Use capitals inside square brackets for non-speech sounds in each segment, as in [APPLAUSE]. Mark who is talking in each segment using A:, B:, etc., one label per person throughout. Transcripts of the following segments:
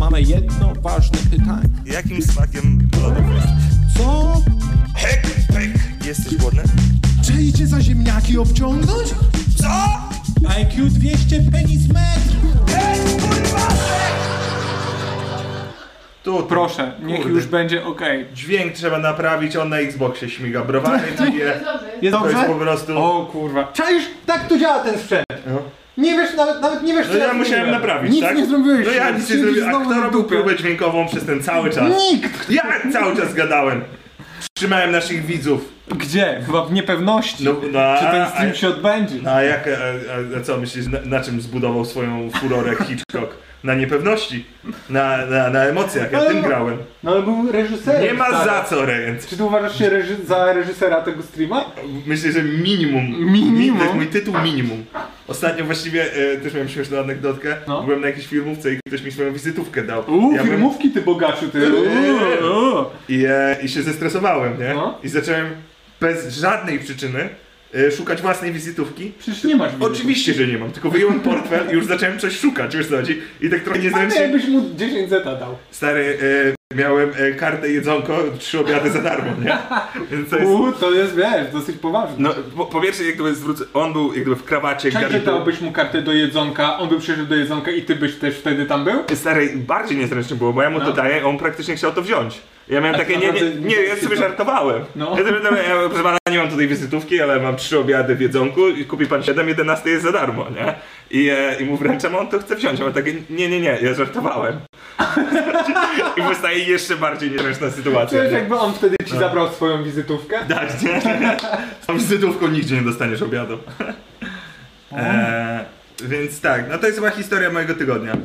A: mamy jedno ważne pytanie.
B: Jakim smakiem lodów jesteś?
A: Co?
B: Hek, hek. Jesteś głodny?
C: Czy idzie za ziemniaki obciągnąć?
B: Co?
A: IQ 200 penis metr!
D: Tu,
E: Proszę, niech
D: Kurde.
E: już będzie okej.
D: Dźwięk trzeba naprawić, on na Xboxie śmiga. Browary nie.
E: Jest
D: To
E: dobrze?
D: jest po prostu...
E: O kurwa.
F: Czaisz, tak tu działa ten sprzęt. Nie wiesz, nawet, nawet nie wiesz,
D: No ja musiałem
F: zrobiłem.
D: naprawić,
F: Nic
D: tak?
F: nie zrobiłeś.
D: No ja nic nie
F: Siedzisz
D: zrobiłem, a
F: znowu
D: kto
F: na
D: robił
F: dupie.
D: próbę dźwiękową przez ten cały czas?
F: Nikt!
D: Ja cały czas gadałem. Trzymałem naszych widzów.
E: Gdzie? Chyba w niepewności.
D: No, no,
E: czy ten
D: a-
E: stream się odbędzie?
D: No a jak, a, a, a co myślisz, na, na czym zbudował swoją furorę Hitchcock? Na niepewności, na, na, na emocjach, ja tym grałem.
F: No Tak. ale był reżyserem.
D: Nie ma
F: stary.
D: za co, Rejent.
F: Czy ty uważasz się reży- za reżysera tego streama?
D: Myślę, że minimum.
E: Minimum?
D: To jest mój tytuł minimum. Ostatnio właściwie e, też miałem śmieszną anegdotkę.
E: No.
D: Byłem na jakiejś firmówce i ktoś mi swoją wizytówkę dał.
F: Uuu,
D: ja byłem-
F: filmówki ty bogaczu, ty.
D: Eee.
E: O,
D: I, e, I się zestresowałem, nie?
F: No.
D: I zacząłem bez żadnej przyczyny e, szukać własnej wizytówki.
F: Przecież nie masz
D: Oczywiście, że nie mam, tylko wyjąłem portfel i już zacząłem coś szukać, już chodzi. I tak trochę
F: Ale
D: niezręcznie.
F: jakbyś mu 10 zeta dał.
D: Stary, e, miałem e, kartę jedzonko, trzy obiady za darmo,
F: [LAUGHS]
D: nie? Więc to jest...
F: Uuu, to jest, wiesz, dosyć poważne.
D: No, po, po pierwsze, jak gdyby zwrócę... On był jak gdyby w krawacie,
F: Czekaj,
D: garnitur-
F: dałbyś mu kartę do jedzonka, on by przyszedł do jedzonka i ty byś też wtedy tam był?
D: Stary, bardziej niezręczne było, bo ja mu to daję, a on praktycznie chciał to wziąć. Ja miałem
F: No. A
D: takie,
F: to
D: nie, nie,
F: naprawdę
D: nie, ja sobie żartowałem.
F: No.
D: Ja, sobie, no, ja, proszę pana, nie mam tutaj wizytówki, ale mam trzy obiady w jedzonku i kupi pan 7, 11 jest za darmo, nie? I, e, i mu wręczam, a on to chce wziąć, a on takie, nie, nie, nie, ja
F: [LAUGHS]
D: żartowałem. I powstaje jeszcze bardziej niezręczna sytuacja.
F: Przecież jakby on wtedy
D: No.
F: ci zabrał swoją wizytówkę?
D: Tak, nie?
F: [LAUGHS]
D: Z tą wizytówką nigdzie nie dostaniesz obiadu. E, więc tak, no to jest chyba historia mojego tygodnia.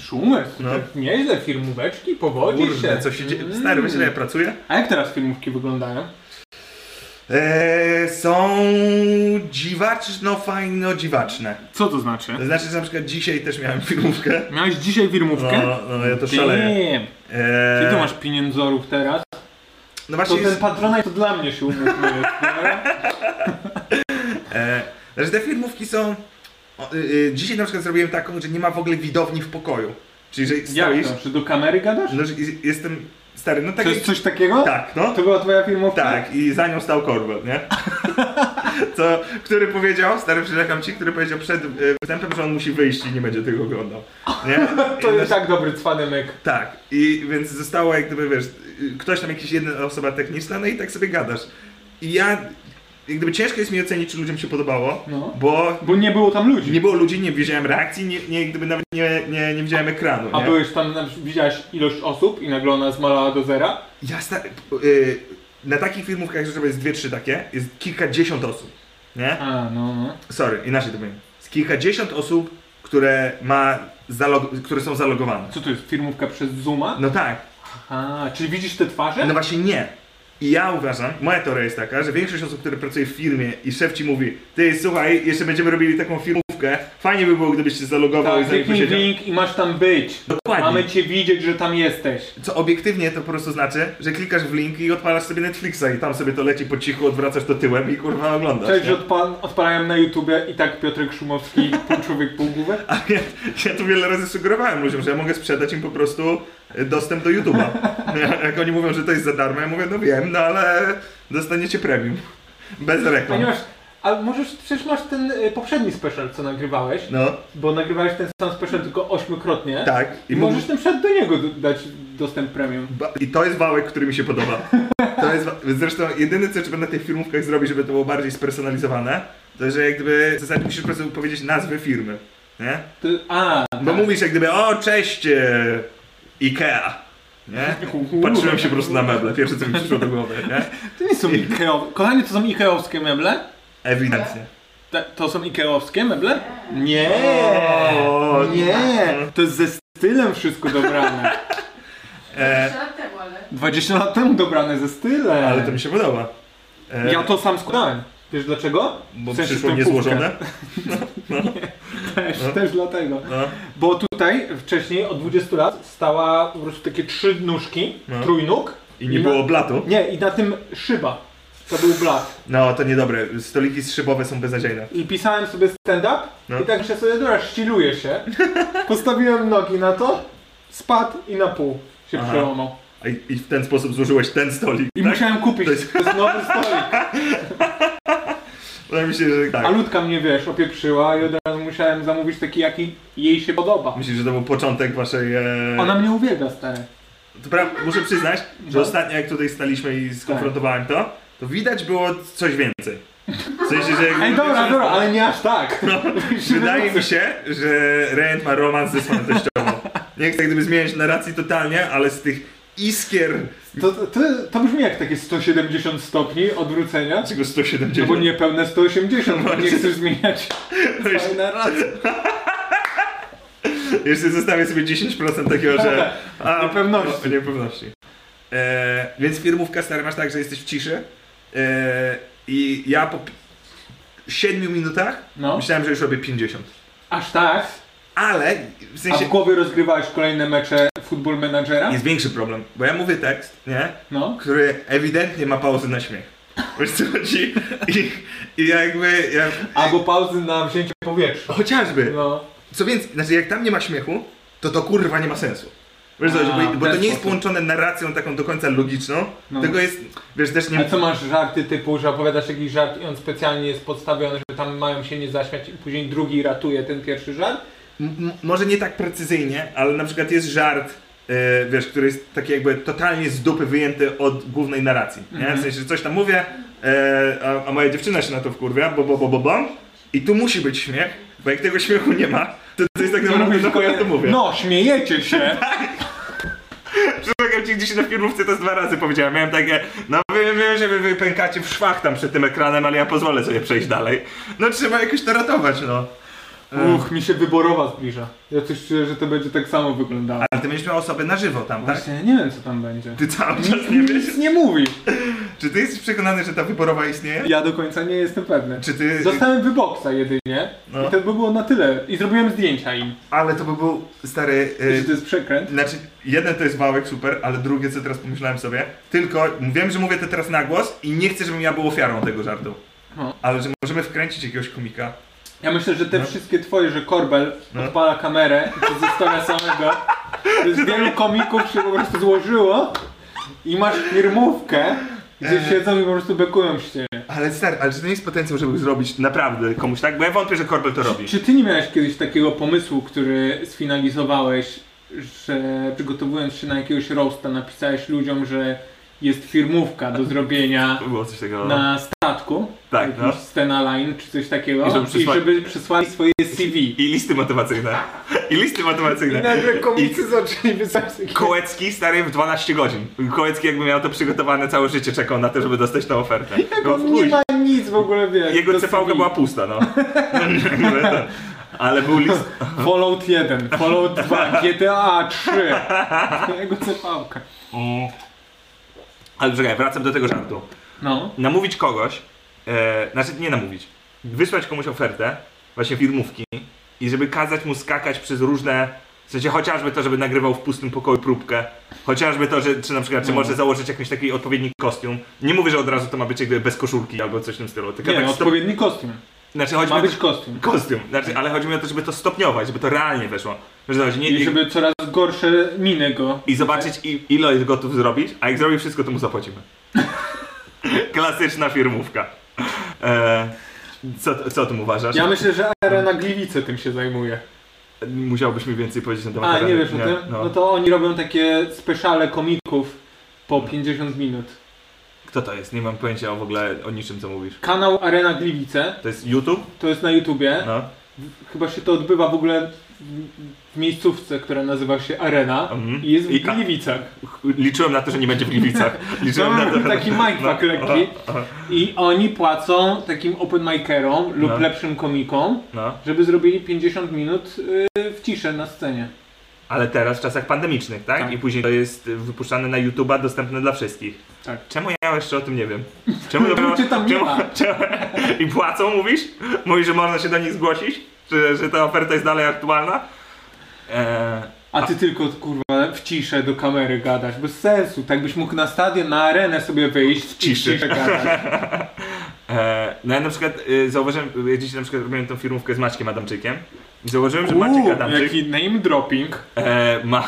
F: Szumer,
D: No.
F: tak nieźle, filmóweczki, powodzi
D: Kurde,
F: się. Mm.
D: co się dzieje? Stary, wiesz, ile ja pracuję?
F: A jak teraz filmówki wyglądają?
D: Eee, są dziwaczno-fajno-dziwaczne.
E: Co to znaczy?
D: To znaczy, że na przykład dzisiaj też miałem filmówkę.
E: Miałeś dzisiaj
D: No,
E: firmówkę?
D: no ja to szaleję.
F: Nie.
D: Eee,
F: Ty tu masz pieniędzorów teraz?
D: No
F: To
D: właśnie,
F: ten
D: jest,
F: patronat to dla mnie
D: [LAUGHS]
F: się umówmy. no.
D: eee, znaczy te filmówki są... O, y, y, dzisiaj na przykład zrobiłem taką, że nie ma w ogóle widowni w pokoju. Czyli, że
F: Jak
D: stoisz...
F: to? Czy do kamery gadasz?
D: No, że i- jestem stary, no
F: To
D: taki...
F: jest coś takiego?
D: Tak, no.
F: To była twoja filmówka?
D: Tak, i za nią stał Corbel,
F: [LAUGHS]
D: nie? Co, który powiedział, stary przyrzekam ci, który powiedział przed y, wstępem, że on musi wyjść i nie będzie tego oglądał. Nie?
F: To
D: I
F: jest tak dobry cwany myk.
D: Tak, i więc zostało jak gdyby, wiesz, y, ktoś tam jakiś jedna osoba techniczna, no i tak sobie gadasz. I ja, jak gdyby ciężko jest mi ocenić, czy ludziom się podobało,
F: No.
D: bo
F: Bo nie było tam ludzi.
D: nie było ludzi, nie widziałem reakcji, nie, nie, jak gdyby nawet nie, nie, nie widziałem ekranu,
F: A
D: nie?
F: byłeś tam, na przykład widziałeś ilość osób i nagle ona zmalała do zera?
D: Ja sta- y, na takich filmówkach, że jest dwie, trzy takie, jest kilkadziesiąt osób, nie?
F: A, no, no.
D: Sorry, inaczej to powiem. Z kilkadziesiąt osób, które ma, zalog- które są zalogowane.
F: Co to jest, firmówka przez Zooma?
D: No tak,
F: A, czyli widzisz te twarze?
D: No właśnie nie. I ja uważam, moja teoria jest taka, że większość osób, które pracuje w firmie i szef ci mówi Ty, słuchaj, jeszcze będziemy robili taką firmówkę, fajnie by było, gdybyś się zalogował i
F: tak,
D: za nim
F: kliknij
D: posiedział.
F: link i masz tam być.
D: Dokładnie.
F: Mamy cię widzieć, że tam jesteś.
D: Co obiektywnie to po prostu znaczy, że klikasz w link i odpalasz sobie Netflixa i tam sobie to leci po cichu, odwracasz to tyłem i kurwa oglądasz.
F: Cześć,
D: nie?
F: że odpal, odpalają na YouTubie i tak Piotrek Szumowski, [LAUGHS] pół człowiek, pół główek.
D: A ja, ja tu wiele razy sugerowałem ludziom, że ja mogę sprzedać im po prostu e, dostęp do YouTube'a.
F: [LAUGHS]
D: Ja- Jak oni mówią, że to jest za darmo, ja mówię, no wiem, no ale dostaniecie premium. Bez
F: A nie
D: reklam.
F: masz, a możesz, przecież masz ten y, poprzedni special, co nagrywałeś,
D: No,
F: bo nagrywałeś ten sam special tylko ośmiokrotnie.
D: tak.
F: I
D: mógł-
F: możesz ten przed do niego d- dać dostęp premium.
D: Ba- I to jest wałek, który mi się podoba. To jest wa- zresztą jedyne, co trzeba na tych filmówkach zrobić, żeby to było bardziej spersonalizowane, to że jak gdyby w zasadzie musisz po prostu powiedzieć nazwę firmy, nie?
F: To, a, tak.
D: Bo mówisz jak gdyby, o cześć e, Ikea, nie? Patrzyłem się po prostu na meble, pierwsze co mi przyszło do głowy, nie?
F: to nie są Ikeowe. Kochanie, to są Ikeowskie meble?
D: Ewidentnie.
F: Te- To są Ikeowskie meble? Nie!
D: O,
F: Nie! To jest ze stylem wszystko dobrane.
D: E,
G: temu, ale...
F: 20 lat temu dobrane ze stylem.
D: ale to mi się podoba. E,
F: Ja to sam składałem. Wiesz dlaczego?
D: bo
F: w sensie
D: przyszło
F: tę półkę.
D: niezłożone.
F: Też,
D: No.
F: też dlatego.
D: No.
F: Bo tutaj wcześniej od 20 lat stała po prostu takie trzy nóżki,
D: No.
F: trójnóg.
D: I nie było blatu.
F: Nie, i na tym szyba. To był blat.
D: No, to niedobre. Stoliki szybowe są bezadziejne.
F: I pisałem sobie stand-up
D: No.
F: i tak że sobie, dobra, ściluję się. Postawiłem nogi na to spadł i na pół się
D: Aha.
F: przełamał.
D: A I, I w ten sposób złożyłeś ten stolik.
F: I
D: tak?
F: musiałem kupić,
D: To
F: to
D: jest- Tak.
F: jest, nowy stolik.
D: Wydaje mi się, że tak.
F: A ludka mnie, wiesz, opieprzyła i od razu musiałem zamówić taki, jaki jej się podoba.
D: Myślisz, że to był początek waszej... E...
F: Ona No. mnie uwielbia, stary.
D: To pra- muszę przyznać, że ostatnio jak tutaj staliśmy i skonfrontowałem to, to widać było coś więcej. W sensie, że... jak-
F: Ej, dobra, dobra, ale nie aż tak. [LAUGHS]
D: [LAUGHS] Wydaje mi się, że Rent ma romans ze swoją teściową. Nie chcę gdyby zmieniać narracji totalnie, ale z tych iskier
F: To, to, to brzmi jak takie 170 stopni odwrócenia.
D: tego 170...
F: No bo niepełne 180, bo nie chcesz zmieniać.
D: Jeszcze- [LAUGHS] Jeszcze zostawię sobie 10% takiego, że... A,
F: Niepewności.
D: o, niepewności. E, więc firmówka, stary, masz tak, że jesteś w ciszy e, i ja po 7 minutach
F: [LAUGHS] No.
D: myślałem, że już robię 50.
F: Aż tak?
D: Ale, w
F: A
D: sensie,
F: w głowie rozgrywałeś kolejne mecze Football Managera?
D: jest większy problem, bo ja mówię tekst, nie?
F: No.
D: Który ewidentnie ma pauzy na śmiech. Wiesz co chodzi? I, i jakby, ja,
F: Albo pauzy na wzięcie powietrza.
D: chociażby,
F: No.
D: co więcej, znaczy jak tam nie ma śmiechu, to to kurwa nie ma sensu. Wiesz co,
F: A,
D: chodzi, bo,
F: w
D: bo to
F: ten
D: nie jest
F: sposób.
D: połączone narracją taką do końca logiczną,
F: No.
D: tylko jest, wiesz, też
F: A
D: nie...
F: co masz żarty typu, że opowiadasz jakiś żart i on specjalnie jest podstawiony, że tam mają się nie zaśmiać i później drugi ratuje ten pierwszy żart?
D: M- m- może nie tak precyzyjnie, ale na przykład jest żart, e, wiesz, który jest taki jakby totalnie z dupy wyjęty od głównej narracji. Nie?
F: Mhm.
D: W sensie, że coś tam mówię, e, a, a moja dziewczyna się na to wkurwia, bo bo bo bo bo i tu musi być śmiech, bo jak tego śmiechu nie ma, to, to jest tak naprawdę,
F: mówisz,
D: no bo ja to mówię. Tak.
F: No, śmiejecie
D: [LAUGHS]
F: się!
D: Przepraszam cię gdzieś na firmówce to z dwa razy powiedziałem. Miałem takie, no wiem, wiem, że wy, wy pękacie w szwach tam przed tym ekranem, ale ja pozwolę sobie przejść dalej. No trzeba jakoś to ratować, no.
F: Uch, mi się wyborowa zbliża. Ja coś czuję, że to będzie tak samo wyglądało.
D: Ale ty będziesz miał osobę na żywo tam, tak?
F: Właśnie, nie wiem co tam będzie.
D: Ty cały czas nie wiesz.
F: Nic nie mówi.
D: Czy ty jesteś przekonany, że ta wyborowa istnieje?
F: Ja do końca nie jestem pewny.
D: Czy ty...
F: Zostałem wyboksa jedynie
D: No.
F: i to by było na tyle. I zrobiłem zdjęcia im.
D: Ale to by był, stary...
F: Że
D: y,
F: to jest przekręt.
D: Znaczy, jeden to jest wałek, super, ale drugie, co teraz pomyślałem sobie, tylko wiem, że mówię to teraz na głos i nie chcę, żebym ja był ofiarą tego żartu.
F: No.
D: Ale że możemy wkręcić jakiegoś komika.
F: Ja myślę, że te wszystkie twoje, że Korbel
D: No.
F: odpala kamerę i to zostawia samego.
D: [LAUGHS]
F: Z wielu komików się po prostu złożyło i masz firmówkę, gdzie
D: E.
F: siedzą i po prostu bekują się ciebie.
D: Ale stary, ale czy to nie jest potencjał, żeby zrobić naprawdę komuś tak? Bo ja wątpię, że Korbel to robi.
F: Czy ty nie miałeś kiedyś takiego pomysłu, który sfinalizowałeś, że przygotowując się na jakiegoś roasta napisałeś ludziom, że jest firmówka do zrobienia
D: Było coś takiego.
F: na statku?
D: No. Tak,
F: jakiś
D: no.
F: Scena line czy coś takiego
D: I żeby przysłali-
F: i żeby przysłali swoje CV.
D: I listy motywacyjne. I listy motywacyjne. komicy
F: zaczęli wysyłać
D: Kołecki stary w 12 godzin. Kołecki jakby miał to przygotowane całe życie, czekał na to, żeby dostać tę ofertę. Było w
F: Nie
D: chuj.
F: ma nic w ogóle, wiesz.
D: No, Jego
F: do
D: cv
F: CV.
D: była pusta, no. [LAUGHS] Ale był list...
F: Fallout 1, Fallout 2, GTA
D: [LAUGHS]
F: 3. Jego cepałka.
D: Mm. Ale czekaj, wracam do tego żartu.
F: No.
D: namówić kogoś, e, znaczy nie namówić, wysłać komuś ofertę, właśnie filmówki, i żeby kazać mu skakać przez różne, w sensie chociażby to, żeby nagrywał w pustym pokoju próbkę, chociażby to, że czy na przykład,
F: No.
D: czy może założyć jakiś taki odpowiedni kostium. Nie mówię, że od razu to ma być jakby bez koszulki albo coś w tym stylu, tylko
F: Nie,
D: tak stop...
F: odpowiedni kostium.
D: znaczy chodzi mi
F: Ma
D: o to,
F: być kostium.
D: kostium, znaczy, ale chodzi mi o to, żeby to stopniować, żeby to realnie weszło. Wiesz, o co chodzi? Nie,
F: I
D: nie,
F: żeby coraz gorsze miny go.
D: i zobaczyć, i- ile jest gotów zrobić, a jak zrobi wszystko, to mu zapłacimy. [LAUGHS] Klasyczna firmówka. E, co, co o tym uważasz?
F: Ja myślę, że Arena Gliwice tym się zajmuje.
D: Musiałbyś mi więcej powiedzieć na temat
F: A, nie
D: areny.
F: wiesz o tym?
D: No.
F: No to oni robią takie speszale komików po 50 minut.
D: Kto to jest? Nie mam pojęcia w ogóle o niczym, co mówisz.
F: Kanał Arena Gliwice,
D: To jest YouTube?
F: to jest na YouTubie.
D: No.
F: Chyba się to odbywa w ogóle w- w miejscówce, która nazywa się Arena
D: Mhm.
F: i jest w
D: I ka-
F: Gliwicach.
D: Ch- Liczyłem na to, że nie będzie w
F: [LAUGHS]
D: Gliwicach. Liczyłem na
F: To
D: to,
F: był No, taki
D: No.
F: mindfuck lekki i oni płacą takim open micerom lub
D: No.
F: lepszym komikom,
D: No.
F: żeby zrobili 50 minut y, w ciszę na scenie.
D: Ale teraz w czasach pandemicznych, tak?
F: Tak.
D: I później to jest y, wypuszczane na YouTube'a, dostępne dla wszystkich.
F: Tak.
D: Czemu ja jeszcze o tym nie wiem? Czemu
F: Cię tam nie
D: czemu,
F: ma.
D: [LAUGHS] czemu, I płacą, mówisz? Mówisz, że można się do nich zgłosić? Że, że ta oferta jest dalej aktualna? Eee,
F: A ty tylko kurwa w ciszę do kamery gadasz, bez sensu. Tak byś mógł na stadion, na arenę sobie wyjść w
D: ciszy.
F: ciszy, gadać.
D: e, eee, no ja na przykład y, zauważyłem, y, ja dzisiaj na przykład robiłem tą firmówkę z Maćkiem Adamczykiem Zauważyłem, [LAUGHS] że
E: Uuu,
D: Maciek Adamczyk
E: jaki name dropping.
D: e, ma,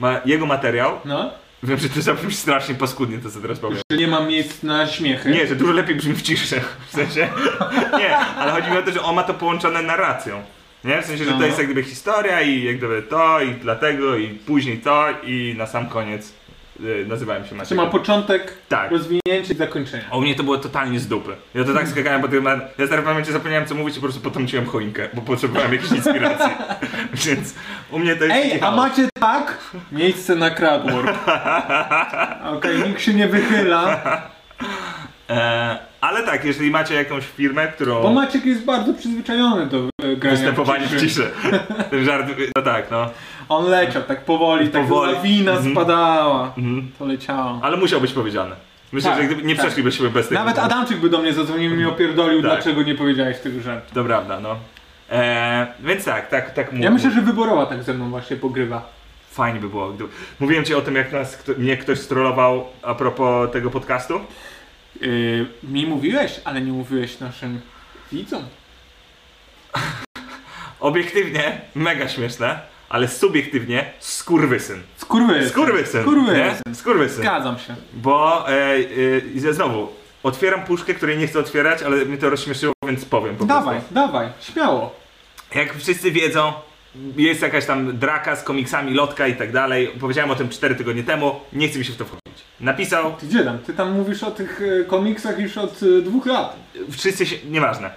D: ma jego materiał.
F: No?
D: Wiem, że to zabrzmi [LAUGHS] strasznie paskudnie to, co teraz powiem.
F: Że nie ma miejsc na śmiechy.
D: Nie, że dużo lepiej brzmi w ciszy. W sensie, [LAUGHS] nie, ale chodzi mi o to, że on ma to połączone narracją. Nie? W sensie, że to
F: No.
D: jest jak gdyby historia i jak gdyby to i dlatego i później to i na sam koniec y, nazywałem się
F: Czy
D: Maciek.
F: ma początek,
D: Tak.
F: rozwinięcie i zakończenie.
D: A u mnie to było totalnie z dupy. Ja to tak skakałem po tym... Ja stary pamięci zapomniałem co mówić i po prostu potrąciłem choinkę, bo potrzebowałem jakiejś inspiracji. [LAUGHS] Więc u mnie to jest...
F: Ej, a macie tak? Miejsce na crowdwork.
D: [LAUGHS]
F: Okej, nikt się nie wychyla,
D: E, ale tak, jeżeli macie jakąś firmę, którą...
F: bo Maciek jest bardzo przyzwyczajony do e, grania
D: Występowanie
F: ciszy.
D: w ciszy. [LAUGHS] Ten żart, no tak, no.
F: On leciał tak powoli, tak
D: Powoli.
F: lawina
D: Mhm.
F: spadała.
D: Mhm.
F: To leciało.
D: Ale musiał być powiedziane. Myślę,
F: Tak,
D: że gdyby nie
F: tak.
D: przeszlibyśmy bez tego.
F: Nawet Adamczyk by do mnie zadzwonił i mi opierdolił,
D: Tak.
F: dlaczego nie powiedziałeś tego żartu.
D: To prawda, no. E, więc tak, tak, tak
F: Ja myślę, że wyborowa tak ze mną właśnie pogrywa.
D: Fajnie by było. Gdyby... Mówiłem ci o tym, jak nas, kto, mnie ktoś strollował a propos tego podcastu.
F: Yy, mi mówiłeś, ale nie mówiłeś naszym widzom.
D: Obiektywnie mega śmieszne, ale subiektywnie skurwysyn.
F: Skurwy.
D: Skurwysyn.
F: Skurwysyn.
D: nie? Skurwysyn.
F: Zgadzam się.
D: Bo e, e, i znowu, otwieram puszkę, której nie chcę otwierać, ale mnie to rozśmieszyło, więc powiem po prostu.
F: Dawaj, dawaj, śmiało.
D: Jak wszyscy wiedzą, jest jakaś tam draka z komiksami, lotka i tak dalej. Powiedziałem o tym 4 tygodnie temu, nie chce mi się w to wchodzić. Napisał,
F: Ty gdzie tam? Ty tam mówisz o tych e, komiksach już od e, dwóch lat.
D: wszyscy się, nieważne.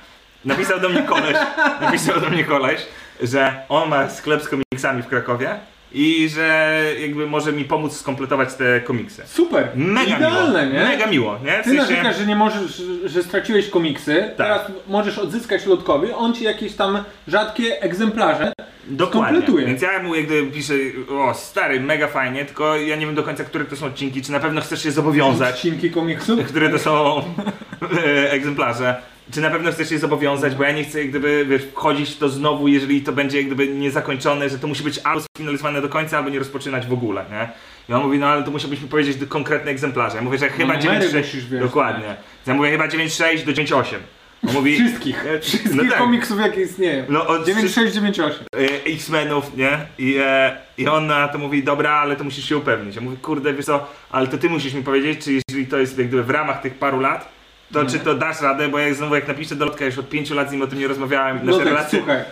D: Napisał do mnie
F: [LAUGHS]
D: koleś, napisał do mnie koleś, że on ma sklep z komiksami w Krakowie i że jakby może mi pomóc skompletować te komiksy.
F: Super.
D: Mega
F: Idealne,
D: miło,
F: nie?
D: mega miło, nie? W Tak.
F: Ty narzekasz, że nie możesz, że straciłeś komiksy, teraz możesz odzyskać lotkowy, on ci jakieś tam rzadkie egzemplarze. skompletuje.
D: Dokładnie. Więc ja mu jak gdyby piszę, o stary, mega fajnie, tylko ja nie wiem do końca, które to są odcinki, czy na pewno chcesz się zobowiązać.
F: Odcinki komiksów.
D: które to są e, egzemplarze. Czy na pewno chcesz się zobowiązać, bo ja nie chcę jak gdyby wiesz, wchodzić w to znowu, jeżeli to będzie jak gdyby niezakończone, że to musi być albo sfinalizowane do końca, albo nie rozpoczynać w ogóle, nie? I on mówi, no ale to musiałbyś mi powiedzieć do- konkretne egzemplarze. Ja mówię, że [LAUGHS] chyba
F: No, numery
D: 96.
F: musisz tak. wiedzieć.
D: Dokładnie. Ja mówię chyba 96 do 98. On mówi
F: Wszystkich.
D: E,
F: Wszystkich
D: no tak.
F: komiksów jakie istnieją.
D: No od
F: 9698.
D: e, X-Menów, nie? I, e, I on na to mówi, dobra, ale to musisz się upewnić. Ja mówię, kurde, wiesz co, ale to ty musisz mi powiedzieć, czy jeżeli to jest jak gdyby w ramach tych paru lat, to
F: Mhm.
D: czy to dasz radę, bo jak znowu jak napiszę do Lotka już od pięciu lat z nim o tym nie rozmawiałem, nasze
F: No tak,
D: relacje... No.
F: słuchaj.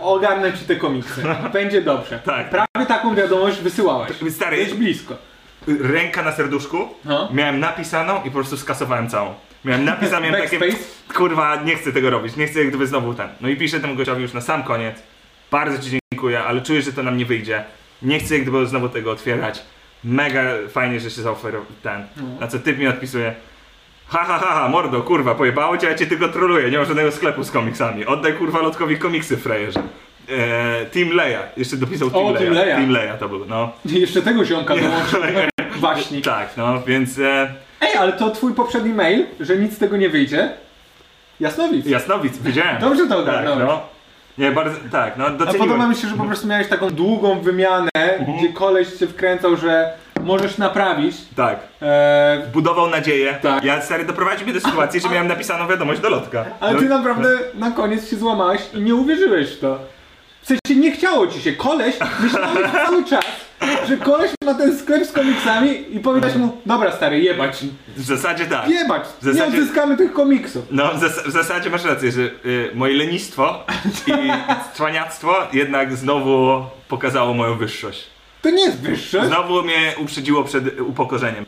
F: Ogarnę ci te komiksy. Będzie dobrze.
D: Tak.
F: Prawie taką wiadomość wysyłałeś.
D: Stary,
F: Jest blisko.
D: ręka na serduszku,
F: No.
D: miałem napisaną i po prostu skasowałem całą. Miałem napisane, miałem takie,
F: Backspace?
D: kurwa, nie chcę tego robić, nie chcę jak gdyby znowu ten. No i piszę temu gościowi już na sam koniec, bardzo ci dziękuję, ale czuję, że to nam nie wyjdzie. Nie chcę jak gdyby znowu tego otwierać. Mega fajnie, że się zaoferował ten.
F: No.
D: Na co typ mi odpisuje, ha ha ha, ha mordo, kurwa, pojebało cię, ja cię tylko troluję, nie ma żadnego sklepu z komiksami. Oddaj kurwa Lotkowi komiksy, frajerze. Eee, Team Leia, jeszcze dopisał Team Leia.
F: Team Leia.
D: Team Leia to był, no.
F: Jeszcze tego ziomka dołączył.
D: [LAUGHS]
F: Właśnie.
D: Tak, no, więc... E,
F: Ej, ale to twój poprzedni mail, że nic z tego nie wyjdzie. Jasnowic.
D: Jasnowic, wiedziałem.
F: Dobrze to
D: tak,
F: ogarnąłeś.
D: no. Nie, bardzo, tak, no
F: A
D: doceniłem.
F: podoba mi się, że po prostu miałeś taką długą wymianę, gdzie koleś się wkręcał, że możesz naprawić.
D: Tak,
F: Eee,
D: budował nadzieję.
F: Tak.
D: Ja stary doprowadził mnie do sytuacji, że miałem napisaną wiadomość do lotka.
F: ale
D: No,
F: ty naprawdę na koniec się złamałeś i nie uwierzyłeś w to. W sensie nie chciało ci się. Koleś, myślałeś cały czas, że koleś ma ten sklep z komiksami i powiedziałeś mu, dobra stary, jebać.
D: W zasadzie tak.
F: Jebać, nie
D: zasadzie-
F: odzyskamy tych komiksów.
D: No, w, zas- w zasadzie masz rację, że y, moje lenistwo i
F: [LAUGHS]
D: cwaniactwo jednak znowu pokazało moją wyższość.
F: To nie jest wyższe.
D: Znowu mnie uprzedziło przed upokorzeniem.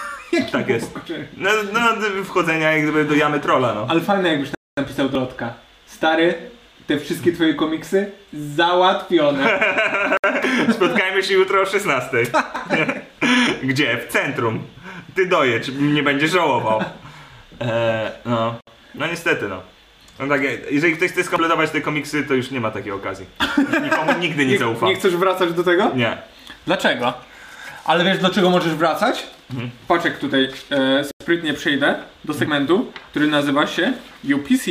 F: [LAUGHS]
D: tak jest. No, no, wchodzenia jak gdyby do jamy trola, no.
F: Ale fajne jakbyś napisał do Lotka. Stary, te wszystkie twoje komiksy
D: [LAUGHS]
F: załatwione.
D: Spotkajmy się jutro o 16.
F: [LAUGHS]
D: Gdzie? W centrum. Ty dojedź, nie będziesz żałował. E, no. no niestety no. No tak, jeżeli ktoś chce skompletować te komiksy, to już nie ma takiej okazji. Nikomu nigdy nie zaufa.
F: Nie chcesz wracać do tego?
D: Nie.
F: Dlaczego? Ale wiesz do czego możesz wracać?
D: Mhm.
F: Paczek tutaj e, sprytnie przejdę do segmentu, który nazywa się UPC.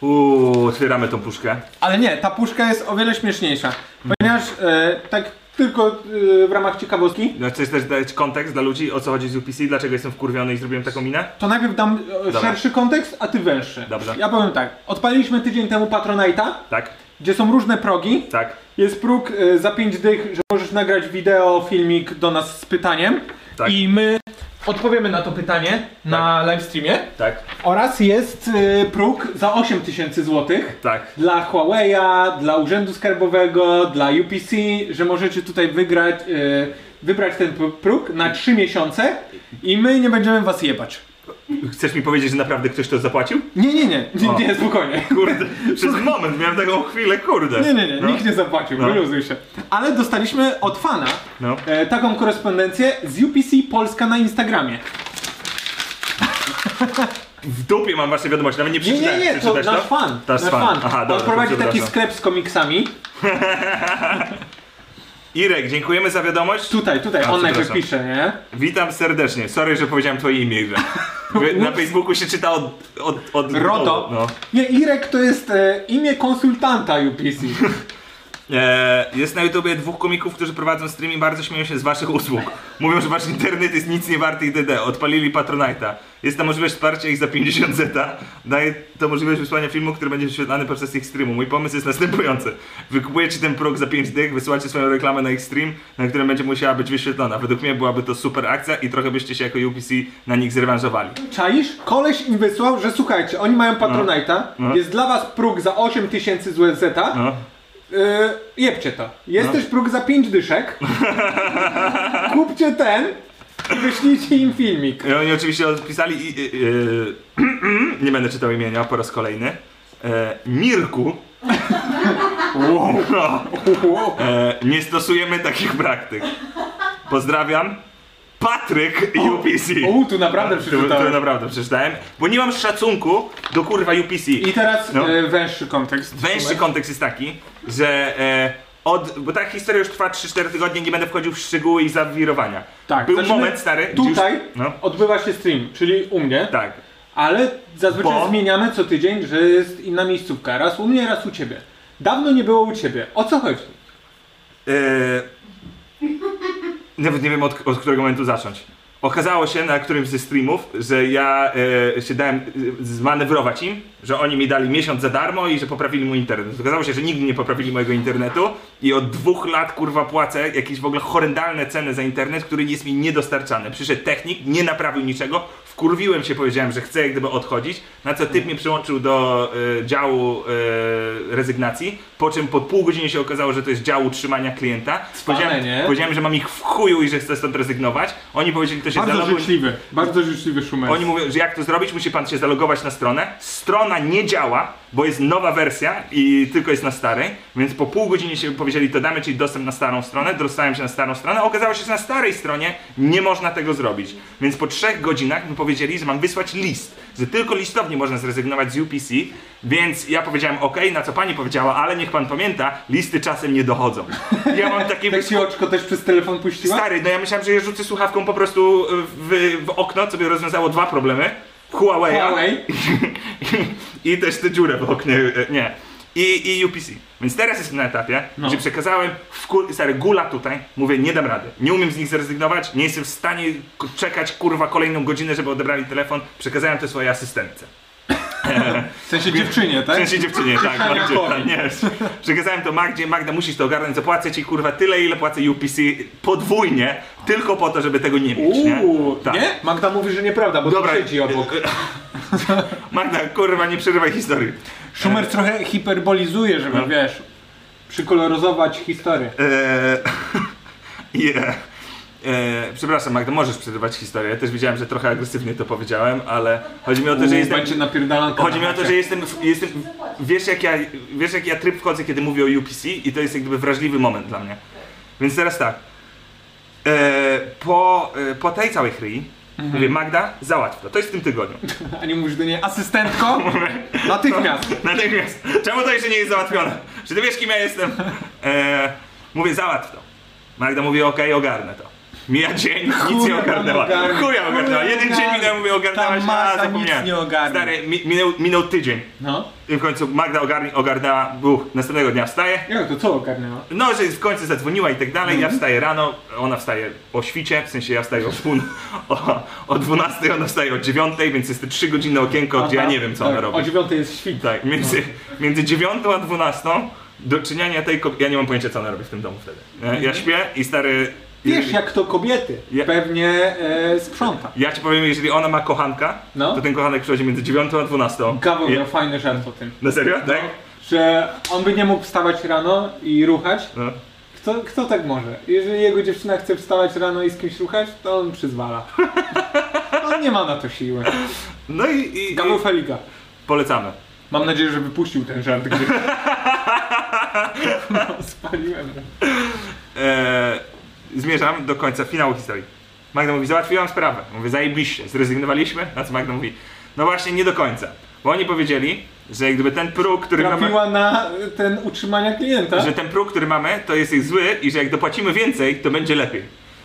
D: Uuu, otwieramy tą puszkę. Mhm.
F: Ale nie, ta puszka jest o wiele śmieszniejsza. Ponieważ e, tak tylko y, w ramach ciekawostki.
D: No, chcesz też dać kontekst dla ludzi, o co chodzi z UPC, dlaczego jestem wkurwiony i zrobiłem taką minę?
F: To najpierw dam e,
D: Dobra.
F: szerszy kontekst, a ty węższy.
D: Dobrze.
F: Ja powiem tak. Odpaliliśmy tydzień temu Patronite'a,
D: Tak,
F: gdzie są różne progi.
D: tak.
F: Jest próg e, za 5 dych, że możesz nagrać wideo, filmik do nas z pytaniem.
D: Tak.
F: I my odpowiemy na to pytanie na livestreamie.
D: Tak,
F: Oraz jest e, próg za 8 tysięcy złotych.
D: tak.
F: Dla Huawei'a, dla Urzędu Skarbowego, dla UPC, że możecie tutaj wygrać, e, wybrać ten pr- próg na 3 miesiące i my nie będziemy was jebać.
D: Chcesz mi powiedzieć, że naprawdę ktoś to zapłacił?
F: Nie, nie, nie, nie,
D: O.
F: nie spokojnie. [LAUGHS]
D: Kurde, [LAUGHS] przez moment miałem taką chwilę, kurde.
F: Nie, nie, nie,
D: No.
F: nikt nie zapłacił,
D: No.
F: wyluzuj się. Ale dostaliśmy od fana
D: No.
F: e, taką korespondencję z UPC Polska na Instagramie.
D: W dupie mam właśnie wiadomość, nawet nie
F: Nie, nie,
D: przeczytałem.
F: nie, to
D: Przeczytałeś
F: nasz fan,
D: To
F: nasz
D: jest fan.
F: fan.
D: Aha,
F: On
D: dobra,
F: prowadzi
D: dobrze,
F: taki
D: przepraszam.
F: sklep z komiksami.
D: Irek, dziękujemy za wiadomość.
F: Tutaj, tutaj,
D: A,
F: on najpierw
D: przepraszam.
F: pisze, nie?
D: Witam serdecznie. Sorry, że powiedziałem twoje imię. Irek. Wy-
F: [LAUGHS]
D: Na Facebooku się czyta od... od, od
F: Roto.
D: dołu, No.
F: Nie, Irek to jest e, imię konsultanta UPC.
D: [LAUGHS] E, jest na YouTubie dwóch komików, którzy prowadzą stream i bardzo śmieją się z waszych usług. Mówią, że wasz internet jest nic nie warty itd. Odpalili Patronite'a. Jest ta możliwość wsparcia ich za 50 zeta. Daje to możliwość wysłania filmu, który będzie wyświetlany podczas ich streamu. Mój pomysł jest następujący. Wykupujecie ten próg za 5 dych, wysyłacie swoją reklamę na ich stream, na którym będzie musiała być wyświetlona. Według mnie byłaby to super akcja i trochę byście się jako UPC na nich zrewanżowali.
F: Czaisz? Koleś im wysłał, że słuchajcie, oni mają Patronite'a,
D: No.
F: jest dla was próg za 8000 zł zeta,
D: No.
F: Yy, jebcie to. Jest też próg za 5
D: [LAUGHS]
F: dyszek. Kupcie ten i wyślijcie im filmik.
D: No I oni oczywiście odpisali i, i, y, [CLEARS THROAT] nie będę czytał imienia po raz kolejny. E, Mirku. No. E, nie stosujemy takich praktyk. Pozdrawiam. Patryk UPC.
F: O, tu naprawdę
D: To, to
F: przeczytałem.
D: naprawdę przeczytałem, bo nie mam szacunku do kurwa UPC.
F: I teraz
D: No.
F: yy, węższy kontekst.
D: Węższy kontekst jest taki, że e, od, bo ta historia już trwa 3-4 tygodnie, nie będę wchodził w szczegóły i zawirowania.
F: Tak,
D: Był
F: zaczynamy-
D: moment stary. gdzie
F: Tutaj
D: Już, no,
F: odbywa się stream, czyli u mnie,
D: tak.
F: ale zazwyczaj
D: Bo-
F: zmieniamy co tydzień, że jest inna miejscówka. Raz u mnie, raz u ciebie. Dawno nie było u ciebie. O co chodzi?
D: Eee, nawet nie wiem od, od którego momentu zacząć. Okazało się na którymś ze streamów, że ja e, się dałem e, zmanewrować im, że oni mi dali miesiąc za darmo i że poprawili mój internet. Okazało się, że nigdy nie poprawili mojego internetu i od dwóch lat kurwa płacę jakieś w ogóle horrendalne ceny za internet, który jest mi niedostarczany. Przyszedł technik, nie naprawił niczego, wkurwiłem się, powiedziałem, że chcę jak gdyby odchodzić, na co typ mnie przyłączył do e, działu e, rezygnacji, po czym po pół godziny się okazało, że to jest dział utrzymania klienta. Powiedziałem,
F: nie?
D: powiedziałem, że mam ich w chuju i że chcę stąd rezygnować. Oni powiedzieli, to się
E: Bardzo
D: zaloguj.
E: życzliwy, bardzo życzliwy szumer.
D: Oni mówią, że jak to zrobić, musi pan się zalogować na stronę. Strona nie działa, bo jest nowa wersja i tylko jest na starej, więc po pół godziny się powiedzieli, to damy ci dostęp na starą stronę, dostałem się na starą stronę, okazało się, że na starej stronie nie można tego zrobić. Więc po trzech godzinach mi powiedzieli, że mam wysłać list, że tylko listownie można zrezygnować z UPC, więc ja powiedziałem ok, na co pani powiedziała, ale niech pan pamięta, listy czasem nie dochodzą. Ja mam
E: [LAUGHS]
D: takie
F: Tak ci oczko też przez telefon puściła?
D: Stary, no ja myślałem, że je rzucę słuchawką po prostu y, w, w okno, co by rozwiązało dwa problemy. Huawei
F: Huawei.
D: [LAUGHS] i też tę dziurę w oknie, e, nie. I, I UPC. Więc teraz jestem na etapie, gdzie przekazałem w kur... stary, gula tutaj, mówię, nie dam rady. Nie umiem z nich zrezygnować, nie jestem w stanie k- czekać kurwa kolejną godzinę, żeby odebrali telefon. Przekazałem to swojej asystentce.
E: W sensie dziewczynie, tak?
D: W sensie dziewczynie,
F: [LAUGHS]
D: tak, Magdzie,
E: Jakowi.
D: tak, nie. Przekazałem to Magdzie, Magda musisz to ogarnąć, zapłacę ci kurwa tyle, ile płacę UPC podwójnie, tylko po to, żeby tego nie mieć, nie?
F: Uuu,
D: Tak.
F: nie? Magda mówi, że nieprawda, bo
D: Dobra.
F: tu
D: [LAUGHS]
F: siedzi obok.
D: Magda, kurwa, nie przerywaj historii.
F: Schumer trochę hiperbolizuje,
D: No.
F: żeby, wiesz, przykoloryzować historię.
D: [LAUGHS] Eee, i, e, e, przepraszam Magda, możesz przerywać historię. Ja też widziałem, że trochę agresywnie to powiedziałem, ale chodzi mi o to, że jestem...
F: będzie napierdalanka.
D: Chodzi mi
F: na
D: o to, że
F: chacie.
D: jestem, jestem wiesz, jak ja, wiesz jak ja tryb wchodzę, kiedy mówię o UPC i to jest jak gdyby wrażliwy moment dla mnie. Więc teraz tak, e, po, e, po tej całej chryi
F: Mhm.
D: mówię Magda, załatw to, to jest w tym tygodniu.
F: [LAUGHS] A nie mówisz do niej,
D: [LAUGHS]
F: asystentko? Natychmiast.
D: Natychmiast. Czemu to jeszcze nie jest załatwione? Czy ty wiesz, kim ja jestem? E, mówię, załatw to. Magda mówi, okej, ogarnę to. Mija dzień, nic
F: Chuja
D: nie ogarnęła.
F: tam ogarnia.
D: Chuja ogarnęła. Jeden dzień
F: Chuja
D: minął, mówię, ogarnęłaś, a
F: ta masa
D: zapomniałem.
F: nic nie ogarnia.
D: Stary, mi, minął, minął tydzień.
F: No.
D: I w końcu Magda ogarni, ogarnęła, buch, następnego dnia wstaje.
F: Jak to co ogarnęła?
D: No, że w końcu zadzwoniła i tak dalej,
F: Mhm.
D: ja wstaję rano, ona wstaje o świcie, w sensie ja wstaję o, pół, [LAUGHS] o, o 12, ona wstaje o 9, więc jest No, to 3 godzinne okienko, gdzie ja nie wiem co
F: tak,
D: ona robi.
F: O dziewiątej No. jest świt.
D: Tak, między, między 9 a 12 do czynienia tej kobiety, ja nie mam pojęcia co ona robi w tym domu wtedy. E, Ja śpię i stary...
F: Mhm. Wiesz jak to kobiety.
D: Ja-
F: Pewnie e, sprząta.
D: Ja ci powiem, jeżeli ona ma kochanka,
F: No.
D: to ten kochanek przychodzi między 9 a 12.
F: Gaweł
D: Ja-
F: miał fajny żart o tym.
D: Na serio? Tak?
F: Że on by nie mógł wstawać rano i ruchać.
D: No.
F: Kto, kto tak może? Jeżeli jego dziewczyna chce wstawać rano i z kimś ruchać, to on przyzwala.
D: [LAUGHS]
F: On nie ma na to siły.
D: No i, i, i
F: Gaweł Feliga.
D: polecamy.
F: Mam nadzieję, że wypuścił ten żart
D: [LAUGHS]
F: gdzieś. [LAUGHS] No, spaliłem. go.
D: E, zmierzam do końca finału historii. Magda mówi, załatwiłam sprawę. Mówię, zajebiście, zrezygnowaliśmy. Na co Magda mówi, no właśnie, nie do końca. Bo oni powiedzieli, że jak gdyby ten próg, który mamy...
F: Trafiła na ten utrzymania klienta.
D: Że ten próg, który mamy, to jest ich zły i że jak dopłacimy więcej, to będzie lepiej.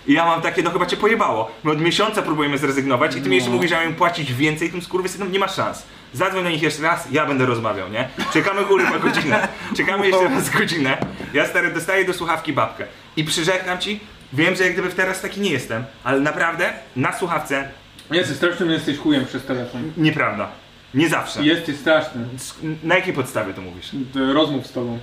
D: I ja mam takie, no chyba cię pojebało. My od miesiąca próbujemy zrezygnować i ty mi jeszcze mówisz, że mam im płacić więcej, tym skurwysynom nie ma szans. Zadzwoń na nich jeszcze raz, ja będę rozmawiał, nie? Czekamy kurwa godzinę. Czekamy jeszcze raz godzinę. Ja stary dostaję do słuchawki babkę. I przyrzekam ci, wiem, że jak gdyby teraz taki nie jestem, ale naprawdę na słuchawce
F: Jesteś strasznym, jesteś chujem przez telefon.
D: nieprawda. Nie zawsze.
F: Jesteś straszny.
D: Na jakiej podstawie to mówisz?
F: Rozmów z tobą.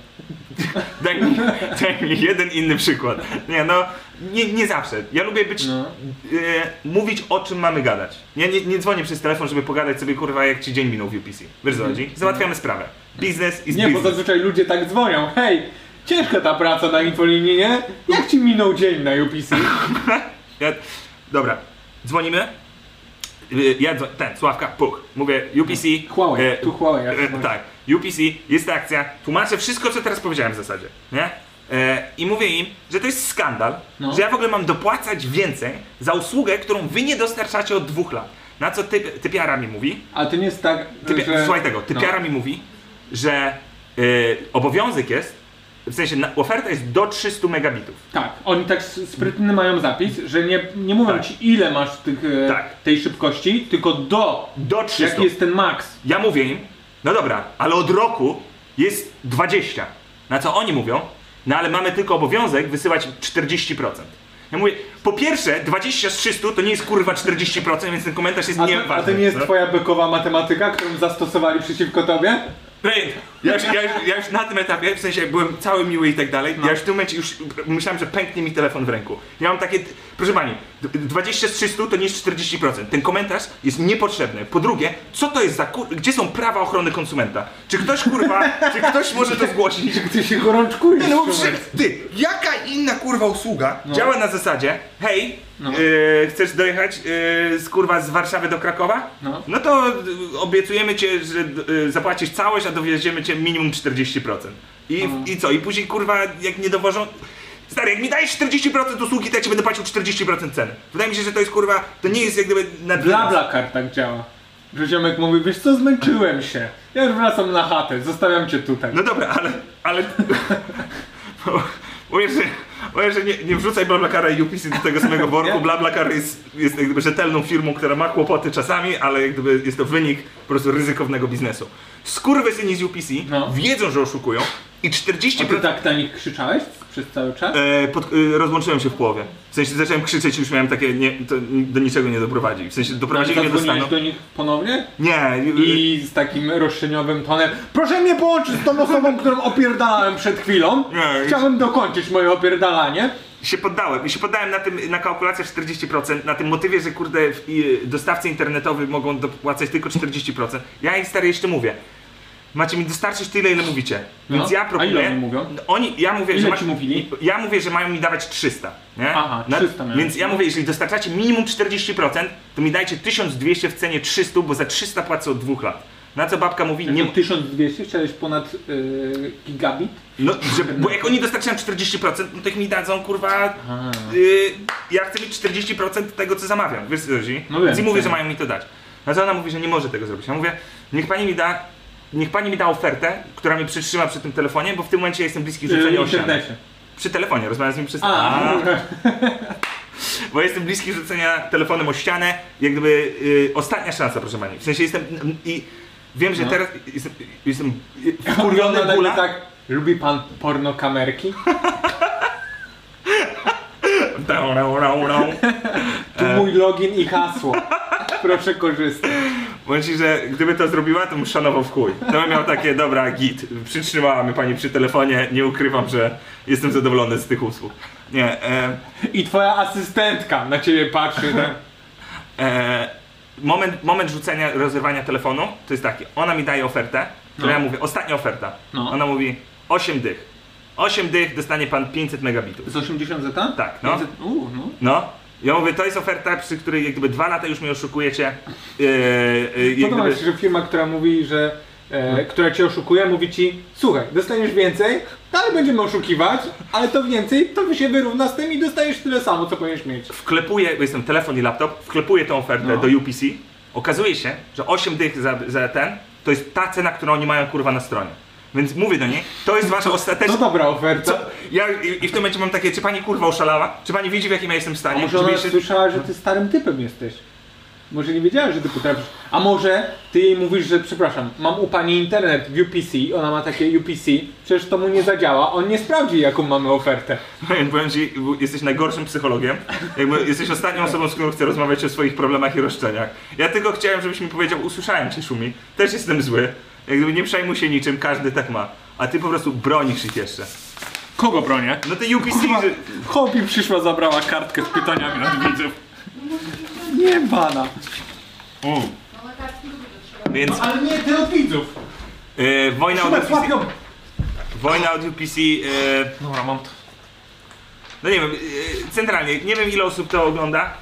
D: Daj mi, daj mi jeden inny przykład. Nie no, nie, nie zawsze. Ja lubię być.
F: No.
D: e, mówić o czym mamy gadać. Ja nie, nie dzwonię przez telefon, żeby pogadać sobie kurwa jak ci dzień minął w UPC. Wiesz co chodzi? Załatwiamy sprawę. Biznes is
F: Mhm. Nie, bo
D: business.
F: zazwyczaj ludzie tak dzwonią. Hej, ciężka ta praca na infolinii, nie? Jak ci minął dzień na UPC?
D: Ja, dobra, dzwonimy. Y, Ja dzwonię, ten, Sławka, puk. Mówię UPC.
F: Huawei,
D: e,
F: tu Huawei, ja
D: e,
F: rozumiem.
D: Tak, UPC, jest ta akcja. Tłumaczę wszystko, co teraz powiedziałem w zasadzie. Nie? E, I mówię im, że to jest skandal,
F: No.
D: że ja w ogóle mam dopłacać więcej za usługę, którą wy nie dostarczacie od dwóch lat. Na co typ, typiara mi mówi,
F: A to nie jest tak,
D: typia,
F: że... No.
D: słuchaj tego, typiara mi mówi, że y, obowiązek jest, w sensie na, oferta jest do 300 megabitów.
F: Tak, oni tak s- sprytny mają zapis, że nie, nie mówią
D: Tak.
F: ci ile masz tych, e,
D: Tak.
F: tej szybkości, tylko do,
D: Do 300.
F: jaki jest ten max.
D: Ja mówię im, no dobra, ale od roku jest 20. Na co oni mówią, no ale mamy tylko obowiązek wysyłać 40%. Ja mówię, po pierwsze, 20 z 300 to nie jest kurwa 40%, więc ten komentarz jest
F: A to,
D: nieważny.
F: a to nie jest
D: no.
F: twoja bekowa matematyka, którą zastosowali przeciwko tobie?
D: Rejent, ja już, ja, już, ja już na tym etapie, w sensie byłem cały miły i tak dalej, ja już w tym momencie już myślałem, że pęknie mi telefon w ręku. Ja mam takie, proszę pani, d- 20 z 300 to nie jest 40%. Ten komentarz jest niepotrzebny. Po drugie, co to jest za, kur- gdzie są prawa ochrony konsumenta? Czy ktoś kurwa, czy ktoś może to zgłosić?
F: Ty się gorączkujesz.
D: Nie, no bo
F: człowiek.
D: przy, ty, jaka inna kurwa usługa działa na zasadzie, hej,
F: No.
D: y, chcesz dojechać y, z kurwa z Warszawy do Krakowa?
F: No.
D: to y, obiecujemy cię, że y, zapłacisz całość, a dowieziemy cię minimum 40%. I,
F: No.
D: I co? I później kurwa, jak nie dowożą... Stary, jak mi dajesz 40% usługi, to ja ci będę płacił 40% ceny. Wydaje mi się, że to jest kurwa, to nie jest jak gdyby na
F: Bla bla kar tak działa. Że ziomek mówi, wiesz co, zmęczyłem się. Ja już wracam na chatę, zostawiam cię tutaj.
D: No dobra, ale. ale... [LAUGHS] Mówię, że, mówię, że nie, nie wrzucaj BlaBlaCara i UPC do tego samego worku.
F: Nie?
D: BlaBlaCar jest, jest jak gdyby rzetelną firmą, która ma kłopoty czasami, ale jak gdyby jest to wynik po prostu ryzykownego biznesu. Skurwysyni z UPC
F: No.
D: wiedzą, że oszukują i 40%...
F: A ty tak na nich krzyczałeś przez cały czas?
D: E, pod, e, rozłączyłem się w połowie. W sensie zacząłem krzyczeć już miałem takie, nie, to do niczego nie doprowadzi. W sensie doprowadzili mnie do stanu...
F: No Zadzwoniłeś do nich ponownie?
D: Nie, E.
F: I z takim roszczeniowym tonem Proszę mnie połączyć z tą osobą, [LAUGHS] którą opierdalałem przed chwilą
D: Nie,
F: Chciałbym dokończyć moje opierdalanie
D: się poddałem. I się poddałem na tym, na kalkulację 40%, na tym motywie, że kurde, w- i- y, dostawcy internetowi mogą dopłacać tylko 40%. Ja im stary jeszcze mówię. Macie mi dostarczyć tyle, ile mówicie.
F: No,
D: Więc ja
F: a ile
D: proponuję.
F: oni mówią?
D: No, Oni, ja mówię,
F: Ile
D: że ma-
F: ci mówili?
D: Ja mówię, że mają mi dawać 300. Nie?
F: Aha, 300 miałeś.
D: Więc ja mówię, jeżeli dostarczacie minimum 40%, to mi dajcie 1200 w cenie 300, bo za 300 płacę od dwóch lat. Na co babka mówi, nie,
F: Nie 1200, chciałeś ponad yy, gigabit
D: no, że, bo jak oni dostarczają 40%, no to ich mi dadzą, kurwa,
F: E,
D: y, ja chcę mieć 40% tego, co zamawiam, wiesz co chodzi?
F: No wiem,
D: Więc i mówię,
F: wiem.
D: że mają mi to dać. No to ona mówi, że nie może tego zrobić. Ja mówię, niech pani mi da, niech pani mi da ofertę, która mnie przytrzyma przy tym telefonie, bo w tym momencie ja jestem bliski
F: yy,
D: rzucenia
F: w
D: yy,
F: internecie no [LAUGHS]
D: Przy telefonie, rozmawiam z nim przez...
F: A,
D: A. Bo jestem bliski rzucenia telefonem o ścianę, jak gdyby y, ostatnia szansa, proszę pani. W sensie jestem mm, i wiem,
F: No.
D: że teraz jestem, jestem [LAUGHS]
F: Kurwiony
D: wkurwiony bóla.
F: tak, lubi pan porno kamerki?
D: Dał, dał, dał, dał.
F: Tu
E: E.
F: mój login i hasło. Proszę korzystać.
D: Powiem ci, że gdyby to zrobiła, to bym szanował w chuj. To bym miał takie, dobra, git, przytrzymała mnie pani przy telefonie, nie ukrywam, że jestem zadowolony z tych usług. Nie, e,
F: I twoja asystentka na ciebie patrzy. Tak?
D: e, moment, moment rzucenia, rozrywania telefonu to jest taki, ona mi daje ofertę, którą
F: No.
D: ja mówię, ostatnia oferta.
E: No.
D: Ona mówi, 8 dych. 8 dych dostanie pan 500 megabitów.
E: Z 80 zeta?
D: Tak, no.
E: Uuu, no.
D: No. Ja mówię, to jest oferta, przy której jak gdyby dwa lata już mnie oszukujecie. Yy, yy, jak
F: Podoba mi
D: gdyby...
F: się, że firma, która mówi, że e, która cię oszukuje, mówi ci słuchaj, dostaniesz więcej, dalej będziemy oszukiwać, ale to więcej, to się wyrówna z tym i dostajesz tyle samo, co powinieneś mieć.
D: wklepuję, bo jestem telefon i laptop, wklepuję tą ofertę
F: No.
D: do UPC. Okazuje się, że 8 dych za, za ten to jest ta cena, którą oni mają kurwa na stronie. Więc mówię do niej, to jest wasza
F: To
D: ostateczna.
F: No dobra oferta.
D: Ja i, i w tym momencie mam takie, czy pani kurwa oszalała? Czy pani widzi w jakim ja jestem
F: A
D: stanie?
F: może ona
D: Oczywiście-
F: słyszała, że
E: No.
F: ty starym typem jesteś. Może nie wiedziała, że ty potrafisz. A może ty jej mówisz, że przepraszam, mam u pani internet w UPC, ona ma takie UPC, przecież to mu nie zadziała, on nie sprawdzi jaką mamy ofertę.
D: Powiem, powiem ci, bo jesteś najgorszym psychologiem. Jakby jesteś ostatnią osobą, z którą chcę rozmawiać o swoich problemach i roszczeniach. Ja tylko chciałem, żebyś mi powiedział, usłyszałem cię Szumi, też jestem zły. Jak gdyby nie przejmuj się niczym, każdy tak ma. A ty po prostu bronisz ich jeszcze.
E: Kogo bronię?
D: No ty UPC, że...
E: Hopi przyszła, zabrała kartkę z pytaniami od widzów.
F: Nie bana.
E: U.
H: no,
D: Więc
F: Ale nie, ty od widzów.
D: e, wojna od
F: Szymon,
D: UPC,
F: złap ją.
D: wojna od UPC e,
E: Dobra, mam to.
D: no nie wiem, e, centralnie, nie wiem ile osób to ogląda,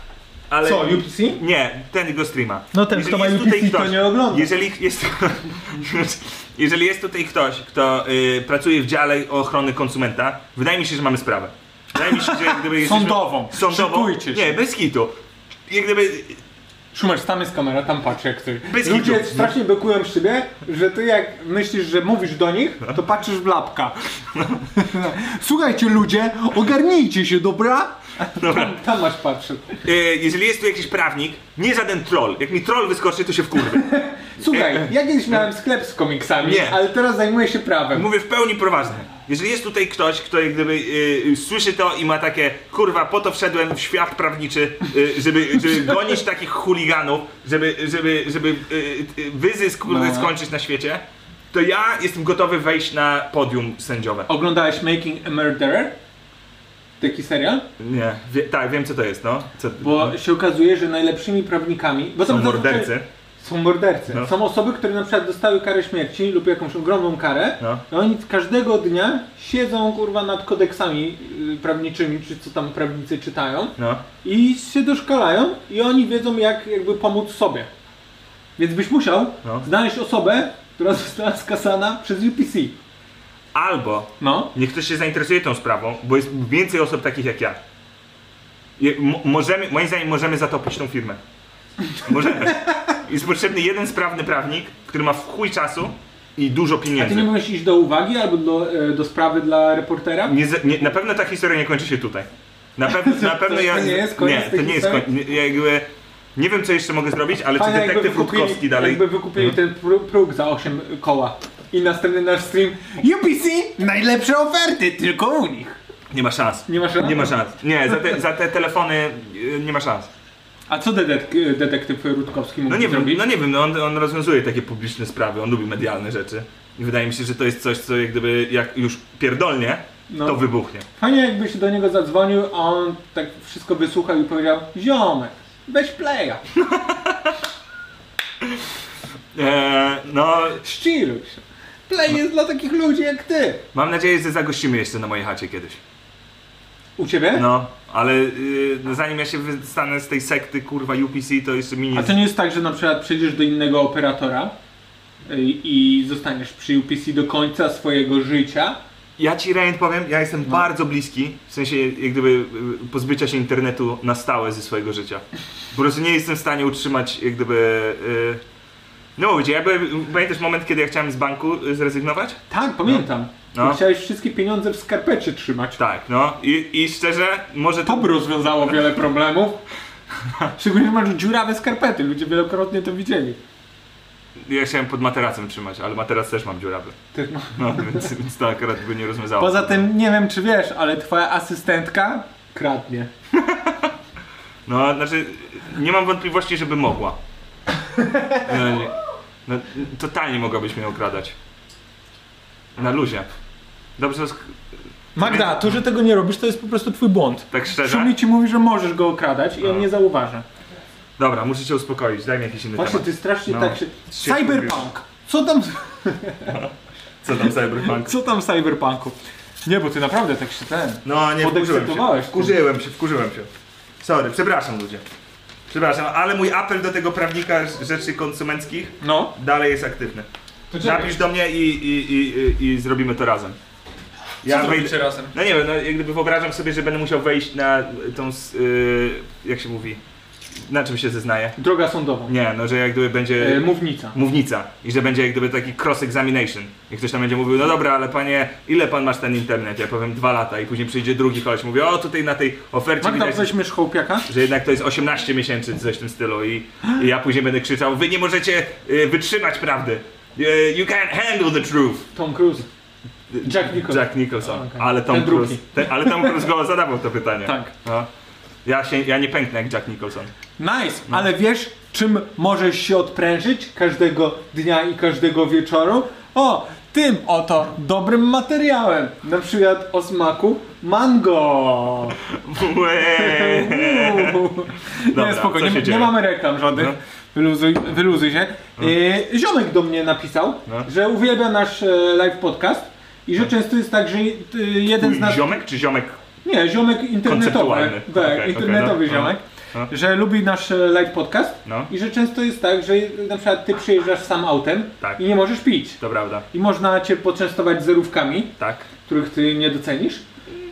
D: ale...
F: Co, UPC?
D: Nie, ten go streama.
F: No ten,
D: Jeżeli
F: kto ma
D: jest
F: UPC,
D: tutaj
F: to nie ogląda.
D: Jeżeli jest, [LAUGHS] jeżeli jest tutaj ktoś, kto y, pracuje w dziale ochrony konsumenta, wydaje mi się, że mamy sprawę. Wydaje mi się, że jak
F: [LAUGHS]
D: gdyby jesteśmy-
E: Sądową.
D: Sądową.
E: Szykujcie się.
D: Nie, bez kitu. Jak gdyby
F: Szumacz, tam jest kamera, tam patrz jak ktoś.
D: Bez
F: Ludzie
D: kitu.
F: strasznie bekują z siebie, że ty jak myślisz, że mówisz do nich, to patrzysz w lapka. [LAUGHS]
C: Słuchajcie ludzie, ogarnijcie się, dobra?
F: Tam, tam masz patrzeć.
D: y, jeżeli jest tu jakiś prawnik, nie żaden troll. Jak mi troll wyskoczy, to się wkurwę.
F: Słuchaj,
D: [LAUGHS]
F: ja kiedyś miałem sklep z komiksami,
D: Nie.
F: ale teraz zajmuję się prawem.
D: Mówię w pełni poważnie. Jeżeli jest tutaj ktoś, kto jak gdyby y, słyszy to i ma takie kurwa, po to wszedłem w świat prawniczy, y, żeby, żeby gonić takich chuliganów, żeby, żeby, żeby y, y, wyzysk kurde skończyć na świecie, to ja jestem gotowy wejść na podium sędziowe.
F: Oglądałeś Making a Murderer? Taki serial?
D: Nie, wie, tak, wiem co to jest, no. Co,
F: Bo się okazuje, że najlepszymi prawnikami... Bo
D: są
F: tam zazwyczaj-
D: mordercy.
F: Są mordercy.
D: No.
F: Są osoby, które na przykład dostały karę śmierci lub jakąś ogromną karę
D: No.
F: i oni każdego dnia siedzą kurwa nad kodeksami y, prawniczymi, czy co tam prawnicy czytają
D: No.
F: i się doszkalają i oni wiedzą jak jakby pomóc sobie. Więc byś musiał
D: No.
F: znaleźć osobę, która została skasana przez UPC.
D: Albo
F: No.
D: Niech ktoś się zainteresuje tą sprawą, bo jest więcej osób takich jak ja. Je, mo- możemy, moim zdaniem możemy zatopić tą firmę. Możemy. Jest potrzebny jeden sprawny prawnik, który ma w chuj czasu i dużo
F: A ty
D: pieniędzy.
F: nie możesz iść do uwagi albo do, y, do sprawy dla reportera?
D: Nie, za- nie, na pewno ta historia nie kończy się tutaj. Na, pew, na pewno
F: [LAUGHS] to
D: ja.
F: nie jest koniec
D: nie,
F: tej
D: to nie jest
F: historii?
D: koń, nie, ja jakby, nie wiem co jeszcze mogę zrobić, ale czy detektyw Rutkowski dalej.
F: jakby wykupili ten pró- próg za 8 koła i następny nasz stream UPC najlepsze oferty tylko u nich.
D: Nie ma szans.
F: Nie ma szans?
D: Nie ma szans. Nie, za te, za te telefony y, nie ma szans.
F: A co dedek- detektyw Rutkowski mógł
D: No nie wiem,
F: zrobić?
D: no nie wiem, no on, on rozwiązuje takie publiczne sprawy, on lubi medialne rzeczy. I wydaje mi się, że to jest coś, co jak gdyby jak już pierdolnie,
F: No.
D: to wybuchnie.
F: Fajnie jakby się do niego zadzwonił, a on tak wszystko wysłuchał i powiedział ziomek, weź playa,
D: Eee, no,
F: szczyluj się. Play jest dla takich ludzi jak ty.
D: mam nadzieję, że zagościmy jeszcze na mojej chacie kiedyś.
F: U ciebie?
D: No, ale yy, no zanim ja się wystanę z tej sekty, kurwa, UPC, to jeszcze mi
F: A
D: nie...
F: to nie jest tak, że na przykład przejdziesz do innego operatora y, i zostaniesz przy UPC do końca swojego życia,
D: Ja ci Rejent powiem, ja
F: No.
D: jestem bardzo bliski, w sensie jak gdyby yy, pozbycia się internetu na stałe ze swojego życia. Po prostu nie jestem w stanie utrzymać jak gdyby... y, Yy, no mówicie, ja byłem, pamiętasz moment, kiedy ja chciałem z banku yy, zrezygnować?
F: Tak, pamiętam.
D: No.
F: Chciałeś wszystkie pieniądze w skarpecie trzymać.
D: Tak, no i, i szczerze, może
F: To
D: to...
F: by rozwiązało wiele
D: [LAUGHS]
F: problemów. Szczególnie, że masz dziurawe skarpety, ludzie wielokrotnie to widzieli.
D: Ja chciałem pod materacem trzymać, ale materac też mam dziurawy.
F: Też ma-
D: No, więc, więc to akurat by nie rozwiązało.
F: Poza tym nie wiem czy wiesz, ale twoja asystentka kradnie.
D: No, znaczy, nie mam wątpliwości, żeby mogła. No, nie, no, totalnie mogłabyś mnie okradać. Na luzie. Dobrze, sk-
F: Magda,
A: to, że tego nie robisz, to jest po prostu twój błąd.
D: tak No. szczerze.
F: Szumi ci mówi, że możesz go okradać i on nie zauważa.
D: Dobra, muszę cię uspokoić, daj mi jakiś inny
F: Właśnie
D: temat.
F: ty strasznie
D: No.
F: tak się...
D: Się
F: Cyberpunk! Co tam,
D: Co tam Cyberpunk?
F: co tam w cyberpunku? Nie, bo ty naprawdę tak się ten...
D: No, nie wkurzyłem się.
F: Podekscytowałeś ty.
D: Wkurzyłem się, wkurzyłem się. Sorry, przepraszam ludzie. Przepraszam, ale mój apel do tego prawnika z- rzeczy konsumenckich
F: No.
D: dalej jest aktywny.
F: To
D: Napisz do mnie i, i, i, i, i zrobimy to razem. Ja wejdę-
F: razem?
D: No nie wiem, no, jak gdyby wyobrażam sobie, że będę musiał wejść na tą, s- y, jak się mówi, na czym się zeznaje.
F: Droga sądowa.
D: Nie, no że jak gdyby będzie
F: E, mównica.
D: mównica i że będzie jak gdyby taki cross-examination. I ktoś tam będzie mówił, no dobra, ale panie, ile pan masz ten internet? Ja powiem dwa lata i później przyjdzie drugi koleś, mówi, o tutaj na tej ofercie
F: Magda,
D: widać,
F: weźmiesz hołpiaka?
D: że jednak to jest 18 miesięcy, czy coś w tym stylu i, i ja później będę krzyczał, wy nie możecie y, wytrzymać prawdy. Y, You can't handle the truth.
F: Tom Cruise. Jack Nicholson.
D: Jack Nicholson.
F: A, okej.
D: Ale Tom
F: Ten
D: Cruise.
F: drugi.
D: Te, ale Tom Cruise go zadawał to pytanie.
F: Tak.
D: No. Ja, się, ja nie pęknę jak Jack Nicholson.
F: Nice,
D: No.
F: ale wiesz, czym możesz się odprężyć każdego dnia i każdego wieczoru? O, tym oto dobrym materiałem. Na przykład o smaku
D: [LAUGHS]
F: mango.
D: Łeee. Dobra,
F: nie, spokojnie,
D: co się
F: nie,
D: dzieje?
F: mamy reklam żadnych.
D: No.
F: Wyluzuj, wyluzuj się. Yy, ziomek do mnie napisał,
D: No.
F: że uwielbia nasz e, live podcast i że często jest tak, że y, jeden z nas...
D: Ziomek czy ziomek?
F: Nie, ziomek internetowy.
D: Konceptualny.
F: Tak,
D: Okej, okej,
F: internetowy
D: no,
F: ziomek.
D: no, no.
F: Że lubi nasz e, live podcast
D: No.
F: i że często jest tak, że na przykład ty przyjeżdżasz sam autem
D: Tak.
F: i nie możesz pić.
D: To prawda.
F: I można cię poczęstować zerówkami,
D: Tak.
F: których ty nie docenisz,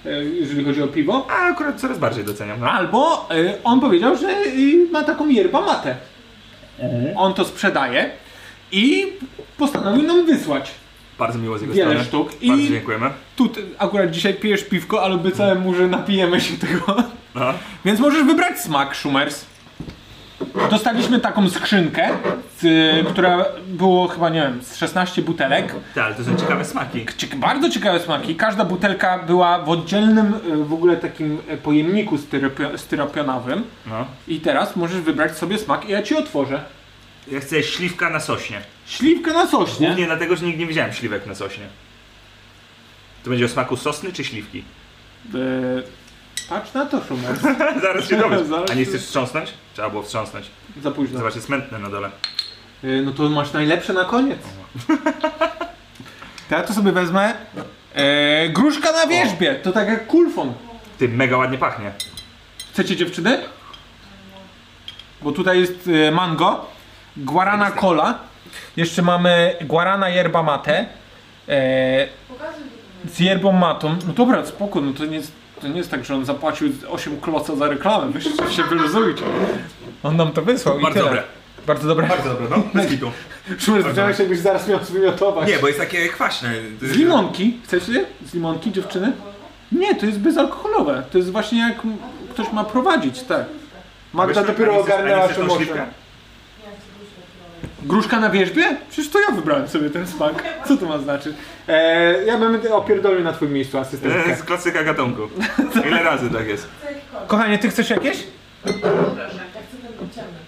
F: e, jeżeli chodzi o piwo.
D: A akurat coraz bardziej doceniam. No.
F: Albo e, on powiedział, że e, ma taką yerba matę. On to sprzedaje i postanowił nam wysłać.
D: Bardzo miło z jego
F: Wiele
D: strony.
F: sztuk
D: Bardzo
F: i-
D: dziękujemy.
F: Tu ty, akurat dzisiaj pijesz piwko, ale obiecałem mu, że napijemy się tego.
D: No.
F: Więc możesz wybrać smak, Schumers. Dostaliśmy taką skrzynkę, z, y, która było chyba, nie wiem, z 16 butelek.
D: Tak, ale to są ciekawe smaki.
F: Ciek- bardzo ciekawe smaki. Każda butelka była w oddzielnym y, w ogóle takim y, pojemniku styropio- styropionowym.
D: No.
F: I teraz możesz wybrać sobie smak i ja ci otworzę.
D: Ja chcę śliwka na sośnie.
F: Śliwkę na sośnie.
D: Głównie dlatego, że nigdy nie widziałem śliwek na sośnie. To będzie o smaku sosny czy śliwki? [LAUGHS]
F: Y, patrz na to, Schumers.
D: Zaraz się dowiesz.
F: [LAUGHS] Zaraz
D: A nie
F: się- No.
D: chcesz wstrząsnąć? Trzeba było wstrząsnąć.
F: Za późno.
D: Zobacz, jest mętne na dole.
F: Y, No to masz najlepsze na koniec. [LAUGHS] To ja to sobie wezmę. E, gruszka na wierzbie, to tak jak kulfon.
D: Ty, mega ładnie pachnie.
F: Chcecie dziewczyny? Bo tutaj jest e, mango, guarana cola, jeszcze mamy guarana yerba mate e, z yerbą matą. No dobra, spoko, no to nie, jest- to nie jest tak, że on zapłacił 8 kloca za reklamę, wy się- się wyluzujcie. On nam to wysłał i
D: Bardzo
F: tyle.
D: dobre.
F: Bardzo dobre.
D: Bardzo dobre, no. Bez kitu.
F: Szumel, zacząłeś jakbyś zaraz miał zwymiotować.
D: Nie, bo jest takie kwaśne.
F: Z limonki. Chcecie? Z limonki, dziewczyny? Nie, to jest bezalkoholowe. To jest właśnie jak m- ktoś ma prowadzić, tak. Magda dopiero ogarnęła, że może. Gruszka na wierzbie? Przecież to ja wybrałem sobie ten smak. Co to ma znaczyć? Eee, ja bym opierdolił na twoim miejscu
D: To
F: asystentkę.
D: jest klasyka
F: [LAUGHS]
D: gatunku. Ile razy tak jest?
F: Kochanie, ty chcesz jakieś?
G: Ciemne.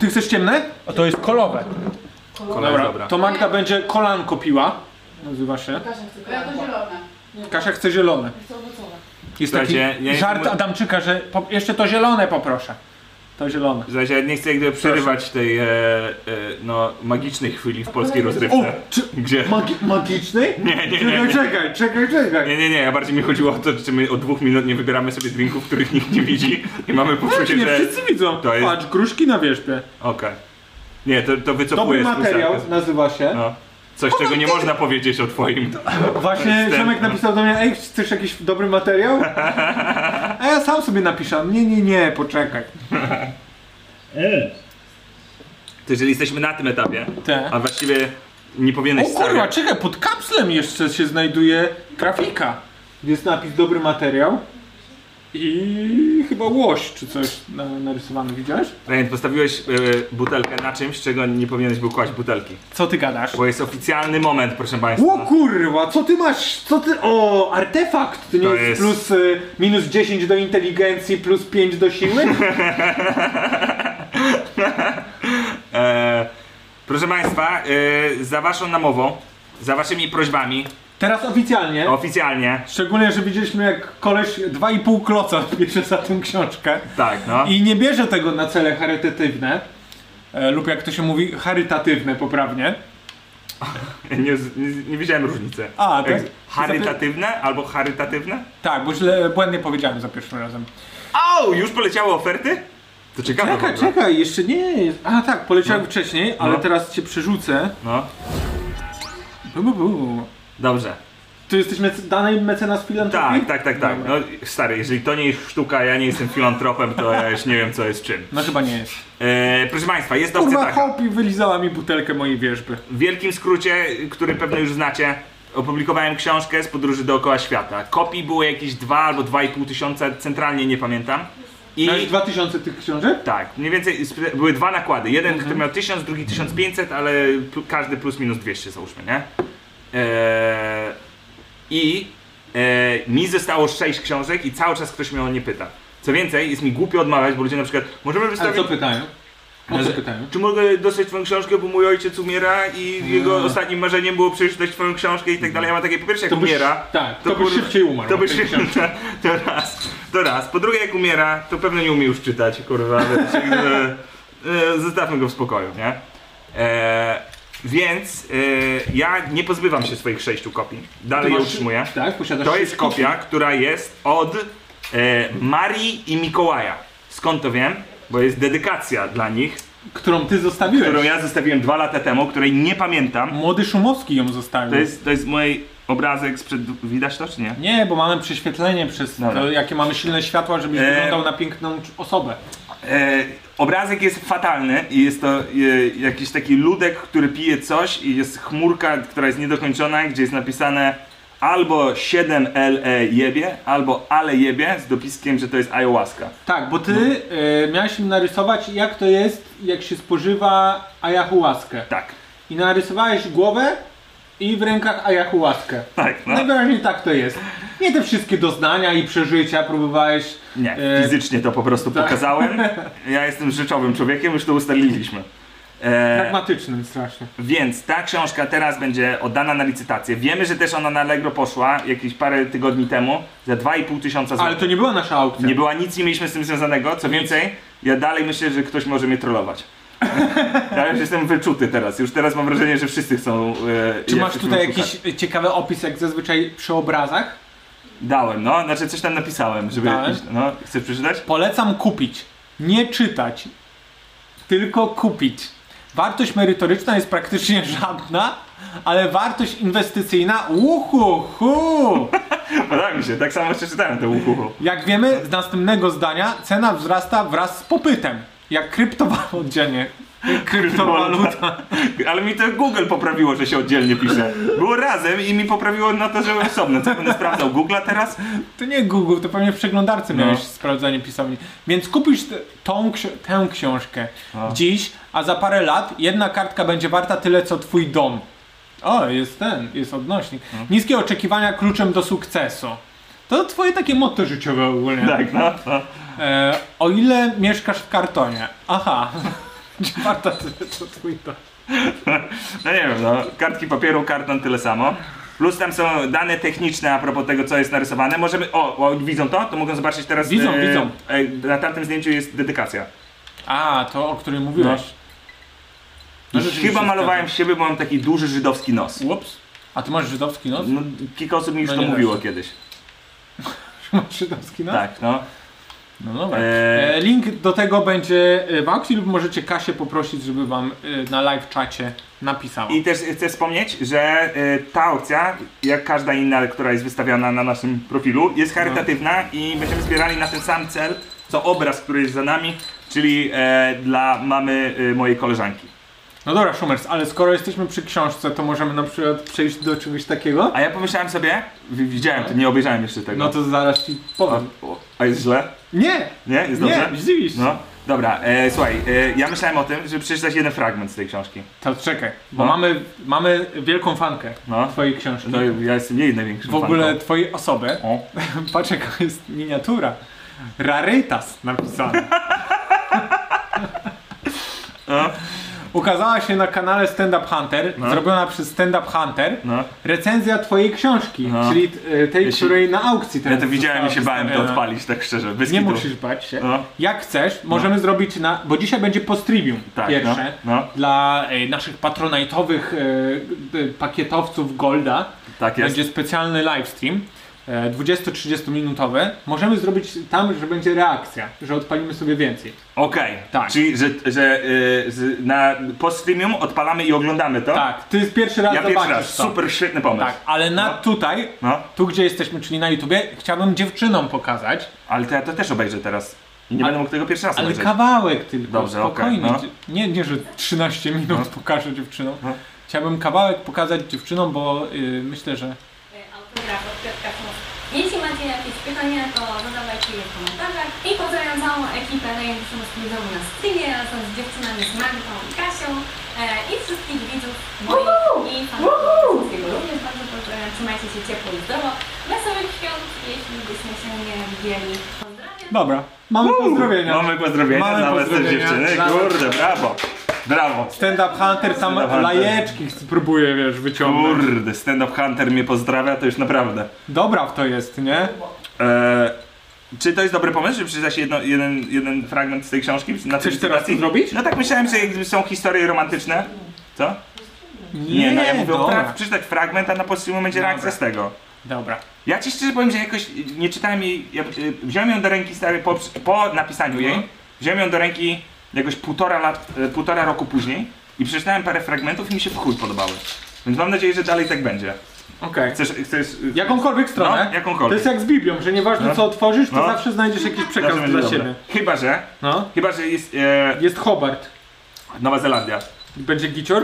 F: Ty chcesz ciemne? O, to jest kolowe.
D: Kolej
F: Dobra,
D: dobra.
F: to Magda będzie kolanko piła. Nazywa się.
G: Kasia chce kolego.
F: Kasia chce zielone.
G: Chce owocowe.
F: Jest taki
D: Słuchajcie, ja nie-
F: żart Adamczyka, że po, jeszcze to zielone poproszę. To zielone.
D: Słuchajcie, ja nie chcę jakby przerywać tej e, e, no, magicznej chwili w polskiej
F: O,
D: rozrywce.
F: czy
D: Gdzie?
F: magi- magiczny?
D: Nie, nie, nie,
F: Czekaj,
D: nie.
F: czekaj, czekaj, czekaj.
D: Nie, nie, nie, ja bardziej mi chodziło o to, czy my od dwóch minut nie wybieramy sobie drinków, których nikt nie widzi i mamy
F: Nie,
D: poczucie, że...
F: wszyscy widzą.
D: to jest-
F: Patrz, gruszki na wierzbie.
D: Okej. Nie, to, to
F: Dobry
D: wycofuję z
F: materiał
D: pulsarka.
F: nazywa się.
D: No. Coś, czego nie można powiedzieć o twoim.
F: Właśnie
D: Wstęp.
F: Przemek napisał do mnie, ej, chcesz jakiś dobry
D: [LAUGHS]
F: materiał? A ja sam sobie napiszę, nie, nie, nie, poczekaj.
D: To jeżeli jesteśmy na tym etapie,
F: Te.
D: a właściwie nie powinieneś
F: O
D: stary-
F: kurwa, czekaj, pod kapslem jeszcze się znajduje grafika. Jest napis dobry materiał. I chyba łoś czy coś na, narysowany, widziałeś?
D: Ryan, postawiłeś y, butelkę na czymś, czego nie powinieneś był kłaść butelki.
F: Co ty gadasz?
D: Bo jest oficjalny moment, proszę państwa.
F: O kurwa, co ty masz? Co ty. O, artefakt! To nie
D: To
F: jest,
D: jest-
F: plus y, minus 10 do inteligencji, plus 5 do siły?
D: E, proszę państwa, y, za waszą namową, za waszymi prośbami,
F: Teraz oficjalnie.
D: oficjalnie,
F: Szczególnie, że widzieliśmy jak koleś 2,5 kloca [LAUGHS] bierze za tę książkę.
D: tak no.
F: I nie bierze tego na cele charytatywne. E, lub jak to się mówi, charytatywne poprawnie.
D: Nie, z- nie, nie widziałem różnicy.
F: A, tak?
D: Jak- Charytatywne albo charytatywne?
F: Tak, bo źle, błędnie powiedziałem za pierwszym razem.
D: Au, już poleciały oferty? To ciekawe. w
F: Czekaj,
D: ogóle.
F: czekaj, jeszcze nie jest. A tak, poleciałem wcześniej, ale
D: No.
F: teraz cię przerzucę.
D: No,
F: Bu, bu, bu.
D: dobrze.
F: Tu jesteś mec- dalej mecenas filantropii?
D: Tak, tak, tak, tak. No,
F: Dobra.
D: stary, jeżeli to nie jest sztuka, ja nie jestem filantropem, to ja już nie wiem, co jest czym.
F: No chyba nie jest.
D: E, proszę państwa, jest opcja
F: Kurwa,
D: taka.
F: Hopi wylizała mi butelkę mojej wierzby.
D: W wielkim skrócie, który pewno już znacie, opublikowałem książkę z podróży dookoła świata. Kopii było jakieś 2 albo 2,5 tysiąca, centralnie nie pamiętam. I
F: Miałeś 2000 tych książek?
D: tak, mniej więcej sp- były dwa nakłady. Jeden, który miał 1000, drugi 1500, ale pl- każdy plus minus 200 załóżmy, nie? Eee, I e, mi zostało 6 książek i cały czas ktoś mnie o nie pyta. Co więcej, jest mi głupio odmawiać, bo ludzie na przykład, możemy
F: Ale
D: wystawić...
F: co pytają? O co pytają?
D: Czy mogę dostać twoją książkę, bo mój ojciec umiera i jego ostatnim marzeniem było przeczytać twoją książkę i tak dalej. Ja mam takie, po pierwsze jak
F: Hmm. To byś-
D: umiera...
F: tak, to byś
D: kur-
F: szybciej umarł
D: To
F: od
D: byś [LAUGHS]
F: tej
D: szybciej... To raz, to raz. Po drugie jak umiera, to pewno nie umie już czytać, kurwa. więc, e, e, Zostawmy go w spokoju, nie? E, więc e, ja nie pozbywam się swoich sześciu kopii. Dalej je
F: masz-
D: utrzymuję.
F: Tak, posiadasz
D: To
F: sześć
D: jest
F: kopii.
D: kopia, która jest od e, Marii i Mikołaja. Skąd to wiem? Bo jest dedykacja dla nich
F: Którą ty zostawiłeś.
D: którą ja zostawiłem dwa lata temu, której nie pamiętam.
F: Młody Szumowski ją zostawił.
D: To jest, to jest mój obrazek sprzed... Widać to czy nie?
F: Nie, bo mamy prześwietlenie przez
D: Dobra.
F: to, jakie mamy silne światła, żebyś
D: Eee.
F: wyglądał na piękną cz- osobę.
D: E, obrazek jest fatalny i jest to e, jakiś taki ludek, który pije coś i jest chmurka, która jest niedokończona, gdzie jest napisane albo 7L e jebie, albo ale jebie z dopiskiem, że to jest ayahuasca.
F: Tak, bo ty e, miałeś im narysować, jak to jest, jak się spożywa ayahuaskę.
D: Tak,
F: I narysowałeś głowę i w rękach ayahuaskę.
D: tak, no.
F: Najwyraźniej tak to jest. Nie te wszystkie doznania i przeżycia próbowałeś.
D: Nie,
F: e,
D: fizycznie to po prostu
F: tak.
D: pokazałem. Ja jestem rzeczowym człowiekiem, już to ustaliliśmy.
F: Tak
D: E,
F: Pragmatycznym strasznie.
D: Więc ta książka teraz będzie oddana na licytację. Wiemy, że też ona na Allegro poszła jakieś parę tygodni temu za 2,5 tysiąca
F: Ale
D: złotych.
F: to nie była nasza aukcja.
D: Nie była nic, nie mieliśmy z tym związanego. Co więcej, ja dalej myślę, że ktoś może mnie trollować. [LAUGHS] Ja już jestem wyczuty teraz. Już teraz mam wrażenie, że wszyscy chcą. E,
F: Czy
D: jak
F: masz
D: ktoś
F: tutaj
D: mnie szuka.
F: jakiś e, ciekawy opis, jak zazwyczaj przy obrazach?
D: Dałem, no, znaczy coś tam napisałem, żeby.
F: Dałem?
D: Jakiś, no, chcesz przeczytać? [LAUGHS]
F: Polecam kupić, nie czytać, tylko kupić. Wartość merytoryczna jest praktycznie [LAUGHS] żadna, ale wartość inwestycyjna uhuhu!
D: Podoba mi się, tak samo przeczytałem to uchuchu.
F: Jak wiemy z następnego zdania, cena wzrasta wraz z popytem. Jak kryptowaluta, nie. Kryptowaluta.
D: Ale mi to Google poprawiło, że się oddzielnie pisze. Było razem i mi poprawiło na to, że były osobne. Co będę sprawdzał Google'a teraz?
F: To nie Google, to pewnie w przeglądarce
D: No.
F: miałeś sprawdzanie pisowni. Więc kupisz t- tą, ksi- tę książkę dziś, a za parę lat jedna kartka będzie warta tyle, co twój dom. O, jest ten, jest odnośnik.
D: No.
F: Niskie oczekiwania kluczem do sukcesu. To twoje takie motto życiowe ogólnie.
D: Tak, no, no.
F: E, o ile mieszkasz w kartonie? Aha. [LAUGHS] Czy warta tyle, co twój dom?
D: No nie wiem, no. Kartki papieru, karton tyle samo. Plus tam są dane techniczne a propos tego, co jest narysowane. Możemy. O, o widzą to? To mogą zobaczyć teraz.
F: Widzą, widzą.
D: E, na tamtym zdjęciu jest dedykacja.
F: A, to o którym mówiłeś. No
D: I
F: rzeczywiście
D: chyba malowałem
F: zgadzam.
D: siebie, bo mam taki duży żydowski nos.
F: Ups. A ty masz żydowski nos? [LAUGHS]
D: No, kilka osób mi już
F: No
D: to
F: nie
D: mówiło
F: da się.
D: kiedyś.
F: Masz żydowski nos?
D: Tak, no.
F: No dobra.
D: Eee.
F: E, Link do tego będzie e, w aukcji lub możecie Kasię poprosić, żeby wam e, na live czacie napisała.
D: I też chcę wspomnieć, że y, ta aukcja, jak każda inna, która jest wystawiana na naszym profilu, jest charytatywna
F: No.
D: i będziemy zbierali na ten sam cel, co obraz, który jest za nami, czyli e, dla mamy e, mojej koleżanki.
F: No dobra, Szumers, ale skoro jesteśmy przy książce, to możemy na przykład przejść do czegoś takiego?
D: A no. ja pomyślałem sobie, wi- widziałem to, nie obejrzałem jeszcze tego.
F: No to zaraz ci powiem.
D: A jest źle?
F: Nie!
D: Nie? Jest dobrze?
F: Nie, zdziwisz się.
D: No. Dobra, e, słuchaj, e, ja myślałem o tym, żeby przeczytać jeden fragment z tej książki.
F: To czekaj, bo
D: No.
F: mamy, mamy wielką fankę
D: No.
F: twojej książki.
D: No ja jestem jej największym
F: w ogóle
D: fanką.
F: twojej osoby.
D: O.
F: Patrz jaka jest miniatura. Rarytas napisane.
D: No.
F: Ukazała się na kanale Stand Up Hunter,
D: No.
F: zrobiona przez Stand Up Hunter,
D: No.
F: recenzja twojej książki,
D: No.
F: czyli e, tej,
D: Ja się-
F: której na aukcji
D: Ja
F: teraz
D: to widziałem i się
F: została
D: bałem to
F: wystawiona.
D: odpalić, tak szczerze. Bez
F: E, Nie
D: kitu.
F: musisz bać się.
D: No.
F: Jak chcesz, możemy zrobić na. Bo dzisiaj będzie post-trivium
D: Tak,
F: pierwsze.
D: no, no.
F: Dla e, naszych patronajtowych e, e, pakietowców Golda.
D: Tak jest.
F: Będzie specjalny livestream. E, 20-30 minutowy. Możemy zrobić tam, że będzie reakcja, że odpalimy sobie więcej.
D: Okej,
F: Tak.
D: czyli że, że y, z, na post-streamium odpalamy i oglądamy to?
F: Tak, ty jest pierwszy raz
D: Ja pierwszy
F: zobaczysz
D: raz,
F: to.
D: super świetny pomysł.
F: Tak, ale na tutaj,
D: No,
F: tu gdzie jesteśmy, czyli na YouTubie, chciałbym dziewczynom pokazać,
D: ale to ja to też obejrzę teraz. I nie
F: Ale-
D: będę mógł tego pierwszy raz
F: ale
D: obejrzeć.
F: kawałek tylko,
D: Dobrze,
F: spokojnie.
D: okej,
F: Nie, nie, że 13 minut pokażę dziewczynom.
D: No.
F: Chciałbym kawałek pokazać dziewczynom, bo y, myślę, że
G: E, autograf od Piotra Kmów. Jeśli macie jakieś pytania, to zadawajcie je w komentarzach. I pozdrawiam całą ekipę najlepszą studiową na Stywie razem z dziewczynami z Magdą i Kasią e, i wszystkich widzów moich i fanów wszystkiego również bardzo pozdrawiam. Trzymajcie się ciepło i zdrowo. Wesołych świąt, jeśli byśmy się nie widzieli. Pozdrawiam.
F: Dobra, mamy pozdrowienia.
D: Mamy pozdrowienia
F: Mamy
D: dla was
F: pozdrowienia.
D: dziewczyny.
F: Dla-
D: Kurde, brawo. Brawo.
F: Stand-up Hunter tam
D: Stand Up Hunter.
F: lajeczki spróbuje, wiesz, wyciągnąć.
D: Kurde, stand-up hunter mnie pozdrawia, to już naprawdę.
F: Dobra w to jest, nie?
D: E, czy to jest dobry pomysł, żeby przeczytać jedno, jeden, jeden fragment z tej książki? Na tej
F: Chcesz teraz
D: licytacji?
F: to zrobić?
D: No tak myślałem, że jakby są historie romantyczne. Co? Nie, no ja mówię o pra-
F: dobra.
D: przeczytać fragment, a na podsumowanie będzie
F: Dobra.
D: reakcja z tego.
F: Dobra.
D: Ja ci szczerze powiem, że jakoś y, nie czytałem jej. Ja, y, wziąłem ją do ręki stary po, po napisaniu jej.
F: Mhm.
D: Wziąłem ją do ręki jakoś półtora, lat, y, półtora roku później i przeczytałem parę fragmentów i mi się w chuj podobały. Więc mam nadzieję, że dalej tak będzie.
F: Okej.
D: Chcesz. chcesz y,
F: Jakąkolwiek stronę.
D: No, jakąkolwiek.
F: To jest jak z Biblią, że nieważne
D: No.
F: co otworzysz, to
D: No.
F: zawsze znajdziesz jakiś
D: zawsze
F: przekaz
D: będzie
F: dla
D: dobre.
F: siebie.
D: Chyba, że.
F: No.
D: Chyba, że jest. E,
F: Jest Hobart.
D: Nowa Zelandia.
F: Będzie Gicior?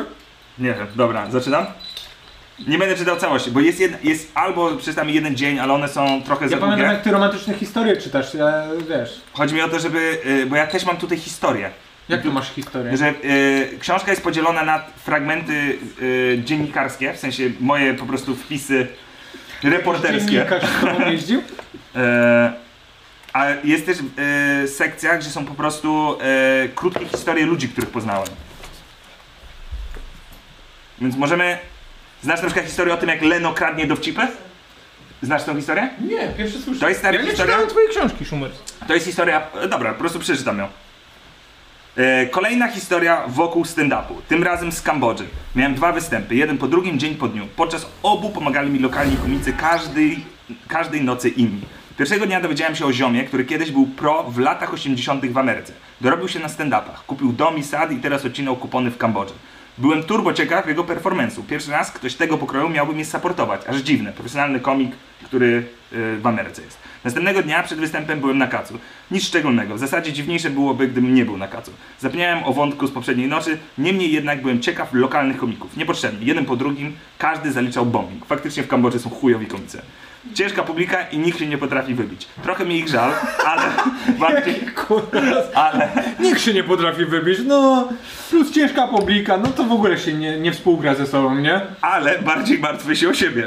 D: Nie wiem, dobra, zaczynam. Nie będę czytał całości, bo jest, jedna, jest albo przeczytamy jeden dzień, ale one są trochę za
F: Ja
D: długie.
F: pamiętam jak ty romantyczne historie czytasz, ja wiesz.
D: Chodzi mi o to, żeby. y, Bo ja też mam tutaj historię.
F: Jak tu masz historię?
D: Że y, książka jest podzielona na fragmenty y, dziennikarskie, w sensie moje po prostu wpisy reporterskie.
F: Dziennikarz z tobą
D: [LAUGHS]
F: jeździł?
D: E, a jest też y, sekcja, gdzie są po prostu y, krótkie historie ludzi, których poznałem. Więc możemy. Znasz na przykład historię o tym, jak Leno kradnie dowcipy? Znasz tą historię?
F: Nie, pierwszy słyszę.
D: To jest stara
A: Ja nie
D: historia.
A: czytałem twojej książki, Szumer.
D: To jest historia. e, Dobra, po prostu przeczytam ją. E, Kolejna historia wokół stand-upu, tym razem z Kambodży. Miałem dwa występy, jeden po drugim, dzień po dniu. Podczas obu pomagali mi lokalni komicy każdej, każdej nocy inni. Pierwszego dnia dowiedziałem się o ziomie, który kiedyś był pro w latach 80. w Ameryce. Dorobił się na stand-upach, kupił dom i sad i teraz odcinał kupony w Kambodży. Byłem turbo ciekaw jego performance'u. Pierwszy raz ktoś tego pokroju miałby mnie supportować. Aż dziwne, profesjonalny komik, który e, w Ameryce jest. Następnego dnia przed występem byłem na kacu. Nic szczególnego. W zasadzie dziwniejsze byłoby, gdybym nie był na kacu. Zapomniałem o wątku z poprzedniej nocy, niemniej jednak byłem ciekaw lokalnych komików. Niepotrzebnie. Jeden po drugim każdy zaliczał bombing. Faktycznie w Kambodży są chujowi komicy. Ciężka publika i nikt się nie potrafi wybić. Trochę mi ich żal, ale [LAUGHS] bardziej... Ale...
F: Nikt się nie potrafi wybić, no plus ciężka publika, no to w ogóle się nie, nie współgra ze sobą, nie?
D: ale bardziej martwy się o siebie.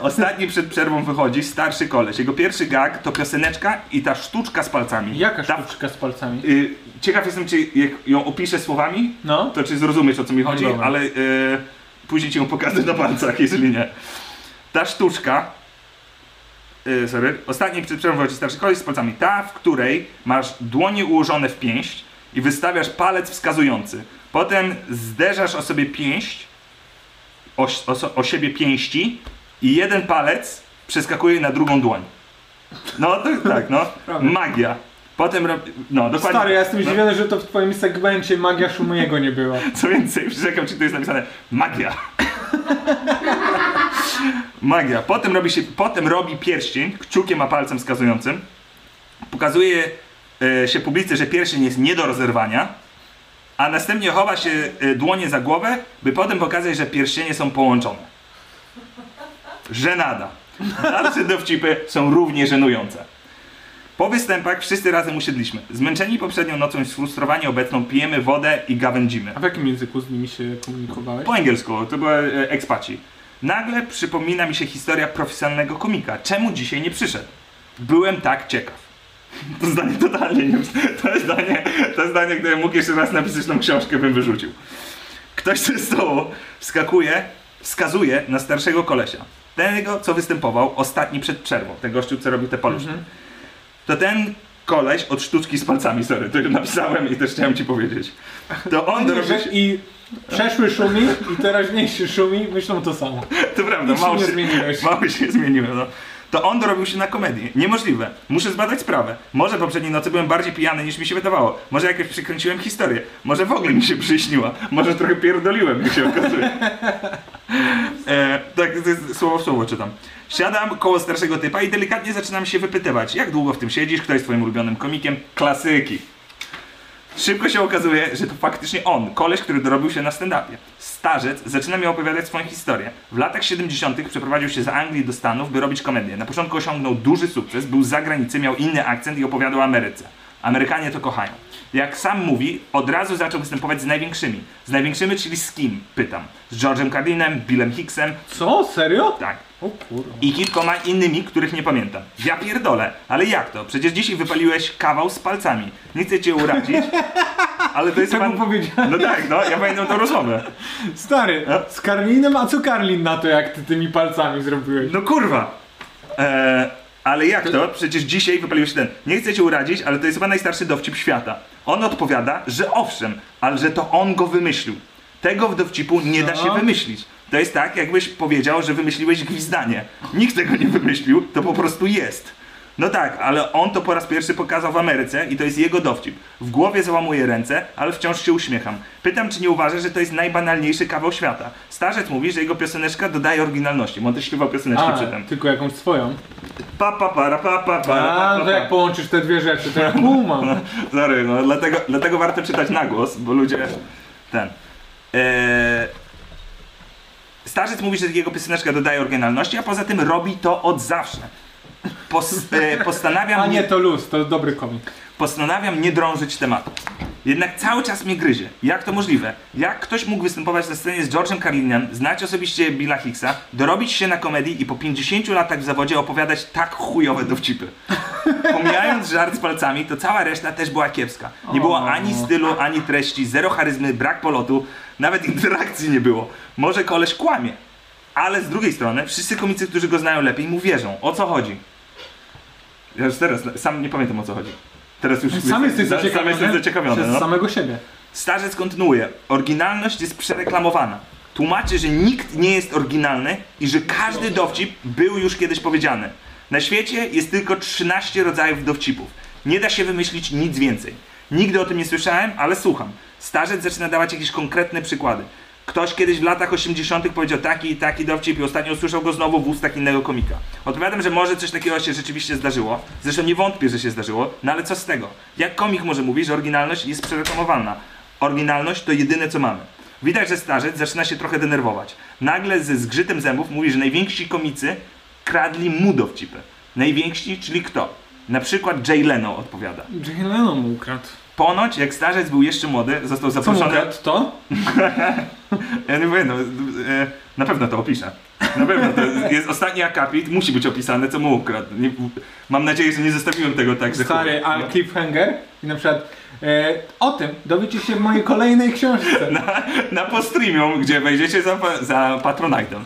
D: Ostatni przed przerwą wychodzi starszy koleś. Jego pierwszy gag to pioseneczka i ta sztuczka z palcami.
F: Jaka
D: Ta-
F: sztuczka z palcami?
D: Y, ciekaw jestem, czy jak ją opiszę słowami,
F: No.
D: to czy zrozumiesz o co mi chodzi,
F: dobra.
D: ale y, później ci ją pokażę na palcach, jeżeli nie. Ta sztuczka. Y, sorry. Ostatni przed przerwą wychodzi starszy koleś z palcami. Ta, w której masz dłonie ułożone w pięść i wystawiasz palec wskazujący. Potem zderzasz o sobie pięść, o, o, so- o siebie pięści i jeden palec przeskakuje na drugą dłoń. No to tak, no.
F: Prawie.
D: Magia. Potem robi... No, dokładnie.
F: Stary, ja jestem
D: no.
F: zdziwiony, że to w twoim segmencie magia Szumiego nie była.
D: Co więcej, przyrzekam ci, tu jest napisane magia. magia. Potem robi, się, potem robi pierścień, kciukiem a palcem wskazującym. Pokazuje e, się publicy, że pierścień jest nie do rozerwania, a następnie chowa się e, dłonie za głowę, by potem pokazać, że pierścienie są połączone. Żenada. Dalsze dowcipy są równie żenujące. Po występach wszyscy razem usiedliśmy. Zmęczeni poprzednią nocą i sfrustrowani obecną pijemy wodę i gawędzimy.
F: A w jakim języku z nimi się komunikowałeś?
D: Po angielsku, to były e, ekspaci. Nagle przypomina mi się historia profesjonalnego komika. Czemu dzisiaj nie przyszedł? Byłem tak ciekaw. [LAUGHS] To zdanie totalnie nie... To zdanie, to zdanie, gdybym mógł jeszcze raz napisać tą książkę, bym wyrzucił. Ktoś ze stołu wskakuje, wskazuje na starszego kolesia. Tego, co występował ostatni przed przerwą. Ten gościu, co robił te paluszki.
F: Mhm.
D: To ten koleś od sztuczki z palcami, sorry, to już napisałem i też chciałem ci powiedzieć. To on dorobił się...
F: I przeszły szumi i teraźniejszy szumi myślą to samo.
D: To prawda,
F: Nic
D: No
F: się
D: mało
F: nie
D: się,
F: zmieniłeś.
D: mało się zmieniłem. No. To on dorobił się na komedii. Niemożliwe. Muszę zbadać sprawę. Może poprzedniej nocy byłem bardziej pijany niż mi się wydawało. Może jakoś przykręciłem historię. Może w ogóle mi się przyśniła. Może trochę pierdoliłem, jak się okazuje. E, tak, to jest słowo w słowo czytam. Siadam koło starszego typa i delikatnie zaczynam się wypytywać, jak długo w tym siedzisz, kto jest twoim ulubionym komikiem. Klasyki. Szybko się okazuje, że to faktycznie on, koleś, który dorobił się na stand-upie. Starzec zaczyna mi opowiadać swoją historię. W latach 70. przeprowadził się z Anglii do Stanów, by robić komedię. Na początku osiągnął duży sukces, był za granicy, miał inny akcent i opowiadał o Ameryce. Amerykanie to kochają. Jak sam mówi, od razu zaczął występować z największymi. Z największymi, czyli z kim? Pytam. Z George'em Cardinem, Billem Hicksem.
F: Co? Serio?
D: Tak.
F: O kurwa.
D: I kilkoma innymi, których nie pamiętam. Ja pierdolę, ale jak to? Przecież dzisiaj wypaliłeś kawał z palcami. Nie chcę cię urazić, ale to jest
F: Tak mu
D: pan...
F: powiedziałem.
D: No tak, no, ja pamiętam tą rozmowę.
F: Stary,
D: A?
F: z Karlinem, a co Karlin na to, jak ty tymi palcami zrobiłeś?
D: No kurwa. Eee, ale jak to? Przecież dzisiaj wypalił się ten. Nie chcę cię urazić, ale to jest chyba najstarszy dowcip świata. On odpowiada, że owszem, ale że to on go wymyślił. Tego w dowcipu nie da się wymyślić. To jest tak, jakbyś powiedział, że wymyśliłeś gwizdanie. Nikt tego nie wymyślił, to po prostu jest. No tak, ale on to po raz pierwszy pokazał w Ameryce i to jest jego dowcip. W głowie załamuję ręce, ale wciąż się uśmiecham. Pytam, czy nie uważa, że to jest najbanalniejszy kawał świata. Starzec mówi, że jego pioseneczka dodaje oryginalności, bo on też śpiewał pioseneczki
F: A,
D: przy tym.
F: tylko jakąś swoją.
D: Pa, pa, para, pa, pa, para,
F: A,
D: pa, pa,
F: to jak
D: pa.
F: połączysz te dwie rzeczy, to ja
D: [LAUGHS]
F: kumam.
D: Sorry, no dlatego, dlatego warto czytać na głos, bo ludzie... Ten... Eee... Starzec mówi, że jego pioseneczka dodaje oryginalności, a poza tym robi to od zawsze. Pos, e, postanawiam
F: A nie, to luz, to dobry komik.
D: Postanawiam nie drążyć tematu. Jednak cały czas mnie gryzie. Jak to możliwe? Jak ktoś mógł występować na scenie z George'em Carlinem, znać osobiście Billa Hicksa, dorobić się na komedii i po 50 latach w zawodzie opowiadać tak chujowe dowcipy? Pomijając żart z palcami, to cała reszta też była kiepska. Nie było ani stylu, ani treści, zero charyzmy, brak polotu, nawet interakcji nie było. Może koleś kłamie. Ale z drugiej strony, wszyscy komicy, którzy go znają lepiej, mu wierzą. O co chodzi? Ja już teraz sam nie pamiętam o co chodzi. Teraz już
F: Sam jesteś
D: za- Sam
F: zaciekawiony,
D: jestem zaciekawiony.
F: przez
D: No.
F: samego siebie.
D: Starzec kontynuuje. Oryginalność jest przereklamowana. Tłumaczy, że nikt nie jest oryginalny i że każdy dowcip był już kiedyś powiedziany. Na świecie jest tylko 13 rodzajów dowcipów. Nie da się wymyślić nic więcej. Nigdy o tym nie słyszałem, ale słucham. Starzec zaczyna dawać jakieś konkretne przykłady. Ktoś kiedyś w latach 80. powiedział taki i taki dowcip i ostatnio usłyszał go znowu w ustach innego komika. Odpowiadam, że może coś takiego się rzeczywiście zdarzyło. Zresztą nie wątpię, że się zdarzyło, no ale co z tego? Jak komik może mówić, że oryginalność jest przereklamowalna? Oryginalność to jedyne co mamy. Widać, że starzec zaczyna się trochę denerwować. Nagle ze zgrzytem zębów mówi, że najwięksi komicy kradli mu dowcipy. Najwięksi, czyli kto? Na przykład Jay Leno odpowiada.
F: Jay Leno mu ukradł.
D: Ponoć, jak starzec był jeszcze młody, został
F: Co mu
D: zaproszony...
F: ukradł? To?
D: Ja nie wiem, no, e, na pewno to opiszę. Na pewno to jest, jest ostatni akapit, musi być opisane, co mu ukradł. Nie, mam nadzieję, że nie zostawiłem tego tak, że...
F: Stary,
D: chuj.
F: a cliffhanger? I na przykład e, o tym dowiecie się w mojej kolejnej książce.
D: na, na postreamium, gdzie wejdziecie za, pa- za Patronite'em.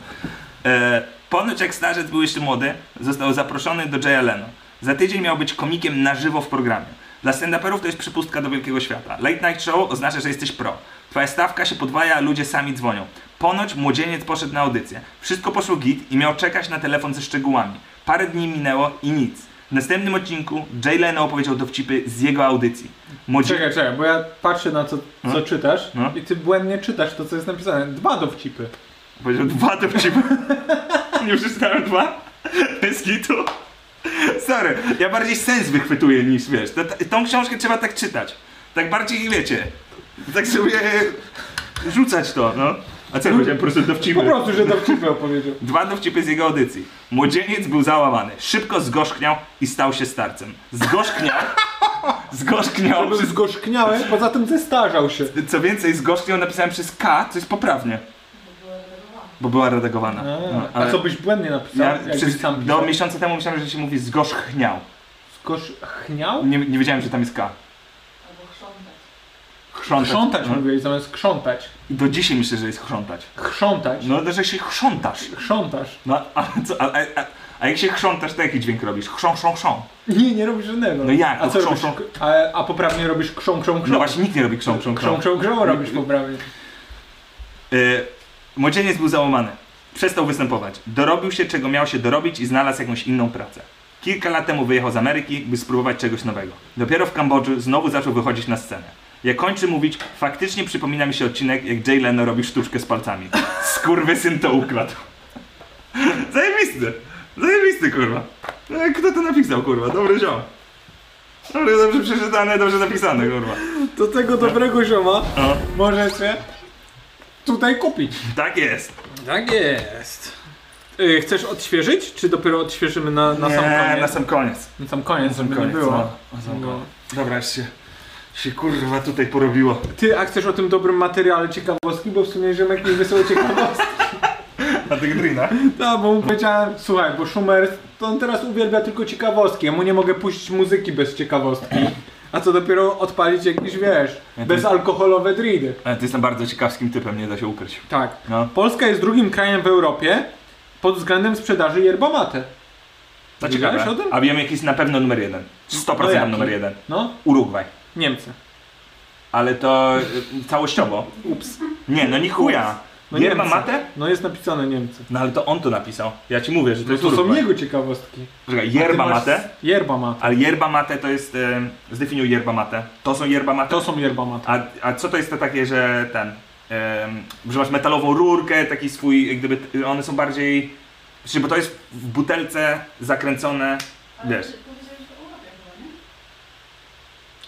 D: E, ponoć jak starzec był jeszcze młody, został zaproszony do Jaya Leno. Za tydzień miał być komikiem na żywo w programie. Dla stand-uperów to jest przypustka do wielkiego świata. Late night show oznacza, że jesteś pro. Twoja stawka się podwaja, a ludzie sami dzwonią. Ponoć młodzieniec poszedł na audycję. Wszystko poszło git i miał czekać na telefon ze szczegółami. Parę dni minęło i nic. W następnym odcinku Jay Leno opowiedział dowcipy z jego audycji. Młodzie...
F: Czekaj, czekaj, bo ja patrzę na co, co
D: No.
F: czytasz
D: No.
F: i ty błędnie czytasz to, co jest napisane. Dwa dowcipy.
D: Powiedział dwa dowcipy. [LAUGHS] Nie przeczytałem dwa? Bez kitu? Sorry, ja bardziej sens wychwytuję niż wiesz. To, tą książkę trzeba tak czytać. Tak bardziej wiecie. Tak sobie rzucać to, no. A co ja powiedziałem? Po prostu dowcipy.
F: Po prostu, że
D: [LAUGHS]
F: dowcipy opowiedział.
D: Dwa dowcipy z jego audycji. Młodzieniec był załamany, szybko zgorzkniał i stał się starcem.
F: [LAUGHS]
D: Zgorzkniał, zgorzkniał,
F: Był zgorzkniały, poza tym zestarzał się.
D: co więcej zgorzkniał napisałem przez K, co jest poprawnie. Bo była redagowana. No,
F: A
D: ale
F: co byś błędnie napisał?
D: ja
F: jakbyś
D: przez,
F: sam
D: do
F: pisał?
D: miesiąca temu myślałem, że się mówi zgorzkniał.
F: Zgorzchniał?
D: Nie, nie wiedziałem, że tam jest K. Chrzątać.
F: Chrzątać
D: No.
F: mówiłeś, zamiast krzątać.
D: Do dzisiaj myślę, że jest chrzątać.
F: Chrzątać.
D: No, że się chrzątasz.
F: Chrzątasz.
D: No, a, co, a, a, a, a jak się chrzątasz, to jaki dźwięk robisz? Chrząk, chrząk, chrząk.
F: Nie, nie robisz żadnego.
D: No jak?
F: A
D: No
F: co
D: chrząk,
F: robisz?
D: chrząk.
F: A, a poprawnie robisz krzą, krzą, krzą.
D: No właśnie, nikt nie robi chrząk, chrząk,
F: Krzą,
D: chrząk.
F: krzą, krzą robisz poprawnie.
D: Y, młodzieniec był załamany. Przestał występować. Dorobił się, czego miał się dorobić i znalazł jakąś inną pracę. Kilka lat temu wyjechał z Ameryki, by spróbować czegoś nowego. Dopiero w Kambodży znowu zaczął wychodzić na scenę. Jak kończy mówić, faktycznie przypomina mi się odcinek, jak Jay Leno robi sztuczkę z palcami. Skurwysyn to ukradł. [LAUGHS] Zajebisty. Zajebisty, kurwa. No, Kto to napisał, kurwa? Dobry ziom. Dobry, dobrze przeczytane, dobrze napisane, kurwa.
F: Do tego dobrego zioma
D: No,
F: możecie tutaj kupić.
D: tak jest.
F: Tak jest. Y, chcesz odświeżyć, czy dopiero odświeżymy na, na sam
D: nie,
F: koniec?
D: na sam koniec.
F: Na sam koniec, żeby nie było. No.
D: Dobra, już się, się kurwa tutaj porobiło.
F: Ty, a chcesz o tym dobrym materiale ciekawostki, bo w sumie Rzemek mi wysłał [LAUGHS] ciekawostki.
D: Na tych drinach.
F: No, bo mu powiedziałem, słuchaj, bo Schumer, to on teraz uwielbia tylko ciekawostki, ja mu nie mogę puścić muzyki bez ciekawostki. A co dopiero odpalić jakieś, wiesz, bezalkoholowe dridy.
D: Ale ty jestem bardzo ciekawskim typem, nie da się ukryć.
F: Tak.
D: No.
F: Polska jest drugim krajem w Europie pod względem sprzedaży yerba mate.
D: To
F: Wiedziałeś
D: ciekawe.
F: o tym?
D: A wiem jaki jest na pewno numer jeden. 100%
F: No jaki?
D: numer jeden.
F: No,
D: Urugwaj.
F: Niemcy.
D: Ale to y, całościowo.
F: Ups.
D: Nie, no nie chuja.
F: No
D: Yerba
F: Niemcy.
D: mate?
F: No jest napisane Niemcy.
D: No ale to on to napisał. Ja ci mówię, że to
F: No
D: jest
F: to są
D: Urugwaj.
F: jego ciekawostki.
D: Czekaj,
F: A ty
D: yerba
F: masz-
D: mate.
F: Yerba mate.
D: Ale yerba mate to jest... Y, zdefiniuj yerba mate. To są yerba mate?
F: To są yerba mate.
D: A, a co to jest to takie, że ten. em, że masz metalową rurkę, taki swój, jak gdyby. t- One są bardziej. Znaczy, bo to jest w butelce zakręcone. Wiesz.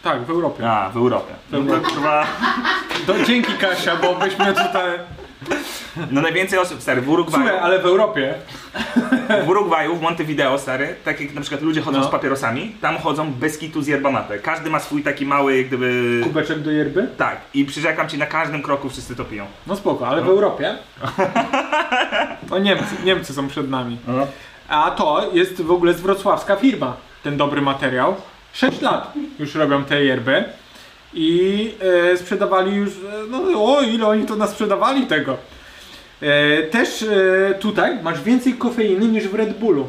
F: Tak, w Europie.
D: A, w Europie. No to kurwa.
F: To dzięki Kasia, bo byśmy tutaj...
D: No najwięcej osób, stary, w Urugwaju.
F: Słuchaj, ale w Europie
D: W Urugwaju, w Montevideo, stary, tak jak na przykład ludzie chodzą
F: No.
D: z papierosami, tam chodzą bez kitu z yerbamatę. Każdy ma swój taki mały, jak gdyby.
F: kubeczek do yerby?
D: Tak, i przyrzekam ci, na każdym kroku wszyscy to piją.
F: No spoko, ale w Europie? O Niemcy, Niemcy są przed nami. A to jest w ogóle z wrocławska firma, ten dobry materiał. 6 lat już robią te yerby i e, sprzedawali już, e, no o ile oni to nasprzedawali tego. E, też e, tutaj masz więcej kofeiny niż w Red Bullu.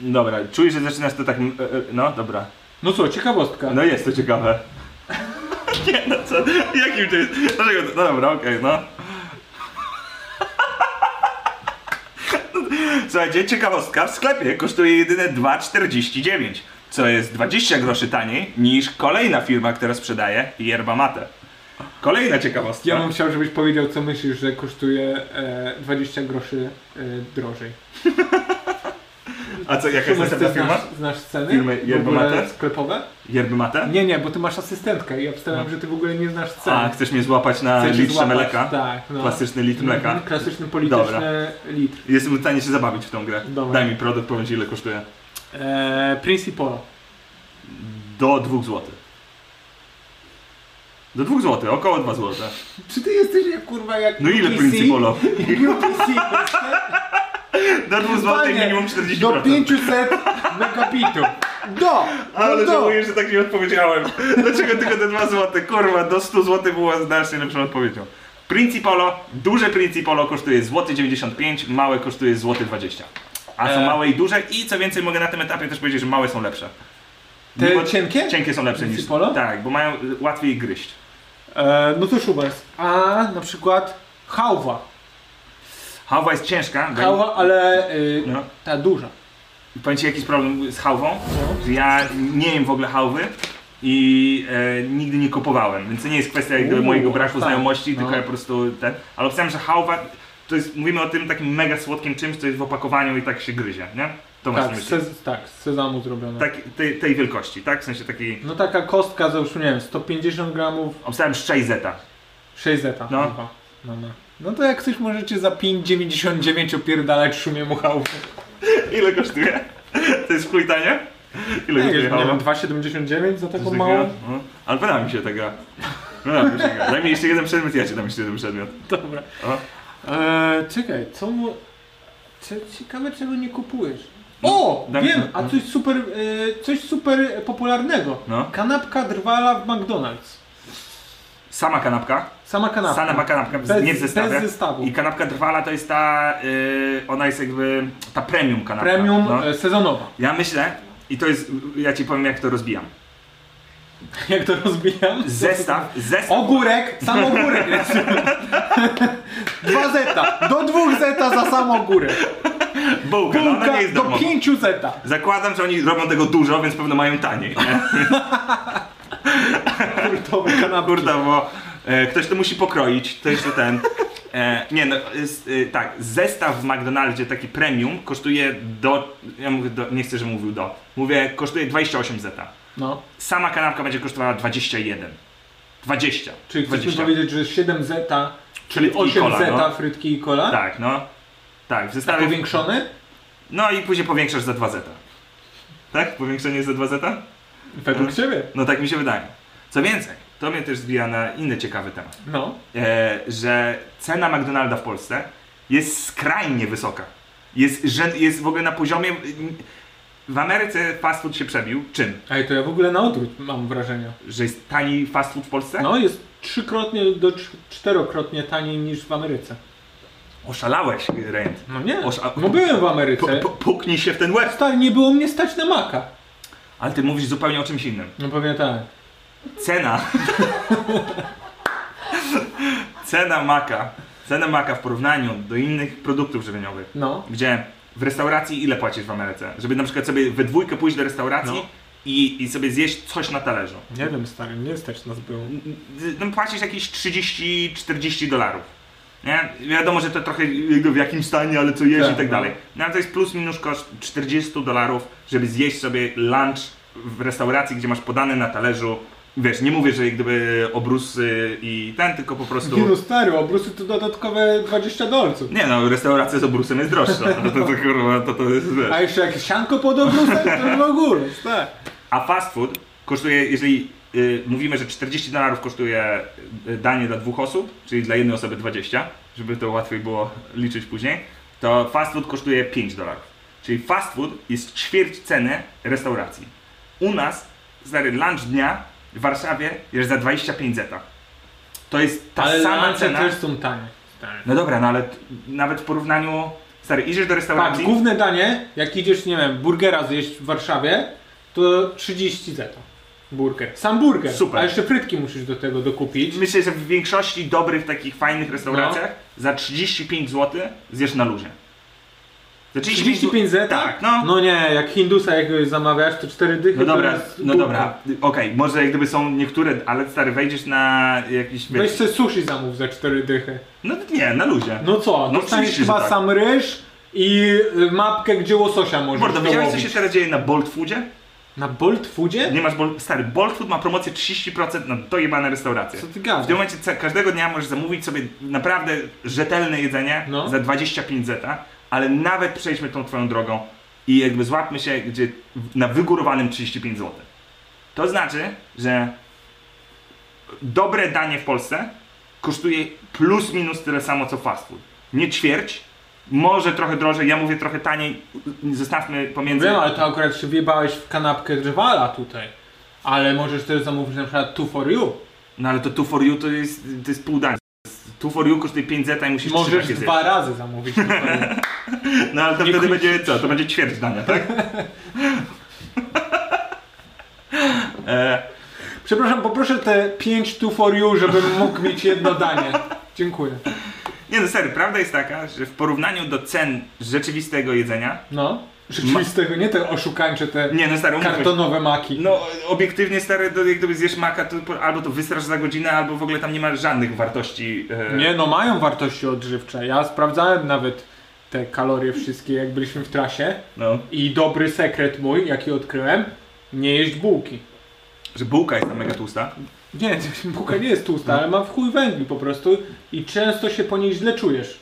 D: Dobra, czuję, że zaczynasz to tak. m- e, e, No, dobra.
F: No co, ciekawostka.
D: No jest to ciekawe. [LAUGHS] Nie no co, jakim to jest? Dlaczego? to- No dobra, okej, no. [LAUGHS] Słuchajcie, ciekawostka, w sklepie kosztuje jedyne 2,49, co jest 20 groszy taniej niż kolejna firma, która sprzedaje yerba mate. Kolejna ciekawostka.
F: Ja bym chciał, żebyś powiedział, co myślisz, że kosztuje e, 20 groszy e, drożej.
D: A co, jaka jest
F: Szumer, ty
D: następna firma?
F: znasz, znasz ceny?
D: Firmy
F: w ogóle
D: Yerba-Mate?
F: sklepowe?
D: Yerba mate?
F: Nie, nie, bo ty masz asystentkę i ja wstałem, że ty w ogóle nie znasz ceny.
D: No. A, chcesz mnie złapać na
F: Chcesz
D: litrze
F: złapać-
D: mleka?
F: Tak, no.
D: Klasyczny litr mleka.
F: Mhm, Klasyczny polityczny
D: Dobra.
F: litr.
D: Jestem w stanie się zabawić w tą grę.
F: Dobra.
D: Daj mi produkt, powiem ci ile kosztuje.
F: E, Principolo.
D: Do 2 zł. Do 2 zł, około 2 zł.
F: Czy ty jesteś jak kurwa jak
D: No ile
F: UPC? [LAUGHS]
D: Principolo?
F: Jak UPC jesteś?
D: [LAUGHS] Do 2 zł
F: Panie,
D: minimum
F: Do
D: 40%.
F: 500 megabitów. Do!
D: Ale
F: no do.
D: żałuję, że tak nie odpowiedziałem. Dlaczego tylko te 2 zł? Kurwa, do 100 zł była znacznie lepszą odpowiedzią. Principolo, duże Principolo kosztuje złoty 95, małe kosztuje złoty 20. A są
F: E.
D: małe i duże i co więcej mogę na tym etapie też powiedzieć, że małe są lepsze.
F: Te
D: Mimo-
F: cienkie?
D: Cienkie są lepsze niż...
F: Principolo?
D: Tak, bo mają y, łatwiej gryźć.
F: E, no to Schubert. A na przykład hałwa.
D: Hałwa jest ciężka. bo-
F: Hałwa, ale y,
D: No.
F: ta duża.
D: Powiem ci jakiś problem z hałwą, że ja nie jem w ogóle hałwy i e, nigdy nie kupowałem, więc to nie jest kwestia jakby
F: Uuu,
D: mojego braku
F: tak.
D: znajomości, tylko
F: No.
D: ja po prostu ten. Ale pisałem, że hałwa, to jest, mówimy o tym takim mega słodkim czymś, co jest w opakowaniu i tak się gryzie, nie? To masz
F: Tak,
D: na
F: z,
D: myśli.
F: sez- tak, z sezamu zrobione.
D: Tak, tej, tej wielkości, tak? W sensie takiej...
F: No taka kostka, załóżmy, nie wiem, 150 gramów,
D: Obstałem z 6 zeta. [LAUGHS]
F: 6 zeta.
D: No.
F: chyba. No, no. no to jak chcesz, możecie za 5,99 opierdalać szumie muchałów.
D: Ile kosztuje? [LAUGHS] To jest chuj tanie? Ile
F: Nie
D: kosztuje
F: wiem,
D: hałwa?
F: 2,79 za taką
D: Coś
F: małą.
D: takiego? No. Ale podoba mi się ta gra. Podoba mi się ta gra. Daj mi jeszcze jeden przedmiot, ja ci dam jeszcze jeden przedmiot.
F: Dobra.
D: O.
F: Eee, czekaj, co mu... Cie- Ciekawe czego nie kupujesz. O!
D: dam-
F: wiem,
D: no,
F: a
D: no.
F: coś super, e, coś super popularnego.
D: No.
F: Kanapka drwala w McDonald's.
D: Sama kanapka.
F: Sama kanapka.
D: Sama kanapka, bez,
F: No. Bez-
D: nie w zestawie.
F: bez zestawu.
D: I kanapka trwala to jest ta, yy, ona jest jakby ta premium kanapka.
F: Premium
D: No.
F: e, sezonowa. [LAUGHS]
D: Ja myślę, i to jest, ja ci powiem jak to rozbijam.
F: Jak to rozbijam?
D: Zestaw, zestaw,
F: Ogórek, sam ogórek.
D: [LAUGHS]
C: Dwa zeta, do dwóch zeta za samą górę.
D: bułka, no ona nie
F: Bułka
D: jest
F: do
D: darmowa.
F: 5 zeta.
D: Zakładam, że oni robią tego dużo, więc pewno mają taniej.
F: [LAUGHS]
D: nie?
F: Kurtowe kanapki.
D: Kurde, bo e, ktoś to musi pokroić, to jeszcze ten. E, nie no, jest, e, tak, zestaw w McDonaldzie taki premium kosztuje do, ja mówię do, nie chcę, żebym mówił do, mówię kosztuje 28 zeta.
F: No,
D: Sama kanapka będzie kosztowała 21. 20.
F: czyli chcesz mi
D: 20.
F: powiedzieć, że 7 zeta, czyli
D: Frytki i
F: 8
D: kola,
F: zeta
D: no.
F: frytki i kola?
D: Tak, no. Tak, w zestawie.
F: Powiększone?
D: No i później powiększasz za 2 zeta. Tak? Powiększenie jest za 2 zeta?
F: Według ciebie.
D: No tak mi się wydaje. Co więcej, to mnie też zbija na inny ciekawy temat.
F: No.
D: e, że cena McDonalda w Polsce jest skrajnie wysoka. Jest, rzę- jest w ogóle na poziomie. W Ameryce fast food się przebił. Czym?
F: Ej, to ja w ogóle na odwrót mam wrażenie.
D: Że jest tani fast food w Polsce?
F: No, jest trzykrotnie do cz- czterokrotnie taniej niż w Ameryce.
D: Oszalałeś, Rent.
F: No nie,
D: Oż, a-
F: no byłem w
D: P-
F: Ameryce.
D: p- puknij się w ten łeb.
F: Stary, nie było mnie stać na maka.
D: Ale ty mówisz zupełnie o czymś innym.
F: No pewnie tak.
D: Cena. [LAUGHS] cena maka. Cena maka w porównaniu do innych produktów żywieniowych.
F: No.
D: Gdzie w restauracji ile płacisz w Ameryce? Żeby na przykład sobie we dwójkę pójść do restauracji
F: No.
D: i, i sobie zjeść coś na talerzu.
F: Nie wiem, stary, nie stać nas było.
D: no, płacisz jakieś 30-40 dolarów. Nie? Wiadomo, że to trochę jakby w jakim stanie, ale co jeść
F: Tak,
D: i tak
F: no.
D: dalej. No ale to jest plus minus koszt 40 dolarów, żeby zjeść sobie lunch w restauracji, gdzie masz podane na talerzu. Wiesz, nie mówię, że jak gdyby obrusy i ten, tylko po prostu.
F: Nie no, stary, obrusy to dodatkowe 20 dolców.
D: Nie no, restauracja z obrusem jest droższa. No, to, to, kurwa, to, to jest wiesz.
F: A jeszcze jakieś sianko pod obrusem,
D: [LAUGHS]
F: to już w ogóle, stary.
D: A fast food kosztuje, jeżeli y, mówimy, że 40 dolarów kosztuje y, danie dla dwóch osób, czyli dla jednej osoby 20, żeby to łatwiej było liczyć później, to fast food kosztuje 5 dolarów. Czyli fast food jest ćwierć ceny restauracji. U nas, stary, lunch dnia w Warszawie jest za 25 zeta. To jest ta
F: Ale
D: sama
F: lunche
D: cena.
F: też są tanie. stary.
D: No dobra, no ale t- nawet w porównaniu, stary, idziesz do
F: Patrz,
D: restauracji,
F: Tak, główne danie, jak idziesz, nie wiem, burgera zjeść w Warszawie, to 30 zeta. Burger. Sam burger.
D: Super.
F: A jeszcze frytki musisz do tego dokupić.
D: Myślę, że w większości dobrych, takich fajnych restauracjach
F: No.
D: za 35 zł zjesz na luzie. Za
F: 35 zeta?
D: Tak, no.
F: No nie, jak hindusa jakiegoś zamawiasz, to 4 dychy.
D: No dobra,
F: to jest
D: no
F: burger.
D: dobra. Okej, może jak gdyby są niektóre, ale stary, wejdziesz na jakiś...
F: Weź sobie sushi zamów za 4 dychy.
D: No nie, na luzie.
F: No co,
D: No
F: no dostaniesz
D: oczywiście, że
F: chyba
D: tak.
F: sam ryż i y, mapkę, gdzie łososia możesz
D: Mordo, widziałeś co
F: dołowić.
D: się teraz dzieje na Bolt Foodzie?
F: Na Bolt Foodzie?
D: Nie masz Bolt... Stary, Bolt Food ma promocję 30% na dojebane restauracje.
F: Co ty
D: W tym
F: gadasz?
D: momencie ca- każdego dnia możesz zamówić sobie naprawdę rzetelne jedzenie
F: No.
D: za 25 zeta, ale nawet przejdźmy tą twoją drogą i jakby złapmy się gdzie na wygórowanym 35 zł. To znaczy, że dobre danie w Polsce kosztuje plus minus tyle samo co fast food. Nie ćwierć, może trochę drożej, ja mówię trochę taniej, zostawmy pomiędzy...
F: Wiem, ale to akurat się wjebałeś w kanapkę drwala tutaj. Ale możesz też zamówić na przykład two for you.
D: No ale to 2 for you to jest, to jest pół dania. 2 for you kosztuje 5 zeta i musisz trzy
F: Możesz
D: takie zjeść.
F: dwa razy zamówić. two for you.
D: [LAUGHS] No ale to
F: Nie
D: wtedy
F: kupisz.
D: będzie co? To będzie ćwierć dania, tak? [LAUGHS] e,
F: Przepraszam, poproszę te pięć tu for you, żebym mógł mieć jedno danie. Dziękuję.
D: nie no serio, prawda jest taka, że w porównaniu do cen rzeczywistego jedzenia.
F: No. Rzeczywistego, nie te oszukańcze, te
D: Nie no stary, umówmy się.
F: kartonowe maki.
D: No obiektywnie stary, to jak gdyby zjesz maka, to po- albo to wysrasz za godzinę, albo w ogóle tam nie ma żadnych wartości. E,
F: Nie no, mają wartości odżywcze. Ja sprawdzałem nawet te kalorie wszystkie, jak byliśmy w trasie.
D: No.
F: I dobry sekret mój, jaki odkryłem, nie jeść bułki.
D: Że bułka jest tam mega tłusta.
F: Nie, [LAUGHS] bułka nie jest tłusta, ale ma w chuj węgli po prostu i często się po niej źle czujesz.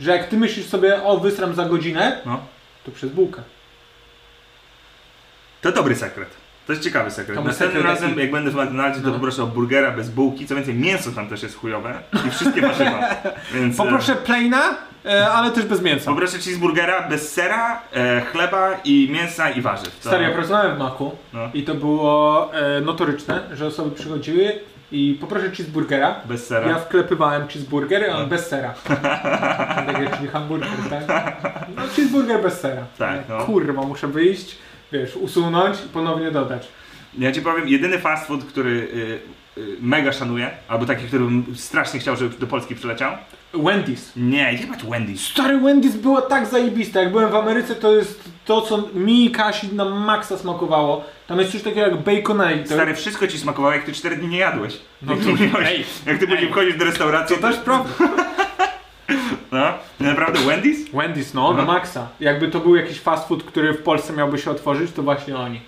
F: Że jak ty myślisz sobie, o wysram za godzinę,
D: No.
F: to przez bułkę.
D: To dobry sekret. To jest ciekawy sekret.
F: To był
D: Następnym
F: sekret
D: razem,
F: taki-
D: jak będę w McDonaldzie, to
F: No.
D: poproszę o burgera bez bułki. Co więcej, mięso tam też jest chujowe i wszystkie
F: [LAUGHS]
D: warzywa. Więc, e,
F: Poproszę plaina, e, ale też bez mięsa.
D: Poproszę cheeseburgera bez sera, e, chleba i mięsa i warzyw. To-
F: Stary, ja pracowałem w Maku
D: No.
F: i to było e, notoryczne, że osoby przychodziły i poproszę cheeseburgera.
D: Bez sera. No.
F: Ja wklepywałem cheeseburgery, a on bez
D: [LAUGHS]
F: sera. tak jak czyli hamburger, tak? No cheeseburger bez sera.
D: Tak, no.
F: Kurwa, muszę wyjść, wiesz, usunąć i ponownie dodać.
D: Ja ci powiem, jedyny fast food, który y, y, mega szanuję, albo taki, który bym strasznie chciał, żeby do Polski przyleciał.
F: Wendy's.
D: Nie, jebać Wendy's.
F: Stary Wendy's była tak zajebista. Jak byłem w Ameryce, to jest to, co mi i Kasi na maksa smakowało. Tam jest coś takiego jak tak? baconator.
D: Stary, wszystko ci smakowało, jak ty 4 dni nie jadłeś.
F: No
D: jak
F: to-
D: ty, mówiłeś,
E: ej,
D: jak ty później wchodzisz do restauracji,
F: to też prawda.
D: No, naprawdę Wendy's?
F: Wendy's, no, na
D: Mhm.
F: maksa. Jakby to był jakiś fast food, który w Polsce miałby się otworzyć, to właśnie oni.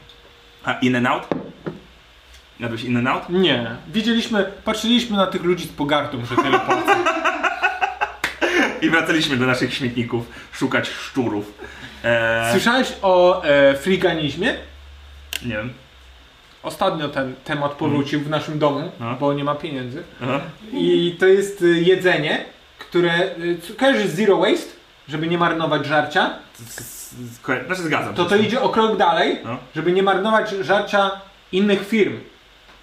D: A In-N-Out? Jadłeś In-N-Out?
F: Nie. Widzieliśmy, patrzyliśmy na tych ludzi z pogardą, że tyle płacą.
D: I wracaliśmy do naszych śmietników szukać szczurów. Eee,
F: [LAUGHS] Słyszałeś o e, friganizmie?
D: nie wiem.
F: Ostatnio ten temat powrócił w naszym domu,
D: No.
F: bo nie ma pieniędzy.
D: Aha.
F: I to jest y, jedzenie, które... y, co- Kojarzysz zero waste? Żeby nie marnować żarcia?
D: Z- z- z- ko- Znaczy zgadzam
F: To
D: się.
F: to idzie o krok dalej,
D: No.
F: żeby nie marnować żarcia innych firm.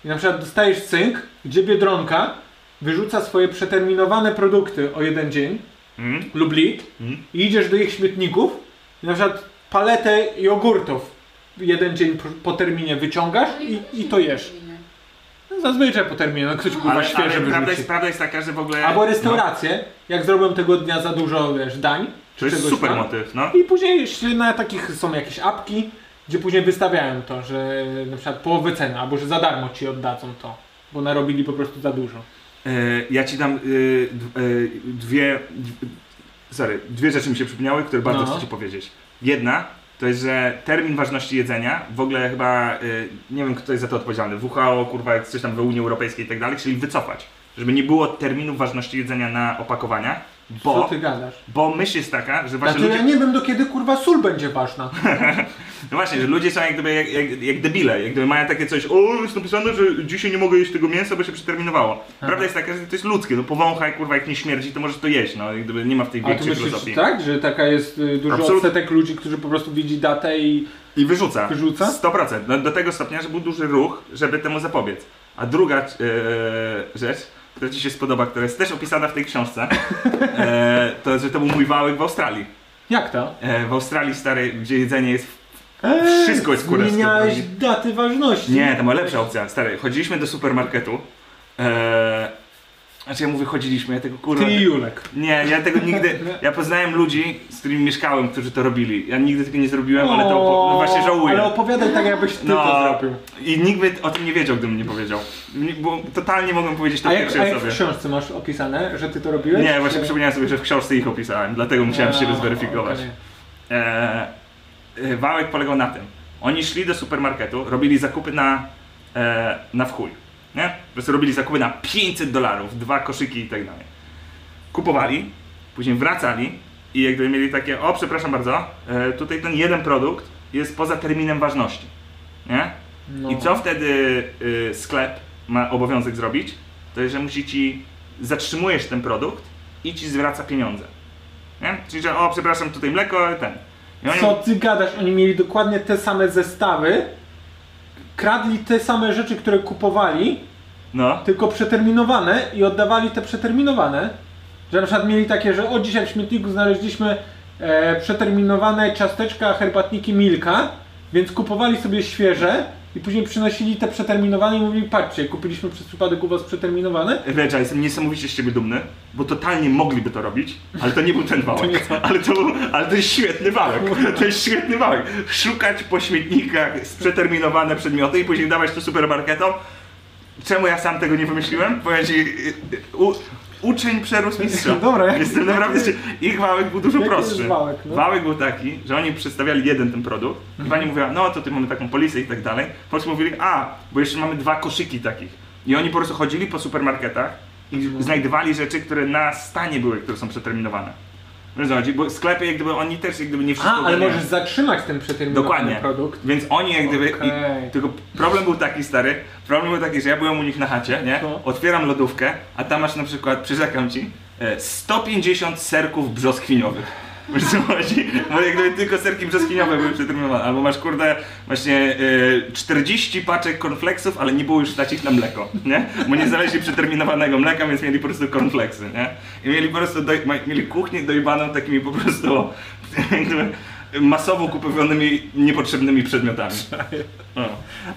F: I na przykład dostajesz cynk, gdzie Biedronka wyrzuca swoje przeterminowane produkty o jeden dzień
D: Mm?
F: lub lit
D: Mhm.
F: i idziesz do ich śmietników i na przykład paletę jogurtów jeden dzień po- po terminie wyciągasz i, i to jesz. No, Zazwyczaj po terminie, no ktoś kurwa
D: Ale,
F: świeże
D: ale prawda,
F: wyrzuci.
D: jest, prawda jest taka, że w ogóle...
F: Albo restauracje, jak zrobią tego dnia za dużo, wiesz, dań
D: No, to
F: czy
D: jest
F: czegoś
D: super
F: tam.
D: motyw, no.
F: I później się na takich są jakieś apki, gdzie później wystawiają to, że na przykład połowę ceny, albo że za darmo ci oddadzą to, bo narobili po prostu za dużo.
D: E, Ja ci dam e, d- e, dwie. d- Sorry, dwie rzeczy mi się przypomniały, które bardzo
F: No.
D: chcę ci powiedzieć. Jedna to jest, że termin ważności jedzenia w ogóle chyba e, nie wiem, kto jest za to odpowiedzialny. WHO, kurwa, jak coś tam w Unii Europejskiej i tak dalej, czyli wycofać. Żeby nie było terminu ważności jedzenia na opakowaniach,
F: Co
D: bo,
F: ty Znaczy, gadasz?
D: bo myśl jest taka, że właśnie
F: Dlatego ja
D: ludzie,
F: nie wiem do kiedy kurwa sól będzie ważna.
D: no właśnie, że ludzie są jak gdyby jak, jak, jak debile, jak gdyby mają takie coś, o jest napisane, że dzisiaj nie mogę jeść tego mięsa, bo się przeterminowało. Prawda jest taka, że to jest ludzkie, no powąchaj, kurwa, jak nie śmierdzi, to możesz to jeść, no jak gdyby nie ma w tej
F: A ty
D: większej
F: myślisz
D: filozofii.
F: tak, że taka jest y, duży
D: Absolutnie.
F: odsetek ludzi, którzy po prostu widzi datę i...
D: I wyrzuca.
F: Wyrzuca?
D: 100%. No, do tego stopnia, że był duży ruch, żeby temu zapobiec. A druga e, rzecz, która ci się spodoba, która jest też opisana w tej książce, [LAUGHS] e, to że to był mój wałek w Australii.
F: Jak to?
D: E, w Australii, stary, gdzie jedzenie jest... Wszystko jest kurwa
F: Zmieniałeś
D: skrobli.
F: daty ważności.
D: Nie, to była lepsza opcja, stary. Chodziliśmy do supermarketu. E, znaczy ja mówię, chodziliśmy, ja tego kurwa...
F: Ty i Julek.
D: Nie, ja tego nigdy. Ja poznałem ludzi, z którymi mieszkałem, którzy to robili. Ja nigdy tego nie zrobiłem, ale to opo- no właśnie żałuję. No.
F: Ale opowiadaj tak, jakbyś ty to zrobił.
D: I nikt by o tym nie wiedział, gdybym nie powiedział. Nie- Bo totalnie mogłem powiedzieć to
F: A
D: w
F: jak,
D: pierwszej
F: a jak w
D: osobie.
F: książce masz opisane, że ty to robiłeś?
D: nie, właśnie
F: Czy-
D: przypomniałem sobie, że w książce ich opisałem, dlatego musiałem się
F: A,
D: rozweryfikować.
F: okej.
D: E, e, wałek polegał na tym. Oni szli do supermarketu, robili zakupy na, e, na wchuj. Nie? Po prostu robili zakupy na 500 dolarów, dwa koszyki i tak dalej. Kupowali, później wracali i jak gdyby mieli takie, o przepraszam bardzo, e, tutaj ten jeden produkt jest poza terminem ważności. Nie?
F: No.
D: I co wtedy y, sklep ma obowiązek zrobić? To jest, że musi ci, zatrzymujesz ten produkt i ci zwraca pieniądze. Nie? Czyli, że o przepraszam, tutaj mleko, ten. I oni-
F: Co ty gadasz? Oni mieli dokładnie te same zestawy, kradli te same rzeczy, które kupowali,
D: No,
F: tylko przeterminowane i oddawali te przeterminowane. Że na przykład mieli takie, że o dzisiaj w śmietniku znaleźliśmy e, przeterminowane ciasteczka, herbatniki Milka, więc kupowali sobie świeże i później przynosili te przeterminowane i mówili patrzcie, kupiliśmy przez przypadek u was przeterminowane.
D: Reja, jestem niesamowicie z ciebie dumny, bo totalnie mogliby to robić, ale to nie był ten wałek.
F: tak.
D: Ale to, był- ale to jest świetny wałek. To jest świetny wałek. Szukać po śmietnikach przeterminowane przedmioty i później dawać to supermarketom. Czemu ja sam tego nie wymyśliłem? Powiem ci, y, y, u, uczeń przerósł mistrza.
F: Dobra, jak-
D: Jestem naprawdę... Ich wałek był dużo
F: Jaki jest
D: prostszy.
F: wałek, no?
D: wałek był taki, że oni przedstawiali jeden ten produkt
F: Mhm.
D: i pani mówiła, no to tu mamy taką polisę i tak dalej. Po czym mówili, a, bo jeszcze mamy dwa koszyki takich. I oni po prostu chodzili po supermarketach i
F: Mhm.
D: znajdowali rzeczy, które na stanie były, które są przeterminowane. Wiesz, o co chodzi? bo sklepy jak gdyby oni też jak gdyby nie wszystko
F: A, ale
D: ogarniają.
F: możesz zatrzymać ten przeterminowany
D: Dokładnie.
F: produkt.
D: Więc oni jak gdyby.
F: Okej.
D: I, tylko problem był taki stary, problem był taki, że ja byłem u nich na chacie, nie?
F: No.
D: Otwieram lodówkę, a tam masz na przykład, przyrzekam ci, e, 150 serków brzoskwiniowych. Wiesz co chodzi? Bo jak gdyby tylko serki brzoskwiniowe były przeterminowane. Albo masz kurde właśnie e, 40 paczek cornflakesów, ale nie było już stać ich na mleko, nie? Bo nie znaleźli przeterminowanego mleka, więc mieli po prostu cornflakesy, nie? I mieli po prostu, doj- ma- mieli kuchnię dojbaną takimi po prostu [LAUGHS] jakby masowo kupowymi niepotrzebnymi przedmiotami. No.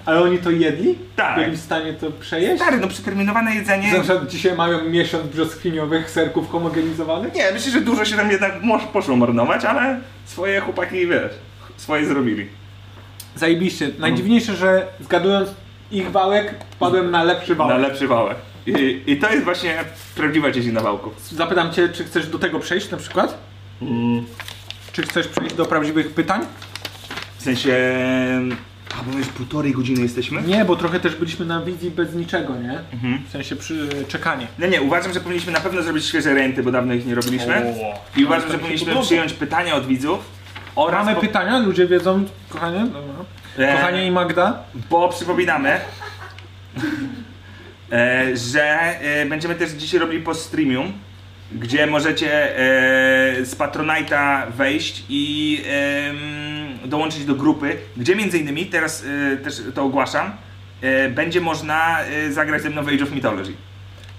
F: Ale oni to jedli?
D: Tak.
F: Byli w stanie to przejeść?
D: Stary, no przeterminowane jedzenie...
F: Że Na przykład dzisiaj mają miesiąc brzoskwiniowych serków homogenizowanych?
D: Nie, myślę, że dużo się tam jednak moż- poszło marnować, ale swoje chłopaki, wiesz, swoje zrobili.
F: Zajebiście. Najdziwniejsze, że zgadując ich wałek, padłem na lepszy wałek.
D: Na lepszy wałek. I, I to jest właśnie prawdziwa dziedzina wałków.
F: Zapytam cię, czy chcesz do tego przejść na przykład?
D: Mm.
F: Czy chcesz przejść do prawdziwych pytań?
D: W sensie... A, bo my już półtorej godziny jesteśmy?
F: Nie, bo trochę też byliśmy na wizji bez niczego, nie?
D: Mhm.
F: W sensie przy, czekanie.
D: No nie, uważam, że powinniśmy na pewno zrobić świeże renty, bo dawno ich nie robiliśmy. I uważam, że powinniśmy przyjąć pytania od widzów. Oraz
F: Mamy
D: po-
F: pytania, ludzie wiedzą, kochanie? Dobra.
D: Eee.
F: Kochanie i Magda?
D: Bo przypominamy, e, że e, będziemy też dzisiaj robili po streamium, gdzie możecie e, z Patronite'a wejść i em, dołączyć do grupy, gdzie między innymi, teraz e, też to ogłaszam, e, będzie można e, zagrać ze mną w Age of Mythology.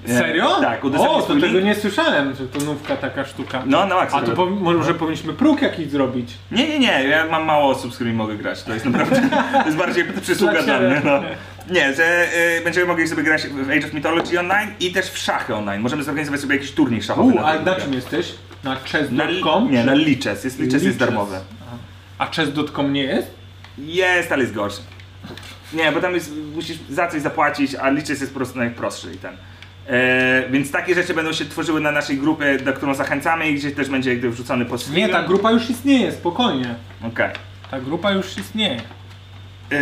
D: E,
F: Serio?
D: Tak,
F: O,
D: udostępnię
F: to
D: swój
F: tego
D: link.
F: nie słyszałem, że to nówka taka sztuka.
D: No, na maksa.
F: A to powi- może powinniśmy próg jakiś zrobić.
D: Nie, nie, nie, ja mam mało osób, z którymi mogę grać. To jest naprawdę. [LAUGHS] To jest bardziej przysługa
F: Dla
D: dla
F: ciebie.
D: mnie. No. Nie, że y, będziemy mogli sobie grać w Age of Mythology online i też w szachy online. Możemy zorganizować sobie jakiś turniej szachowy.
F: U,
D: na
F: a
D: tej
F: na
D: grupie.
F: czym jesteś? Na
D: Na,
F: chess.com?
D: nie, na
F: Czy-
D: Liches. Jest, Liches
F: Lichess.
D: jest darmowy.
F: A chess.com nie jest?
D: Jest, ale jest gorszy. Nie, bo tam jest, musisz za coś zapłacić, a Liches jest po prostu najprostszy i ten. E, więc takie rzeczy będą się tworzyły na naszej grupie, do którą zachęcamy i gdzieś też będzie jakby wrzucony po
F: Nie,
D: streamie.
F: ta grupa już istnieje, spokojnie.
D: Okej.
F: Ta grupa już istnieje.
D: Yy,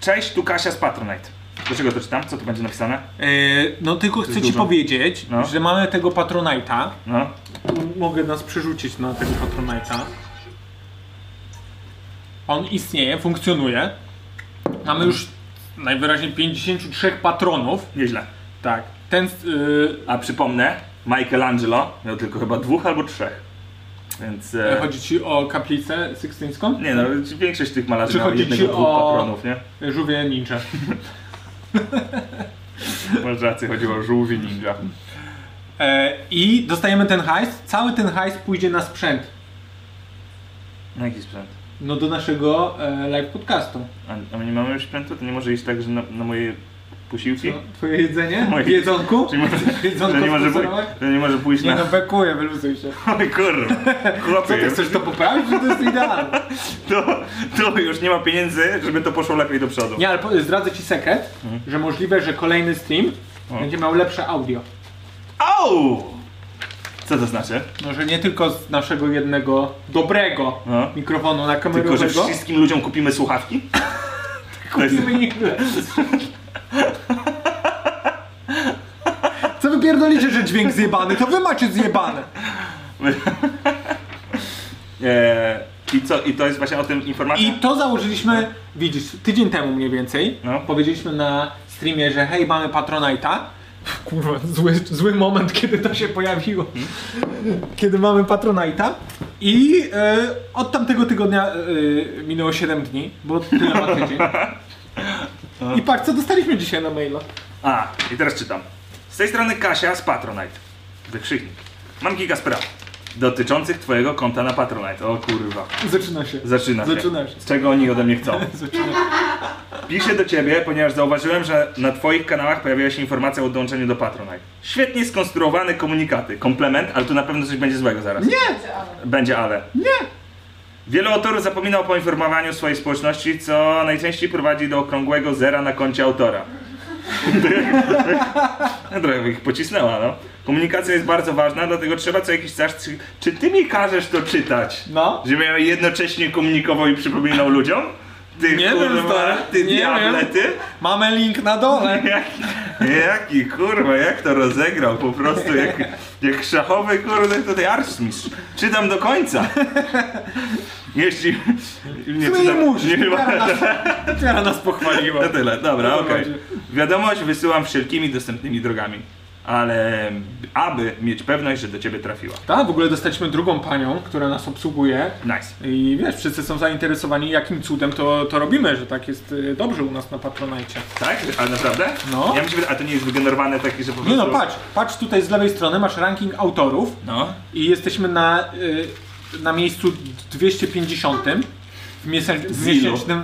D: Cześć, tu Kasia z Patronite. Dlaczego to czytam? Co tu będzie napisane?
F: Yy, no tylko chcę ci
D: dużo.
F: powiedzieć,
D: No.
F: że mamy tego Patronite'a.
D: No.
F: Tu Mogę nas przerzucić na tego Patronite'a. On istnieje, funkcjonuje. Mamy już najwyraźniej 53 patronów.
D: Nieźle.
F: Tak. Ten, yy,
D: A przypomnę, Michelangelo miał tylko chyba dwóch albo trzech. Więc. E,
F: chodzi ci o kaplicę sykstyńską?
D: Nie no, większość tych malarzy
F: Czy
D: miała
F: chodzi ci
D: jednego dwóch
F: o-
D: patronów, nie?
F: Żółwie ninja.
D: Masz rację, chodziło o żółwi ninja.
F: E, I dostajemy ten hajs. Cały ten hajs pójdzie na sprzęt.
D: Na jaki sprzęt?
F: No do naszego e, live podcastu.
D: A, a my nie mamy już sprzętu? To nie może iść tak, że na, na moje posiłki?
F: No, twoje jedzenie?
D: Moje-
F: W jedzonku?
D: No [LAUGHS] Czyli może,
F: [LAUGHS] Jedzonko
D: że, nie może pój-
F: sponsorować?
D: że nie może pójść
F: Nie
D: na...
F: no, bekuje, wyluzuj się.
D: [LAUGHS] Oj kurwa,
F: Co ty
D: chłopie,
F: chcesz to poprawić, że to jest idealne?
D: to, to już nie ma pieniędzy, żeby to poszło lepiej do przodu.
F: Nie, ale po- zdradzę ci sekret, że możliwe, że kolejny stream
D: Mhm. O.
F: będzie miał lepsze audio.
D: Au! Co to znaczy?
F: No, że nie tylko z naszego jednego dobrego
D: No.
F: mikrofonu na
D: Tylko, że
F: kamerowego.
D: wszystkim ludziom kupimy słuchawki? To jest-
F: Co wy pierdolicie, że dźwięk zjebany? To wy macie zjebane.
D: Eee, I co? I to jest właśnie o tym informacja?
F: I to założyliśmy, widzisz, tydzień temu mniej więcej.
D: No.
F: Powiedzieliśmy na streamie, że hej, mamy Patronite'a.
A: Kurwa, zły, zły moment, kiedy to się pojawiło.
F: Kiedy mamy Patronite'a. I e, od tamtego tygodnia e, minęło 7 dni, bo tyle ma tydzień. I patrz, co dostaliśmy dzisiaj na maila.
D: A, i teraz czytam. Z tej strony Kasia z Patronite. Wykrzyknik. Mam kilka spraw dotyczących twojego konta na Patronite. O kurwa.
F: Zaczyna się.
D: Zaczyna się.
F: Zaczyna się.
D: Z czego oni ode
F: [LAUGHS]
D: mnie chcą? Piszę do ciebie, ponieważ zauważyłem, że na twoich kanałach pojawiła się informacja o dołączeniu do Patronite. Świetnie skonstruowane komunikaty. Komplement, ale tu na pewno coś będzie złego zaraz.
F: Nie!
D: Będzie ale. Nie! Wielu autorów zapomina o poinformowaniu swojej społeczności, co najczęściej prowadzi do okrągłego zera na koncie autora. [LAUGHS] Ja trochę by ich pocisnęła, no. Komunikacja jest bardzo ważna, dlatego trzeba co jakiś czas... Czy, czy ty mi każesz to czytać?
F: No.
D: Że miałem jednocześnie komunikował i przypominał ludziom? Ty
F: Nie wiem,
D: kurwa,
F: stary.
D: ty
F: Nie
D: diable,
F: wiem.
D: ty?
F: Mamy link na [LAUGHS] dole.
D: Jaki, jaki kurwa, jak to rozegrał, po prostu jak, jak szachowy kurde tutaj arcymistrz. Czytam do końca. Jeśli... Nie,
F: No i musisz.
D: nie, ma-
F: Teraz nas, teraz nas pochwaliła.
D: to tyle, dobra,
F: To
D: okej.
F: będzie.
D: Wiadomość wysyłam wszelkimi dostępnymi drogami, ale aby mieć pewność, że do ciebie trafiła.
F: Tak, w ogóle dostaliśmy drugą panią, która nas obsługuje.
D: Nice.
F: I wiesz, wszyscy są zainteresowani, jakim cudem to, to robimy, że tak jest y, dobrze u nas na Patronite.
D: Tak? A naprawdę?
F: No.
D: Ja myślę, a to nie jest wygenerowane takie, że po prostu...
F: Nie no, patrz, patrz tutaj z lewej strony, masz ranking autorów
D: No.
F: i jesteśmy na, y, na miejscu 250 w, miesięcz, w
D: Z ilu?
F: miesięcznym...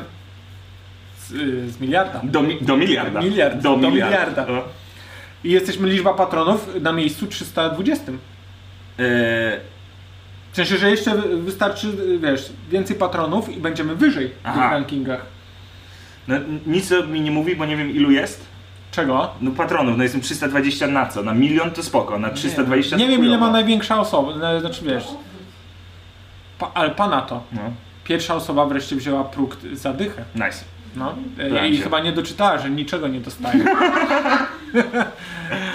F: Z, y, z miliarda.
D: Do, mi- do miliarda.
F: Miliard,
D: Do
F: do
D: miliarda.
F: miliarda.
D: No.
F: I jesteśmy liczba patronów na miejscu 320.
D: Eee,
F: W sensie, że jeszcze wy- wystarczy, y, wiesz, więcej patronów i będziemy wyżej w
D: Aha.
F: tych rankingach.
D: no, nic to mi nie mówi, bo nie wiem ilu jest.
F: Czego?
D: No patronów, no jestem 320 na co? Na milion to spoko, na 320
F: Nie
D: to
F: wiem ile ma
D: chujowo.
F: największa osoba, no, znaczy wiesz. Pa, ale pana to.
D: No,
F: Pierwsza osoba wreszcie wzięła próg t- za dychę.
D: nice.
F: No. E, I
D: Będzie.
F: chyba nie doczytała, że niczego
D: [LAUGHS]
F: nie dostaje.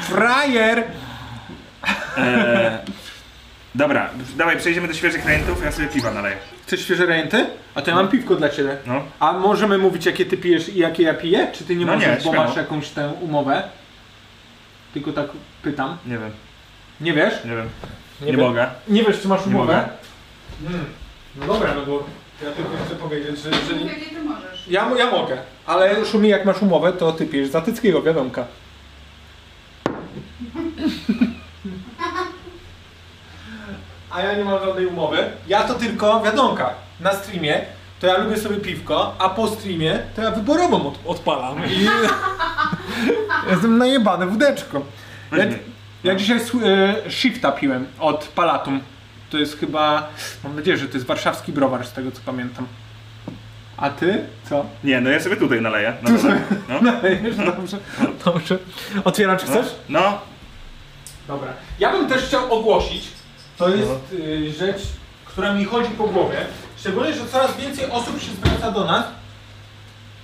F: Frajer!
D: Eee, dobra, dawaj przejdziemy do świeżych klientów, ja sobie piwa naleję.
F: Chcesz świeże renty? A to ja mam piwko dla ciebie.
D: No.
F: A możemy mówić jakie ty pijesz i jakie ja piję? Czy ty nie
D: No nie,
F: możesz, bo
D: śmiało.
F: masz jakąś tę umowę? Tylko tak pytam.
D: Nie wiem,
F: Nie wiesz?
D: nie wiem. Nie,
F: wiem.
D: mogę.
F: Nie wiesz czy masz
D: Nie mogę.
F: umowę? Mm. No dobra, no bo ja tylko chcę powiedzieć, że jeżeli...
H: Jakie ty możesz?
F: Ja, ja mogę, ale Szumi, jak masz umowę, to ty pijesz za Tyckiego, wiadomka. A ja nie mam żadnej umowy. Ja to tylko wiadomka. Na streamie to ja lubię sobie piwko, a po streamie to ja wyborową od, odpalam [LAUGHS] i jestem najebany wódeczką. Ja, ja dzisiaj sły- e, shifta piłem od Palatum. To jest chyba, mam nadzieję, że to jest warszawski browar z tego co pamiętam. A ty? Co? [LAUGHS]
D: Nie, no ja sobie tutaj naleję. No, dobra. no.
F: Dobrze.
A: Dobrze. Otwieracz chcesz?
D: no.
F: Dobra. Ja bym też chciał ogłosić, to jest y, rzecz, która mi chodzi po głowie, szczególnie, że coraz więcej osób się zwraca do nas.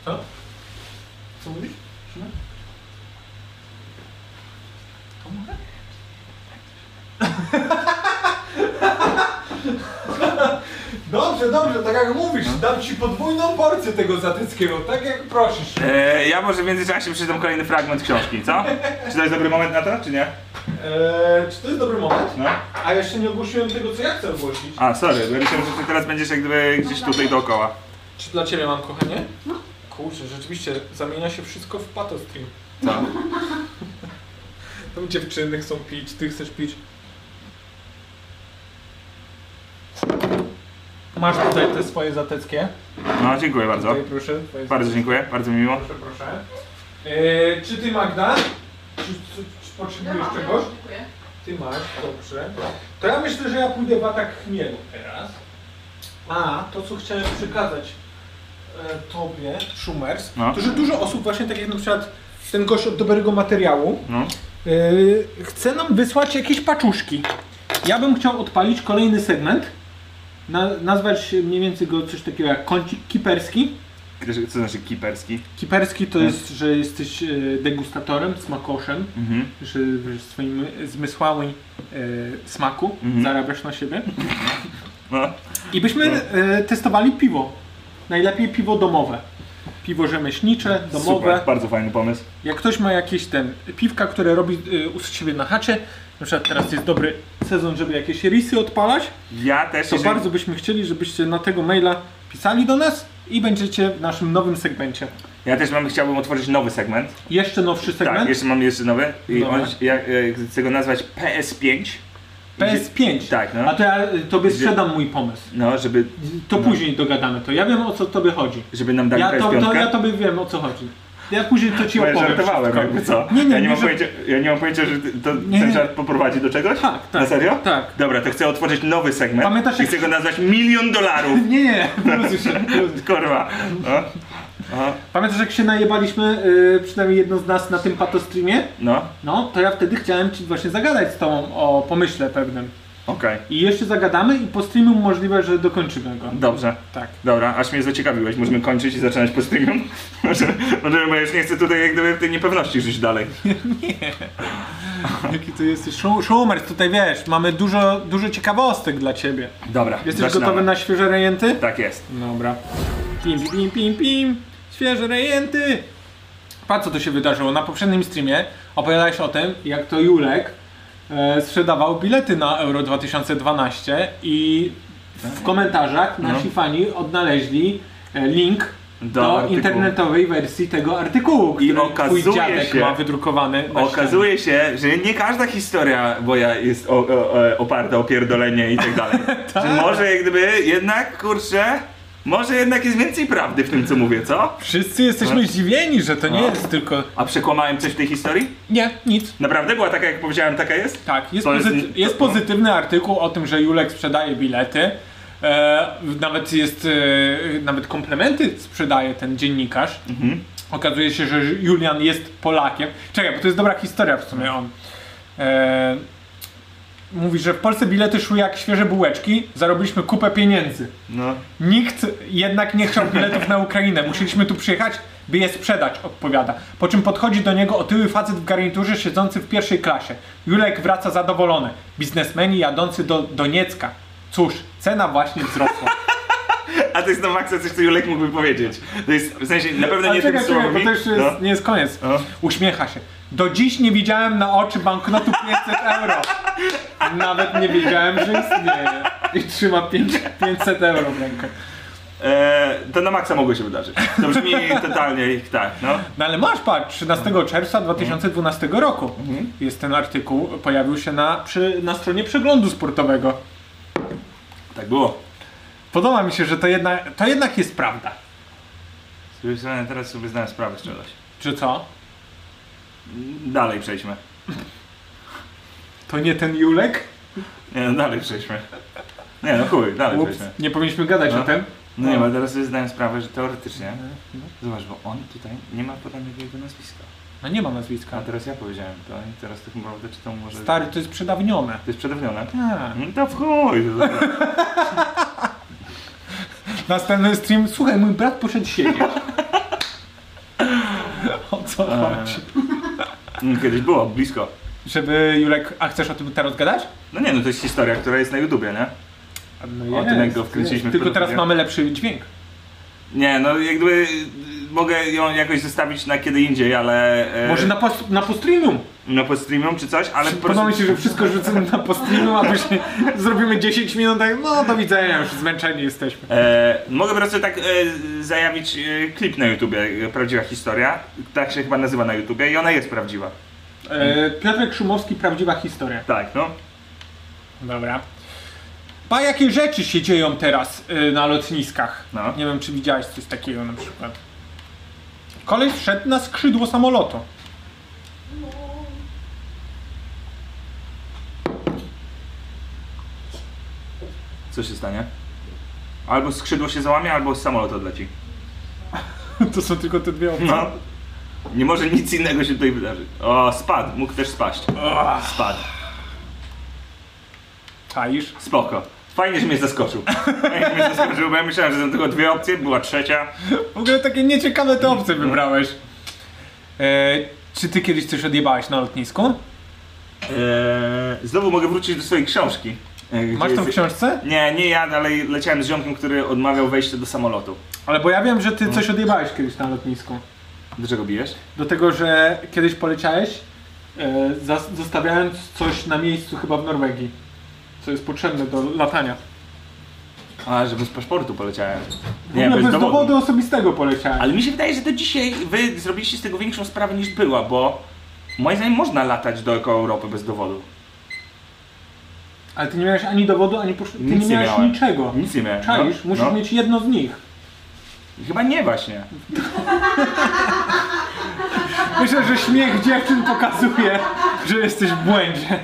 F: Co? Co mówisz? Szymek? To mogę? [LAUGHS] Dobrze, dobrze, tak jak mówisz, dam ci podwójną porcję tego zatyckiego, tak jak prosisz.
D: Eee, ja może w międzyczasie przeczytam kolejny fragment książki, co? Czy to jest dobry moment na to, czy nie?
F: Eee, czy to jest dobry moment?
D: No.
F: A jeszcze nie ogłosiłem tego, co ja chcę ogłosić.
D: A, sorry, bo ja myślałem, że ty teraz będziesz jak gdyby gdzieś tutaj dookoła.
F: Czy dla ciebie mam, kochanie? Kurczę, rzeczywiście zamienia się wszystko w patostream.
D: Co?
F: Tam dziewczyny chcą pić, ty chcesz pić. Masz tutaj te swoje zateckie.
D: No, dziękuję bardzo.
F: Tutaj proszę. twoje
D: Bardzo
F: zateckie.
D: dziękuję, bardzo mi miło.
F: Proszę, proszę. Eee, czy ty Magda? Czy, czy, czy potrzebujesz czegoś?
H: Dziękuję.
F: Ty masz, dobrze. To ja myślę, że ja pójdę w atak chmielu teraz. A, to co chciałem przekazać e, tobie, Schumers,
D: No.
F: to że dużo osób właśnie tak jak na przykład ten gość od dobrego materiału
D: No.
F: Yy, chce nam wysłać jakieś paczuszki. Ja bym chciał odpalić kolejny segment. Na, nazwać mniej więcej go coś takiego jak kącik kiperski.
D: Co znaczy kiperski?
F: Kiperski to
D: Hmm.
F: jest, że jesteś yy, degustatorem, smakoszem,
D: Mhm.
F: że wiesz, swoimi zmysłami yy, smaku
D: Mhm.
F: zarabiasz na siebie.
D: [LAUGHS] No.
F: I byśmy yy, testowali piwo. Najlepiej piwo domowe. Piwo rzemieślnicze, domowe.
D: Super, bardzo fajny pomysł.
F: Jak ktoś ma jakieś ten piwka, które robi y, u siebie na chacie, na przykład teraz jest dobry sezon, żeby jakieś risy odpalać,
D: Ja też
F: to
D: jeżeli-
F: bardzo byśmy chcieli, żebyście na tego maila pisali do nas i będziecie w naszym nowym segmencie.
D: Ja też mam, chciałbym otworzyć nowy segment.
F: Jeszcze nowszy
D: Tak,
F: segment
D: jeszcze mam jeszcze nowy. I
F: Dobra.
D: on, ja e, chcę go nazwać PS5.
F: PS5.
D: Tak, no.
F: A to ja y, tobie
D: Gdzie-
F: sprzedam mój pomysł.
D: No, Tak, żeby,
F: To później dogadamy to. Ja wiem o co tobie chodzi.
D: żeby nam dali
F: Ja, to,
D: PS5.
F: to, ja tobie wiem o co chodzi. Ja później to ci
D: Bo ja
F: opowiem.
D: żartowałem,
F: wszystko.
D: jakby co.
F: Nie, nie,
D: ja, nie
F: nie
D: mam
F: żart-
D: pojęcia, ja nie mam pojęcia, że ty- to,
F: Nie,
D: ten
F: nie.
D: żart poprowadzi do czegoś?
F: Tak, tak.
D: Na serio?
F: Tak.
D: Dobra, to chcę otworzyć nowy segment.
F: Pamiętasz,
D: I
F: jak-
D: chcę
F: [LAUGHS]
D: go nazwać milion dolarów.
F: Nie, nie, wyluzuj się. wyluzuj.
D: Kurwa. No. Aha.
F: Pamiętasz jak się najebaliśmy, yy, przynajmniej jedno z nas na tym patostreamie?
D: No,
F: No, to ja wtedy chciałem ci właśnie zagadać z tobą o pomyśle pewnym.
D: okej.
F: I jeszcze zagadamy i po streamu możliwe, że dokończymy go.
D: Dobrze.
F: Tak.
D: Dobra, aż mnie zaciekawiłeś. Możemy kończyć i zaczynać po streamie? [LAUGHS] Możemy, możemy, bo ja już nie chcę tutaj jak gdyby w tej niepewności żyć dalej.
F: Jaki ty jesteś show- showmer, tutaj wiesz, mamy dużo, dużo ciekawostek dla ciebie.
D: Dobra,
F: Jesteś
D: zaczynamy.
F: gotowy na świeże rejenty?
D: Tak jest.
F: Dobra. Pim, pim, pim, pim, pim. Świeże rejenty. Patrz co tu się wydarzyło. Na poprzednim streamie opowiadałeś o tym, jak to Julek e, sprzedawał bilety na Euro 2012 i w komentarzach nasi fani odnaleźli e, link
D: No. Do
F: do,
D: artykułu.
F: internetowej wersji tego artykułu, który
D: okazuje
F: twój dziadek
D: się-
F: ma wydrukowany na ścianie.
D: Okazuje się, że nie każda historia moja jest o, o, o, oparta o pierdolenie i tak
F: [LAUGHS]
D: dalej. Że może jak gdyby jednak, kurczę, może jednak jest więcej prawdy w tym, co mówię, co?
F: Wszyscy jesteśmy zdziwieni, że to nie
D: No.
F: jest tylko...
D: A przekłamałem coś w tej historii?
F: Nie, nic.
D: Naprawdę była taka, jak powiedziałem, taka jest?
F: Tak, jest,
D: To jest-
F: pozyty jest
D: to-
F: pozytywny artykuł o tym, że Julek sprzedaje bilety. E, nawet jest, e, nawet komplementy sprzedaje ten dziennikarz.
D: Mhm.
F: Okazuje się, że Julian jest Polakiem. Czekaj, bo to jest dobra historia w sumie on. E, mówi, że w Polsce bilety szły jak świeże bułeczki, zarobiliśmy kupę pieniędzy.
D: No.
F: Nikt jednak nie chciał biletów na Ukrainę. Musieliśmy tu przyjechać, by je sprzedać, odpowiada. Po czym podchodzi do niego otyły facet w garniturze siedzący w pierwszej klasie. Julek wraca zadowolony. Biznesmeni jadący do Doniecka. Cóż, cena właśnie wzrosła.
D: [LAUGHS] A to jest na maksa coś, co Julek mógłby powiedzieć. To jest, w sensie, na pewno
F: A
D: nie tym
F: czekaj, czekaj, bo
D: słowami.
F: to jeszcze jest,
D: No.
F: nie jest koniec.
D: No.
F: Uśmiecha się. Do dziś nie widziałem na oczy banknotu 500 euro. Nawet nie wiedziałem, że istnieje. I trzyma pięć- 500 euro w rękę.
D: E, to na maksa mogło się wydarzyć. To [LAUGHS] brzmi totalnie ich tak, no.
F: No ale masz, patrz, 13 czerwca 2012 roku jest ten artykuł, pojawił się na, przy, na stronie przeglądu sportowego.
D: Tak było.
F: Podoba mi się, że to jednak, to jednak jest prawda.
D: Z drugiej strony teraz sobie zdałem sprawę z czegoś.
F: Czy co?
D: Dalej przejdźmy.
F: To nie ten Julek?
D: Nie, no, dalej przejdźmy. Nie, no chuj, dalej
F: Ups,
D: przejdźmy.
F: nie powinniśmy gadać
D: No.
F: o tym.
D: No nie, bo teraz sobie zdałem sprawę, że teoretycznie,
F: Mhm.
D: zobacz, bo on tutaj nie ma podanego jego nazwiska.
F: No nie ma
D: A
F: nazwiska.
D: teraz ja powiedziałem to i teraz tak naprawdę czytam może...
F: Stary, to jest przedawnione.
D: To jest przedawnione.
F: Tak.
D: No to w chuj. to dobra. [LAUGHS]
F: Następny stream, słuchaj, mój brat poszedł siedzieć. [LAUGHS] o co chodzi?
D: Mm, E, Kiedyś było, blisko.
F: Żeby Julek, a chcesz o tym teraz gadać?
D: No nie, no to jest historia, która jest na YouTubie, nie?
F: No
D: O tym, jak go wkręciliśmy w
F: Tylko teraz
D: pedofilia.
F: mamy lepszy dźwięk.
D: Nie, no jakby y, mogę ją jakoś zostawić na kiedy indziej, ale... e,
F: Może na, post- na postreamium?
D: No pod streamem czy coś, ale po
F: Podoba mi
D: prostu...
F: się, że wszystko rzucimy na postreamu, a później [LAUGHS] zrobimy 10 minut, tak, no do widzenia, już zmęczeni jesteśmy.
D: E, mogę po prostu tak e, zajawić e, klip na YouTubie, e, prawdziwa historia. Tak się chyba nazywa na YouTubie i ona jest prawdziwa.
F: E, Piotrek Szumowski, prawdziwa historia.
D: Tak, no.
F: Dobra. Pa, jakie rzeczy się dzieją teraz y, na lotniskach?
D: No.
F: Nie wiem, czy widziałeś coś takiego na przykład. Koleś wszedł na skrzydło samolotu. [LAUGHS]
D: Co się stanie? Albo skrzydło się załamie, albo samolot odleci.
F: To są tylko te dwie opcje.
D: No. Nie może nic innego się tutaj wydarzyć. O, spadł. Mógł też spaść. Spadł.
F: Czaisz?
D: Spoko. Fajnie, że mnie zaskoczył. Fajnie, że mnie zaskoczył, bo ja myślałem, że są tylko dwie opcje, była trzecia.
F: W ogóle takie nieciekawe te opcje wybrałeś. E, czy ty kiedyś coś odjebałeś na lotnisku?
D: Eee, znowu mogę wrócić do swojej książki. e, gdzie
F: Masz tą
D: jest-
F: w książce?
D: Nie, nie ja, ale leciałem z ziomkiem, który odmawiał wejścia do samolotu.
F: Ale bo ja wiem, że ty coś odjebałeś kiedyś na lotnisku.
D: Do czego bijesz?
F: Do tego, że kiedyś poleciałeś, e, zas- zostawiając coś na miejscu chyba w Norwegii. Co jest potrzebne do latania.
D: A, że bez paszportu poleciałem.
F: Nie, bez, dowodu. osobistego poleciałeś.
D: Ale mi się wydaje, że do dzisiaj wy zrobiliście z tego większą sprawę niż była, bo moim zdaniem można latać dookoła Europy bez dowodu.
F: Ale ty nie miałeś ani dowodu, ani posz... Ty
D: Nic
F: nie
D: nie
F: miałeś
D: miałem.
F: niczego.
D: Nic nie miałem.
F: Czaisz,
D: No,
F: musisz
D: no.
F: mieć jedno z nich.
D: Chyba nie właśnie.
F: Myślę, że śmiech dziewczyn pokazuje, że jesteś w błędzie.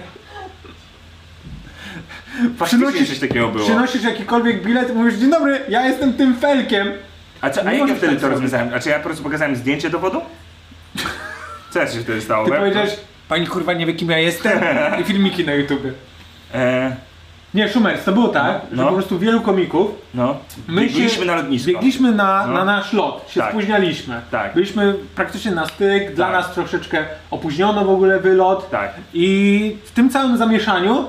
D: Faktycznie
F: Przynosisz-
D: coś takiego było.
F: Przynosisz jakikolwiek bilet, mówisz, dzień dobry, ja jestem tym felkiem.
D: A, co, a
F: Nie
D: jak ja
F: możesz
D: wtedy
F: tak
D: to
F: zrobić.
D: rozwiązałem? A czy ja po prostu pokazałem zdjęcie
F: [LAUGHS]
D: dowodu? Co się wtedy stało?
F: Ty
D: Bo ja-
F: powiedziałeś, pani kurwa nie wie kim ja jestem i filmiki na YouTube.
D: E,
F: Nie, Szumers, to było tak, że
D: No.
F: po prostu wielu komików
D: no,
F: My
D: biegliśmy
F: się-
D: na lotnisko.
F: Biegliśmy na,
D: No.
F: na nasz lot, się
D: Tak.
F: spóźnialiśmy.
D: Tak.
F: Byliśmy praktycznie na styk, dla
D: Tak.
F: nas troszeczkę opóźniono w ogóle wylot.
D: Tak.
F: I w tym całym zamieszaniu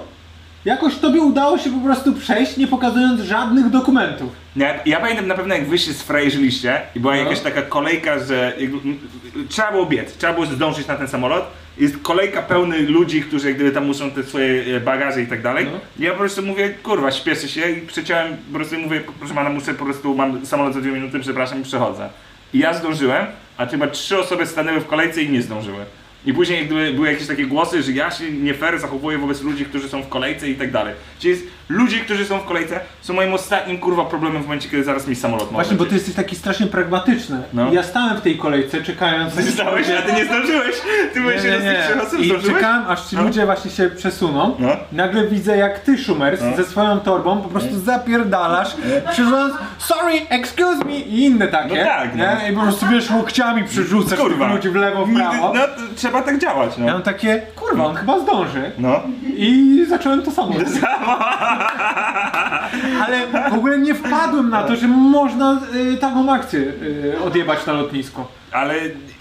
F: jakoś tobie udało się po prostu przejść, nie pokazując żadnych dokumentów.
D: No Ja, ja pamiętam na pewno jak wy się sfrajerzyliście i
F: No.
D: była jakaś taka kolejka, że jakby, m, m, trzeba było biec, trzeba było zdążyć na ten samolot. Jest kolejka pełny ludzi, którzy jak gdyby tam muszą te swoje e, bagaże i tak dalej.
F: No.
D: I ja po prostu mówię, kurwa, śpieszę się i przeciąłem, po prostu mówię, proszę pana, muszę po prostu, mam samolot za dwie minuty, przepraszam i przechodzę. I ja zdążyłem, a chyba trzy osoby stanęły w kolejce i nie zdążyły. I później jak gdyby były jakieś takie głosy, że ja się nie fair zachowuję wobec ludzi, którzy są w kolejce i tak dalej. Czyli jest, ludzie, którzy są w kolejce są moim ostatnim kurwa problemem w momencie, kiedy zaraz mi samolot ma
F: Właśnie, bo ty
D: odlecieć.
F: jesteś taki strasznie pragmatyczny.
D: No.
F: I Ja stałem w tej kolejce czekając.
D: Ty [LAUGHS] Zdałeś, a ty nie zdążyłeś! Ty byłeś
F: Nie, nie,
D: jeden z tych trzech osób,
F: nie. I
D: zdążyłeś?
F: czekałem, aż ci
D: No.
F: ludzie właśnie się przesuną.
D: No.
F: Nagle widzę, jak ty, Szumers,
D: No.
F: ze swoją torbą po prostu zapierdalasz, przerzucając sorry, excuse me i inne takie.
D: No tak, no.
F: nie? I po prostu wiesz, łokciami przerzucasz tych
D: Kurwa!
F: ludzi w lewo, w prawo.
D: No, to trzeba tak działać,
F: Ja
D: no.
F: mam takie, kurwa, on chyba zdąży.
D: No.
F: I zacząłem to samo.
D: [LAUGHS]
F: robić. Ale w ogóle nie wpadłem na to, że można y, taką akcję y, odjebać na lotnisku.
D: Ale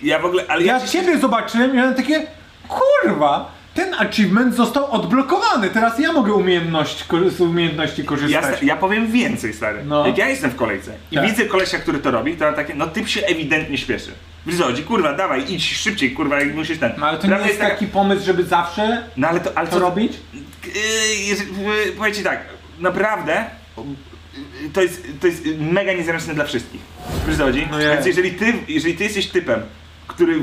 D: ja w ogóle... Ale ja,
F: Ja ciebie zobaczyłem i miałem takie, kurwa, ten achievement został odblokowany, teraz ja mogę umiejętność, ko- z umiejętności
D: ja,
F: korzystać.
D: sta- ja powiem więcej, stary.
F: No.
D: Jak ja jestem w kolejce i
F: Tak.
D: widzę kolesia, który to robi, to mam takie, no typ się ewidentnie śpieszy. Wyzodzi, kurwa, dawaj, idź szybciej, kurwa, jak musisz ten.
F: No ale to nie
D: Prawda
F: jest
D: taka-
F: taki pomysł, żeby zawsze
D: No ale to, ale
F: to
D: tak- co
F: robić?
D: Yy, jeżeli- yy, Powiem ci tak, naprawdę yy, to jest, to jest mega niezręczne dla wszystkich. Wiesz co chodzi?
F: No jest.
D: Więc jeżeli ty, jeżeli ty jesteś typem, który yy,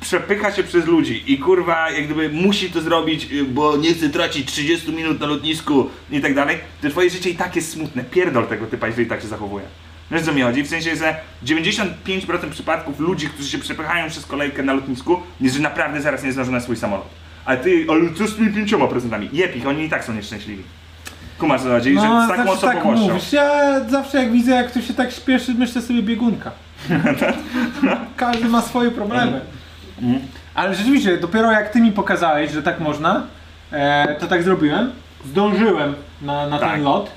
D: przepycha się przez ludzi i kurwa jak gdyby musi to zrobić, yy, bo nie chce tracić 30 minut na lotnisku i tak dalej, to twoje życie i tak jest smutne. Pierdol tego typa, jeżeli tak się zachowuje. Wiesz co mi chodzi? W sensie, że 95% przypadków ludzi, którzy się przepychają przez kolejkę na lotnisku, jest, że naprawdę zaraz nie zdążą na swój samolot. A ty, ale co z tymi pięcioma prezentami? Jeb ich, oni i tak są nieszczęśliwi. Kumasz co chodzi, że z taką
F: zawsze tak
D: osobowością.
F: mówisz. Ja zawsze jak widzę, jak ktoś się tak śpieszy, myślę sobie biegunka.
D: [LAUGHS]
F: Każdy ma swoje problemy. Ale rzeczywiście, dopiero jak ty mi pokazałeś, że tak można, e, to tak zrobiłem. Zdążyłem na, na
D: Tak.
F: ten lot.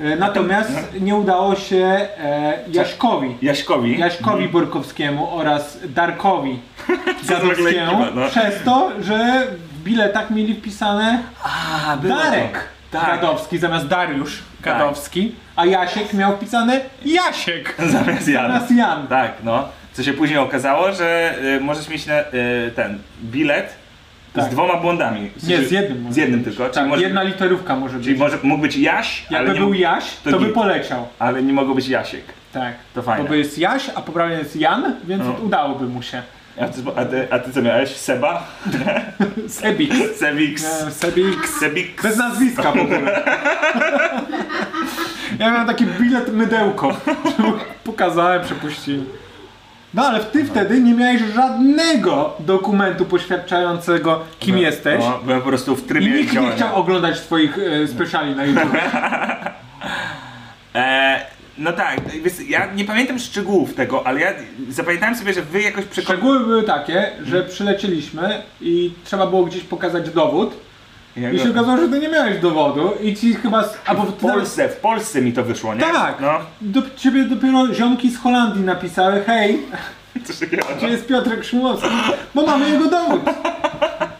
F: E, natomiast nie udało się e,
D: Tak.
F: Jaśkowi.
D: Jaśkowi.
F: Jaśkowi Borkowskiemu oraz Darkowi Gadowskiemu
D: ekipa, no.
F: przez to, że w biletach mieli wpisane
D: A, było to.
F: Darek
D: Tak.
F: Gadowski zamiast Dariusz Gadowski, a Jasiek miał wpisane Jasiek
D: [LAUGHS] Tak. Zamiast Jana.
F: zamiast Jan.
D: Tak, no. Co się później okazało, że y, możesz mieć na, y, ten bilet z
F: Tak.
D: dwoma błądami. W sensie-
F: Nie, z jednym
D: Z jednym tylko. Czyli,
F: Tak,
D: może,
F: jedna literówka może
D: czyli
F: być.
D: może, mógł być Jaś, ale
F: Jakby
D: nie,
F: był Jaś,
D: to
F: to, by
D: git.
F: poleciał.
D: ale nie mogło być Jasiek.
F: Tak.
D: To fajne.
F: Bo jest Jaś, a poprawnie jest Jan, więc
D: No.
F: udałoby mu się.
D: A ty, a, ty, a ty co miałeś? Seba? [LAUGHS]
F: Sebik.
D: Sebix.
F: Miałem Sebik.
D: Sebix.
F: Bez nazwiska w
D: [LAUGHS]
F: ogóle. ja miałem taki bilet mydełko. Pokazałem, przepuściłem. No ale ty wtedy nie miałeś żadnego dokumentu poświadczającego kim jesteś.
D: No, byłem po prostu w
F: I
D: trybie
F: nikt nie
D: działania.
F: chciał oglądać twoich e, speciali na YouTube.
D: E, no tak, wiesz, ja nie pamiętam szczegółów tego, ale ja zapamiętałem sobie, że wy jakoś przekonaliście.
F: Szczegóły były takie, że przylecieliśmy i trzeba było gdzieś pokazać dowód. I się okazało, że ty nie miałeś dowodu i ci chyba... z- Albo
D: W Polsce, w Polsce mi to wyszło, nie?
F: Tak!
D: No,
F: Do ciebie dopiero ziomki z Holandii napisały, hej,
D: coś takiego.
F: Gdzie jest Piotrek Szumowski? Bo mamy jego dowód.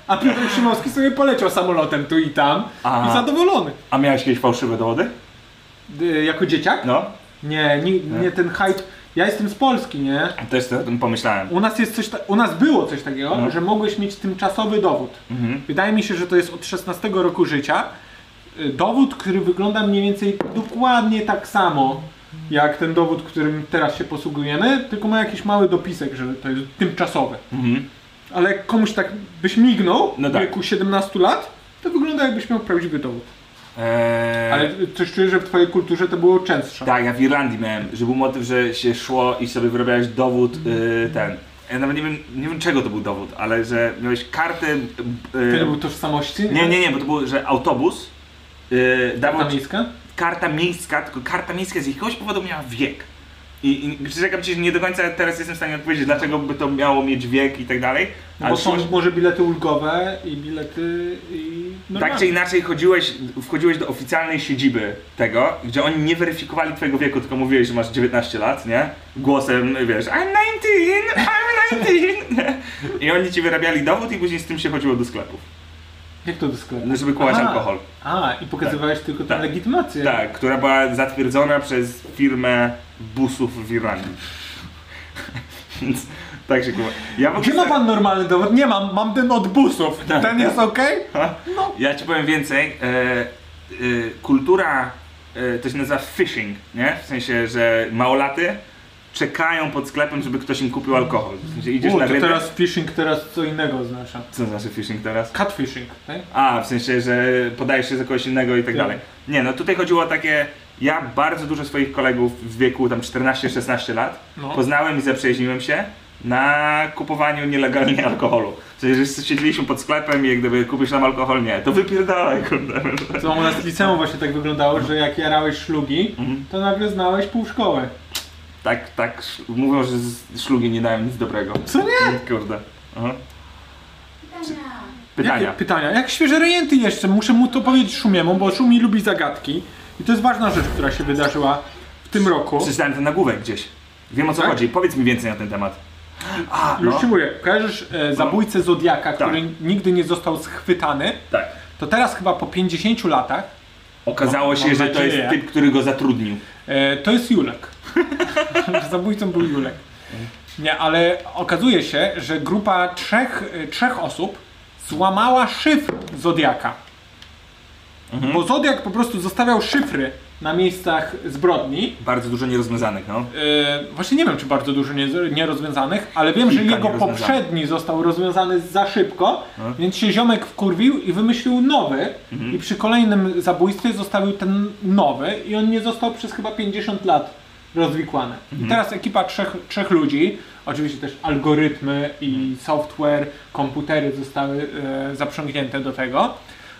F: A Piotrek Szumowski sobie poleciał samolotem tu i tam
D: Aha.
F: i zadowolony.
D: A miałeś jakieś fałszywe dowody?
F: Y, jako dzieciak?
D: No,
F: Nie, nie, nie ten hype. Ja jestem z Polski, nie?
D: też to o tym pomyślałem.
F: U nas jest coś ta... u nas było coś takiego,
D: No.
F: że mogłeś mieć tymczasowy dowód.
D: Mhm.
F: Wydaje mi się, że to jest od 16 roku życia. Y, Dowód, który wygląda mniej więcej dokładnie tak samo jak ten dowód, którym teraz się posługujemy, tylko ma jakiś mały dopisek, że to jest tymczasowy.
D: Mhm.
F: Ale jak komuś tak byś mignął
D: No
F: w
D: tak.
F: wieku 17 lat, to wygląda jakbyś miał prawdziwy dowód.
D: Eee,
F: Ale coś czuję, że w twojej kulturze to było częstsze.
D: Tak, ja w Irlandii miałem, że był motyw, że się szło i sobie wyrabiałeś dowód y, ten. Ja nawet nie wiem, nie wiem czego to był dowód, ale że miałeś kartę. y,
F: Tyle był tożsamości?
D: nie, nie, nie, bo to było, że autobus y, dawał
F: Ta
D: ci
F: miejska?
D: karta miejska, tylko karta miejska z jakiegoś powodu miała wiek. I, i przyrzekam ci, że nie do końca teraz jestem w stanie odpowiedzieć, dlaczego by to miało mieć wiek i tak dalej.
F: No Bo
D: ale szło-
F: są może bilety ulgowe i bilety i normalne.
D: Tak czy inaczej chodziłeś, wchodziłeś do oficjalnej siedziby tego, gdzie oni nie weryfikowali twojego wieku, tylko mówiłeś, że masz 19 lat, nie? Głosem, wiesz, I'm 19, I'm 19, nie? I oni ci wyrabiali dowód i później z tym się chodziło do sklepów, no,
F: Jak to do sklepu?
D: żeby kupować
F: Aha.
D: alkohol.
F: A, i pokazywałeś tylko tę
D: Tak.
F: legitymację.
D: Tak, która była zatwierdzona przez firmę busów w Irlandii. [LAUGHS] Więc tak się kupowa. Ja w ogóle-
F: Gdzie ma pan normalny dowód? Nie mam, mam ten od busów.
D: Tak,
F: Ten jest okej?
D: Ja ci powiem więcej. E, e, kultura e, to się nazywa phishing, nie? W sensie, że małolaty czekają pod sklepem, żeby ktoś im kupił alkohol. W sensie idziesz
F: U,
D: na
F: to
D: rynek.
F: teraz phishing, teraz co innego oznacza.
D: Co znaczy phishing teraz?
F: Catfishing, tak?
D: A, w sensie, że podajesz się za kogoś innego i tak
F: Tak.
D: dalej. Nie, no tutaj chodziło o takie. Ja bardzo dużo swoich kolegów w wieku tam 14-16 lat
F: No.
D: poznałem i zaprzyjaźniłem się na kupowaniu nielegalnie alkoholu. W sensie, że siedzieliśmy pod sklepem i jak gdyby kupisz nam alkohol, nie, to wypierdalaj, kurde.
F: [LAUGHS] Co u nas w liceum właśnie tak wyglądało,
D: No.
F: że jak jarałeś szlugi,
D: Mhm.
F: to nagle znałeś pół szkoły.
D: Tak, tak, sz- mówią, że z- szlugi nie dają nic dobrego.
F: Co nie?
D: Kurde. Aha.
G: Pytania.
D: Pytania.
F: Jakie pytania? Jak świeże rejenty jeszcze? Muszę mu to powiedzieć Szumiemu, bo Szumi lubi zagadki. I to jest ważna rzecz, która się wydarzyła w tym roku.
D: Przeczytałem ten nagłówek gdzieś. Wiem o co
F: Tak?
D: chodzi, powiedz mi więcej na ten temat. A,
F: Już
D: no.
F: ci mówię, kojarzysz e, zabójcę Zodiaka, który nigdy nie został schwytany,
D: Tak.
F: to teraz chyba po 50 latach
D: Okazało się,
F: mam
D: że to jest
F: nadzieję.
D: typ, który go zatrudnił.
F: E, to jest Julek. [LAUGHS] Zabójcą był Julek. Nie, ale okazuje się, że grupa trzech, e, trzech osób złamała szyfr Zodiaka. Bo Zodiak po prostu zostawiał szyfry na miejscach zbrodni.
D: Bardzo dużo nierozwiązanych, no.
F: E, właśnie nie wiem, czy bardzo dużo nie- nierozwiązanych, ale wiem, że
D: Kilka
F: jego
D: nierozwiązanych.
F: poprzedni został rozwiązany za szybko,
D: Mhm.
F: więc się ziomek wkurwił i wymyślił nowy. I przy kolejnym zabójstwie zostawił ten nowy i on nie został przez chyba 50 lat rozwikłany.
D: Mhm.
F: I teraz ekipa trzech, trzech ludzi, oczywiście też algorytmy i
D: Mhm.
F: software, komputery zostały e, zaprzągnięte do tego,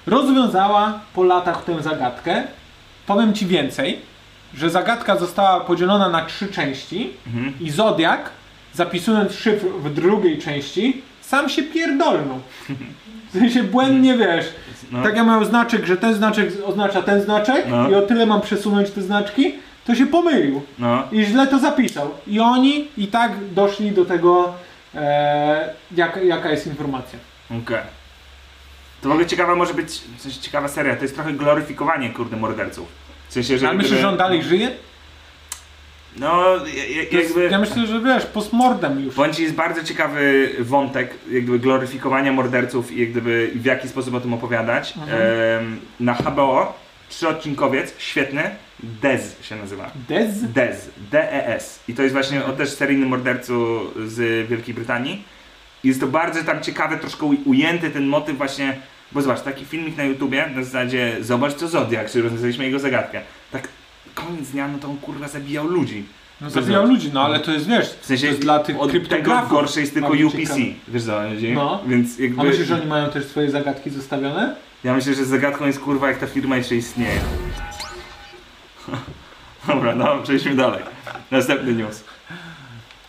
F: rozwiązała po latach tę zagadkę. Powiem Ci więcej, że zagadka została podzielona na trzy części
D: Mhm.
F: i Zodiak, zapisując szyfr w drugiej części, sam się pierdolnął. W sensie błędnie wiesz.
D: No.
F: Tak jak miał znaczek, że ten znaczek oznacza ten znaczek
D: No.
F: i o tyle mam przesunąć te znaczki, to się pomylił
D: no.
F: i źle to zapisał. I oni i tak doszli do tego, e, jak, jaka jest informacja.
D: Okej. To w ogóle ciekawa może być, w sensie ciekawa seria, to jest trochę gloryfikowanie, kurde, morderców. W sensie, że
F: Ja myślę,
D: jakby-
F: że on dalej żyje?
D: No, ja- ja-
F: To jest,
D: jakby...
F: ja myślę, że wiesz, postmordem już.
D: Bądź jest bardzo ciekawy wątek jak gdyby gloryfikowania morderców i jak gdyby w jaki sposób o tym opowiadać. Em, na HBO trzyodcinkowiec, świetny, Dez się nazywa.
F: Dez?
D: Dez, D-E-S. I to jest właśnie o też seryjnym mordercu z Wielkiej Brytanii. I Jest to bardzo tam ciekawe, troszkę u- ujęty ten motyw właśnie, bo zobacz, taki filmik na YouTubie na zasadzie zobacz co Zodiak, czy rozwiązaliśmy jego zagadkę. Tak koniec dnia, no to on kurwa zabijał ludzi.
F: No zabijał ludzi, no ale to jest, wiesz,
D: W sensie
F: to jest dla tych
D: od tego
F: kryptografów.
D: gorsze jest tylko
F: Mamy
D: UPC.
F: ciekawe.
D: Wiesz co, no.
F: No.
D: więc jakby.
F: A myślisz, że oni mają też swoje zagadki zostawione?
D: Ja myślę, że zagadką jest kurwa jak ta firma jeszcze istnieje. [LAUGHS] Dobra, no przejdźmy dalej. Następny news.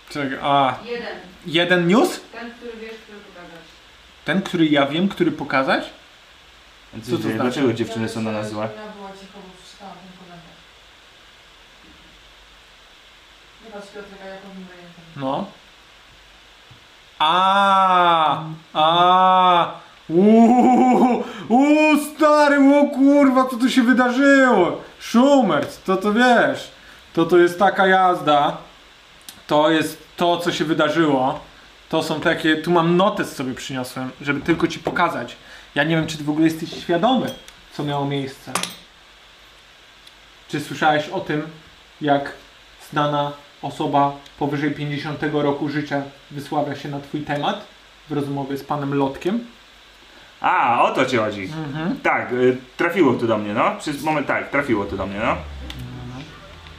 F: Czekaj, a...
H: Jeden.
F: Jeden news?
H: Ten, który wiesz, który pokazać.
F: Ten, który ja wiem, który pokazać?
D: Co
F: to
D: to
F: znaczy?
D: Dlaczego dziewczyny są na nas złe?
H: Ja była cicho, bo przeczytałam ten komentarz. Nie patrz Piotrek, a ja powiem rejentem.
F: No. A, a, uuu, uuu, stary, o kurwa, co tu się wydarzyło? Szumert, to to wiesz, to to jest taka jazda, to jest to, co się wydarzyło, to są takie, tu mam notes sobie przyniosłem, żeby tylko ci pokazać. Ja nie wiem, czy ty w ogóle jesteś świadomy, co miało miejsce. Czy słyszałeś o tym, jak znana osoba powyżej 50 roku życia wysławia się na twój temat w rozmowie z panem Lotkiem.
D: A, o to ci chodzi.
F: Mhm.
D: Tak, y, trafiło tu do mnie, no. Przez moment tak, trafiło tu do mnie, no.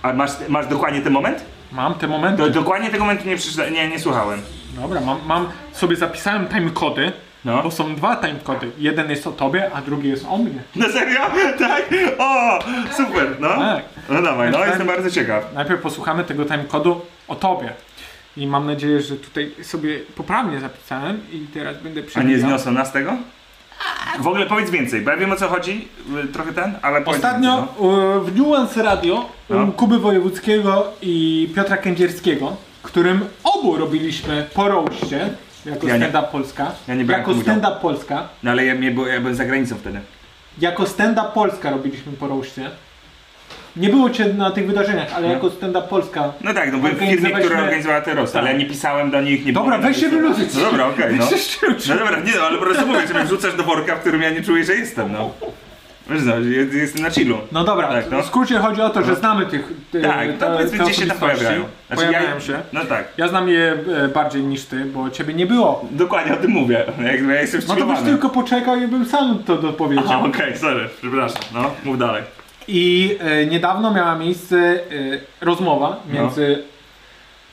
D: A masz, masz dokładnie ten moment?
F: Mam te momenty.
D: Do, dokładnie tego momentu nie, przeczyta- nie, nie słuchałem.
F: Dobra, mam, mam sobie zapisałem timecody,
D: No.
F: Bo są dwa timecody. Jeden jest o tobie, a drugi jest o mnie.
D: [LAUGHS] Na serio? Tak? O! Super, no.
F: Tak.
D: No dawaj, no
F: Tak.
D: jestem bardzo ciekaw.
F: Najpierw posłuchamy tego timecodu o tobie. I mam nadzieję, że tutaj sobie poprawnie zapisałem i teraz będę
D: A nie
F: przewijał.
D: zniosą nas tego? W ogóle powiedz więcej, bo ja wiem o co chodzi, y, trochę ten, ale powiedz
F: Ostatnio
D: więcej,
F: e, w Nuance Radio
D: No.
F: u Kuby Wojewódzkiego i Piotra Kędzierskiego, którym obu robiliśmy po roście, jako
D: Ja nie-
F: stand-up Polska,
D: ja nie brałem
F: jako
D: w tym
F: stand-up Polska,
D: no. no ale ja, mnie, bo ja byłem za granicą wtedy.
F: jako stand-up Polska robiliśmy po roście. Nie było cię na tych wydarzeniach, ale
D: No.
F: jako stand-up Polska
D: No tak, no byłem w firmie,
F: Organizowaliśmy-
D: która organizowała te rosty, ale ja nie pisałem do nich, nie
F: Dobra,
D: było
F: weź się
D: napisów.
F: wyluzuj.
D: No dobra, okej, no.
F: Szczerze.
D: No dobra, nie, no, ale po prostu mówię, że mnie wrzucasz do worka, w którym ja nie czuję, że jestem, no. Wiesz, no, jest- jestem na chillu.
F: [LAUGHS] No dobra,
D: Tak, no.
F: w skrócie chodzi o to, że znamy tych e, te,
D: Tak, to powiedzmy, gdzie się tam
F: osobistości.
D: pojawiają. Znaczy,
F: pojawiają
D: ja,
F: się.
D: No tak,
F: Ja znam je e, bardziej niż ty, bo ciebie nie było.
D: dokładnie o tym mówię, [LAUGHS] jak, ja jestem
F: No to byś
D: wstrzymywany.
F: tylko poczekał i bym sam to dopowiedział.
D: Aha, okej, sorry, przepraszam, no, mów dalej.
F: I e, niedawno miała miejsce e, rozmowa
D: No.
F: między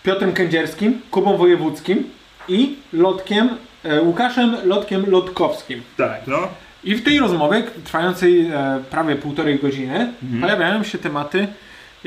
F: Piotrem Kędzierskim, Kubą Wojewódzkim i Lotkiem, e, Łukaszem Lotkiem Lotkowskim.
D: Tak, no.
F: I w tej rozmowie, k- trwającej e, prawie półtorej godziny,
D: Mhm.
F: pojawiają się tematy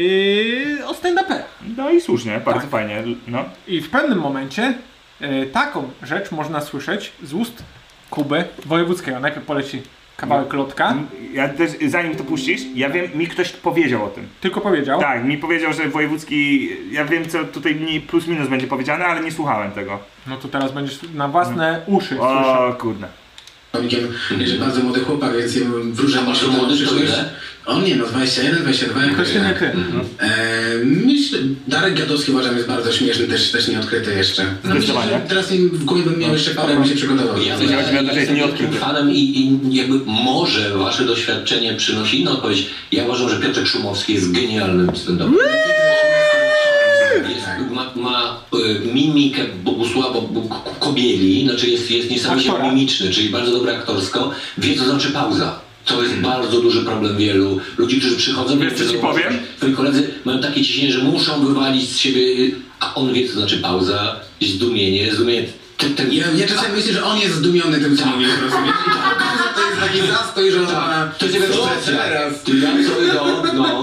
F: e, o stand-uperach.
D: No i słusznie, bardzo
F: Tak.
D: fajnie, no.
F: I w pewnym momencie e, taką rzecz można słyszeć z ust Kuby Wojewódzkiego. Najpierw poleci
D: No.
F: kawałek lotka,
D: Ja też, zanim to puścisz, ja wiem, mi ktoś powiedział o tym.
F: tylko powiedział.
D: Tak, mi powiedział, że wojewódzki, ja wiem co tutaj mniej plus minus będzie powiedziane, ale nie słuchałem tego.
F: No to teraz będziesz na własne
D: No.
F: uszy słyszał.
D: O kurde.
I: Robikiem, że bardzo młody chłopak, więc ja wróżę masz młody przyszłość. On nie no, 21, 22 jakoś
F: Właśnie nie
I: tak.
F: ty.
I: E, myślę, Darek Gadowski uważam jest bardzo śmieszny, też, też nieodkryty jeszcze. No myślę, że
D: Zdecydowanie.
I: teraz im w głowie bym miał jeszcze parę, bym się przygotował.
J: Ja,
D: sensie chodzi mi o to, że jest
J: jestem
D: nieodkryty.
J: wielkim fanem i, i jakby może wasze doświadczenie przynosi inną odpowiedź. Ja uważam, że Piotr Szumowski jest genialnym stand jest, ma, ma y, mimikę Bogusława Bóg- Kobieli, znaczy jest, jest niesamowicie
F: Aktora.
J: mimiczny, czyli bardzo dobry aktorsko, wie co znaczy pauza. To jest bardzo duży problem wielu ludzi, którzy przychodzą...
D: Mhm. Wiesz, co ci powiem?
J: Twoi koledzy mają takie ciśnienie, że muszą wywalić z siebie, y, a on wie co znaczy pauza, zdumienie, zdumienie... Ten, ten,
I: Ja, ja czasami myślę, że on jest zdumiony tym, co mówi, rozumiesz? I ta okaza to jest taki zastoj, że on ma...
J: Tak. To jest jakaś
I: Co
J: presja.
I: teraz?
J: Ty, ja sobie no, no.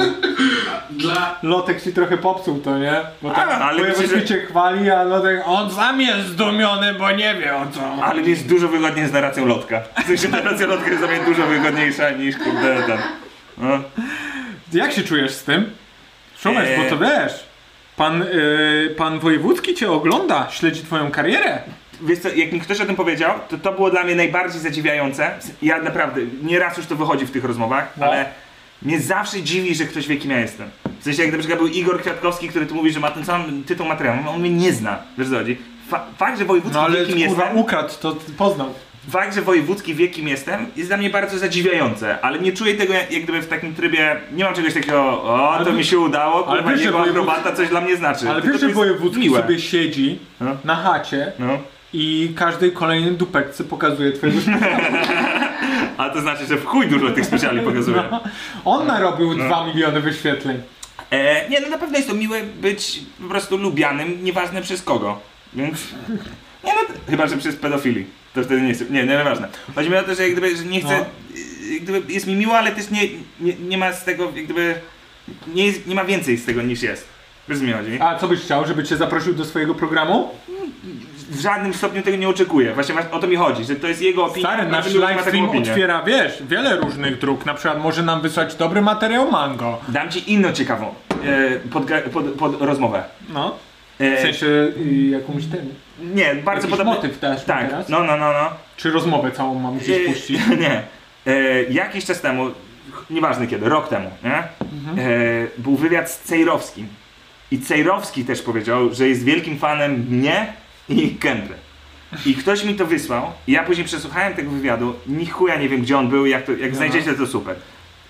I: Dla...
F: Lotek ci trochę popsuł to, nie? Bo tak
D: A, ale myślę,
F: Wojewódzki
D: że-
F: cię chwali, a Lotek on sam jest zdumiony, bo nie wie o co.
D: Ale mi jest dużo wygodniej z narracją lotka. W sensie narracja lotka jest dla mnie dużo wygodniejsza niż kurde ten. No.
F: Jak się czujesz z tym? Szumasz,
D: Eee.
F: bo to wiesz. Pan, y, pan Wojewódzki cię ogląda, śledzi twoją karierę.
D: Wiesz co, jak mi ktoś o tym powiedział, to to było dla mnie najbardziej zadziwiające. Ja naprawdę, nieraz już to wychodzi w tych rozmowach,
F: No.
D: ale mnie zawsze dziwi, że ktoś wie kim ja jestem. W sensie jak na przykład był Igor Kwiatkowski, który tu mówi, że ma ten sam tytuł materiału, on mnie nie zna, wiesz co chodzi. Fa- fakt, że Wojewódzki
F: No ale
D: wie kim
F: kurwa
D: jestem,
F: ukradł, to poznał.
D: fakt, że wojewódzki wie kim jestem, jest dla mnie bardzo zadziwiające, ale nie czuję tego jak, jak gdyby w takim trybie, nie mam czegoś takiego, o, to mi się udało,
F: ale
D: kurwa,
F: wiesz, że
D: jego
F: wojewódzki-
D: akrobata coś dla mnie znaczy.
F: Ale
D: Tylko
F: wiesz,
D: to
F: że
D: jest
F: wojewódzki
D: miłe.
F: sobie siedzi
D: No.
F: na chacie
D: No,
F: i każdej kolejnej dupeczce pokazuje [LAUGHS] twojego
D: a to znaczy, że w chuj dużo tych specjali
F: No.
D: pokazuje.
F: On narobił 2 miliony wyświetleń.
D: E, nie, no na pewno jest to miłe być po prostu lubianym, nieważne przez kogo. Więc. Nie, no, t- chyba, że przez pedofili. To wtedy nie jest. Nie, nie, nieważne. Chodzi mi o to, że, jak gdyby, że nie chcę.
F: No.
D: e, Jak gdyby jest mi miło, ale też nie, nie, nie ma z tego, jak gdyby. Nie, jest, nie ma więcej z tego niż jest. Wiesz, co mi chodzi?
F: A co byś chciał, żeby cię zaprosił do swojego programu?
D: W żadnym stopniu tego nie oczekuję. Właśnie wa- o to mi chodzi, że to jest jego opinia.
F: Stary,
D: a
F: nasz
D: żeby miał
F: live
D: taką
F: stream
D: opinię.
F: otwiera, wiesz, wiele różnych dróg. Na przykład może nam wysłać dobry materiał mango.
D: Dam ci inną ciekawą e, podga- pod, pod rozmowę.
F: No. W
D: E,
F: sensie y, jakąś ten.
D: nie, bardzo
F: jakiś
D: podobny.
F: motyw też
D: Tak,
F: teraz.
D: no, no, no, no.
F: Czy rozmowę całą mam
D: E,
F: gdzieś puścić?
D: [LAUGHS] Nie. E, jakiś czas temu, ch- nieważne kiedy, rok temu, nie? E, był wywiad z Cejrowskim. I Cejrowski też powiedział, że jest wielkim fanem mnie i Kendry. I ktoś mi to wysłał, i ja później przesłuchałem tego wywiadu, ni chuja nie wiem gdzie on był, jak, to, jak znajdziecie to super.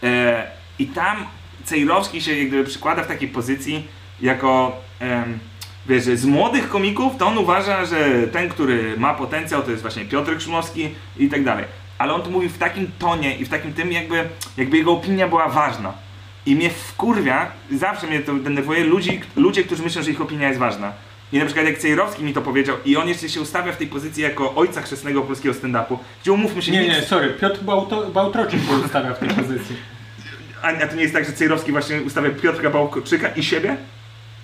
D: E, I tam Cejrowski się jak gdyby przykłada w takiej pozycji jako, em, wiesz, że z młodych komików to on uważa, że ten, który ma potencjał to jest właśnie Piotrek Szumowski i tak dalej. Ale on to mówił w takim tonie i w takim tym jakby, jakby jego opinia była ważna. I mnie wkurwia, zawsze mnie to denerwuje, ludzi, ludzie, którzy myślą, że ich opinia jest ważna. I na przykład jak Cejrowski mi to powiedział i on jeszcze się ustawia w tej pozycji jako ojca chrzestnego polskiego stand-upu, gdzie umówmy się,
F: Nie,
D: nic-
F: nie, sorry, Piotr Bałto- Bałtroczyk się ustawia w tej pozycji.
D: A, a to nie jest tak, że Cejrowski właśnie ustawia Piotra Bałkoczyka i siebie?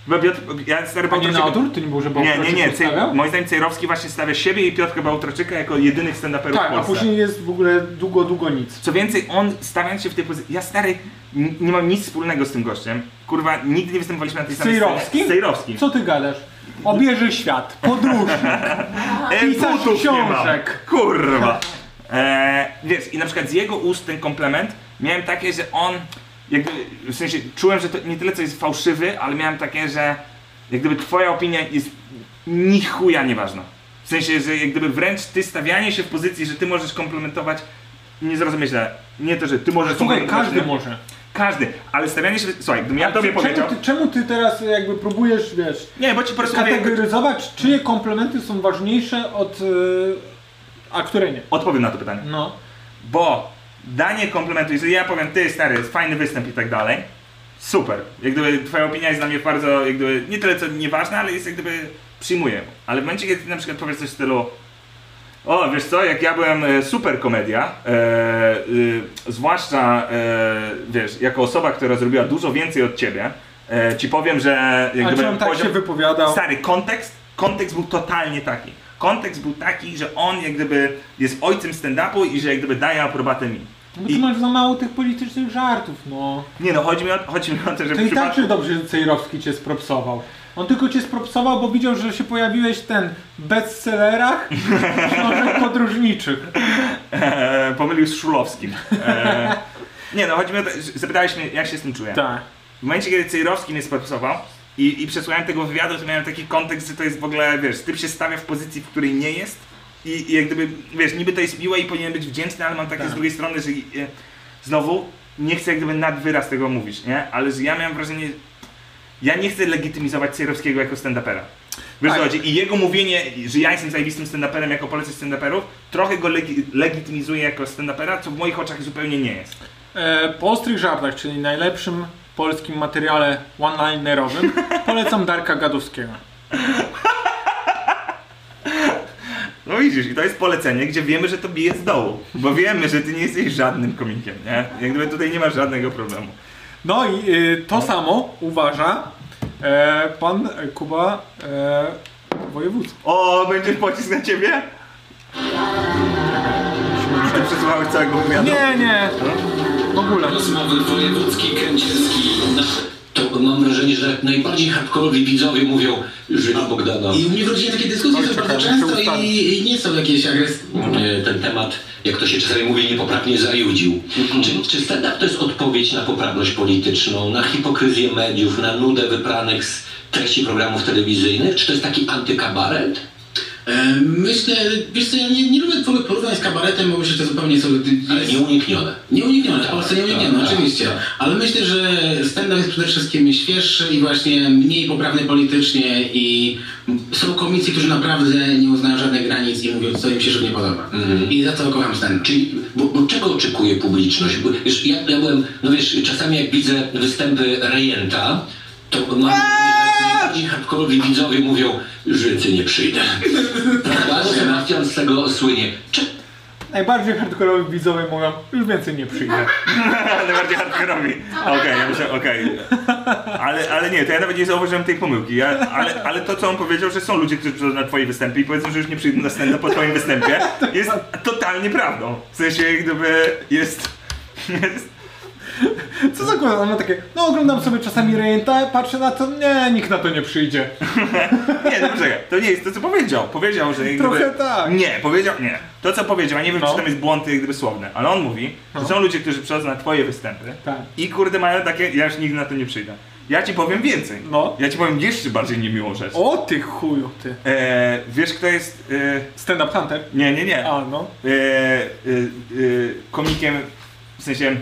D: Bo Piotr, ja stary
F: A nie
D: Bałkoczyk...
F: na odwrót? To nie było, że
D: Nie,
F: Bałtroczyk
D: nie, nie. Cej,
F: ustawiał?
D: moim zdaniem Cejrowski właśnie stawia siebie i Piotrka Bałtroczyka jako jedynych stand-uperów
F: Tak,
D: w
F: a
D: Polsce.
F: później jest w ogóle długo, długo nic.
D: Co więcej, on stawiając się w tej pozycji... Ja stary, n- nie mam nic wspólnego z tym gościem. Kurwa, nigdy nie występowaliśmy na tej samej
F: Cejrowskim?
D: Z Cejrowskim.
F: Co ty gadasz? Obieży świat,
D: [LAUGHS]
F: podróżnik,
D: E,
F: pisarz
D: butów nie mam.
F: książek.
D: Kurwa. E, wiesz, i na przykład z jego ust ten komplement miałem takie, że on jakby, w sensie czułem, że to nie tyle co jest fałszywy, ale miałem takie, że jak gdyby twoja opinia jest ni chuja nieważna. W sensie, że jak gdyby wręcz ty stawianie się w pozycji, że ty możesz komplementować, nie zrozumiesz źle. Nie to, że ty możesz
F: Słuchaj,
D: komplementować,
F: każdy
D: nie?
F: może.
D: Każdy, ale stawianie się, słuchaj, gdybym ja tobie powiedział,
F: czemu, ty, czemu ty teraz jakby próbujesz, wiesz,
D: nie, bo ci po prostu mówię,
F: kategoryzować, czyje komplementy są ważniejsze od... y, a które nie?
D: odpowiem na to pytanie.
F: No.
D: bo danie komplementu, jeżeli ja powiem, ty stary, jest fajny występ i tak dalej, super. Jak gdyby twoja opinia jest dla mnie bardzo, jak gdyby, nie tyle co nieważna, ale jest jak gdyby, przyjmuję. Ale w momencie, kiedy ty na przykład powiesz coś w stylu, o, wiesz co, jak ja byłem e, super komedia, e, y, zwłaszcza, e, wiesz, jako osoba, która zrobiła dużo więcej od ciebie, e, ci powiem, że jak
F: A
D: gdyby
F: czy on tak
D: poziom-
F: się wypowiadał?
D: Stary, kontekst, kontekst był totalnie taki. Kontekst był taki, że on jak gdyby jest ojcem stand-upu i że jak gdyby daje aprobatę mi.
F: No Bo ty
D: I,
F: masz za mało tych politycznych żartów, no.
D: nie no, chodzi mi o, chodzi mi o to, że w
F: To i tak
D: przypadku...
F: czy dobrze że Cejrowski cię spropsował. On tylko cię spropsował, bo widział, że się pojawiłeś ten w bestsellerach książek podróżniczych. tak-
D: E, [LAUGHS] pomylił z Szulowskim. E, nie no, chodzi mi o to, że zapytałeś mnie, jak się z tym czuję.
F: [LAUGHS] Tak.
D: W momencie, kiedy Cejrowski mnie spoksował i, i przesłuchałem tego wywiadu, to miałem taki kontekst, że to jest w ogóle, wiesz, typ się stawia w pozycji, w której nie jest i, i jak gdyby, wiesz, niby to jest miłe i powinien być wdzięczny, ale mam takie z drugiej strony, że e, znowu nie chcę jak gdyby nad wyraz tego mówić, nie? Ale że ja miałem wrażenie, ja nie chcę legitymizować Cejrowskiego jako stand-upera. Wiesz, co
F: Tak.
D: chodzi? I jego mówienie, że ja jestem zajebistym stand-uperem jako polecę stand-uperów, trochę go legi- legitymizuje jako stand-upera, co w moich oczach zupełnie nie jest.
F: E, po ostrych żartach, czyli najlepszym polskim materiale one-linerowym, polecam Darka Gadowskiego.
D: No widzisz, i to jest polecenie, gdzie wiemy, że to bije z dołu, bo wiemy, że ty nie jesteś żadnym komikiem, nie? Jak gdyby tutaj nie ma żadnego problemu.
F: No i y, to samo uważa e, pan Kuba e, Wojewódzki.
D: O, będziesz pocisk na ciebie? Ty przesłuchałeś całego wywiadu?
F: Nie, nie. W ogóle.
J: Rozmowy wojewódzki, kędzierski.
I: To mam wrażenie, że
J: Najbardziej hardkorowi widzowie mówią, że Bogdana.
I: i u mnie w rodzinie takie dyskusje są bardzo często i, i nie są jakieś agresywne.
J: E, ten temat, jak to się czasami mówi, niepoprawnie zajudził.
I: Mhm.
J: Czy, czy stand-up to jest odpowiedź na poprawność polityczną, na hipokryzję mediów, na nudę wypranych z treści programów telewizyjnych? Czy to jest taki antykabaret?
I: E, Myślę, wiesz co, ja nie, nie lubię twoich porównań z kabaretem, bo myślę, że to zupełnie są...
J: Ale nieuniknione.
I: Nieuniknione, w Polsce nieuniknione,
J: Tak, tak,
I: oczywiście. Ale myślę, że stand-up jest przede wszystkim świeższy i właśnie mniej poprawny politycznie i są komicy, którzy naprawdę nie uznają żadnych granic i mówią, co im się żywnie podoba.
J: Mhm.
I: I za to kocham stand-up.
J: Czyli, bo, bo czego oczekuje publiczność? Bo, wiesz, ja, ja byłem, no wiesz, czasami jak widzę występy Rejenta, to mam wrażenie, że najbardziej hardkorowi widzowie mówią, że nie przyjdę. Prawda? Sebastian z tego słynie. Czy,
F: Najbardziej hardkorowi widzowie mówią, już więcej nie przyjdę.
D: [LAUGHS] Najbardziej hardkorowi. Okej, ja myślę, okej. Ale, ale nie, to ja nawet nie zauważyłem tej pomyłki. Ja, ale, ale to, co on powiedział, że są ludzie, którzy przychodzą na twoje występy i powiedzą, że już nie przyjdą na stand po twoim występie, jest totalnie prawdą. W sensie, jak gdyby jest... [LAUGHS] jest
F: [LAUGHS] Co za kurwa? Ona takie, no oglądam sobie czasami rejenta, patrzę na to, nie, nikt na to nie przyjdzie.
D: Nie, no czekaj, to nie jest to, co powiedział. Powiedział, że. jakby-
F: Trochę tak.
D: Nie, powiedział. Nie. To, co powiedział, ja nie wiem,
F: No.
D: czy tam jest błąd, jak gdyby słowny, ale on mówi, że są ludzie, którzy przychodzą na Twoje występy
F: Tak.
D: i kurde mają takie, ja już nigdy na to nie przyjdę. Ja ci powiem więcej.
F: No.
D: Ja ci powiem jeszcze bardziej niemiłą rzecz.
F: O ty chuju, ty.
D: E, wiesz, kto jest. E,
F: Stand-up hunter?
D: nie, nie, nie.
F: A, no.
D: E, e, e, komikiem, w sensie.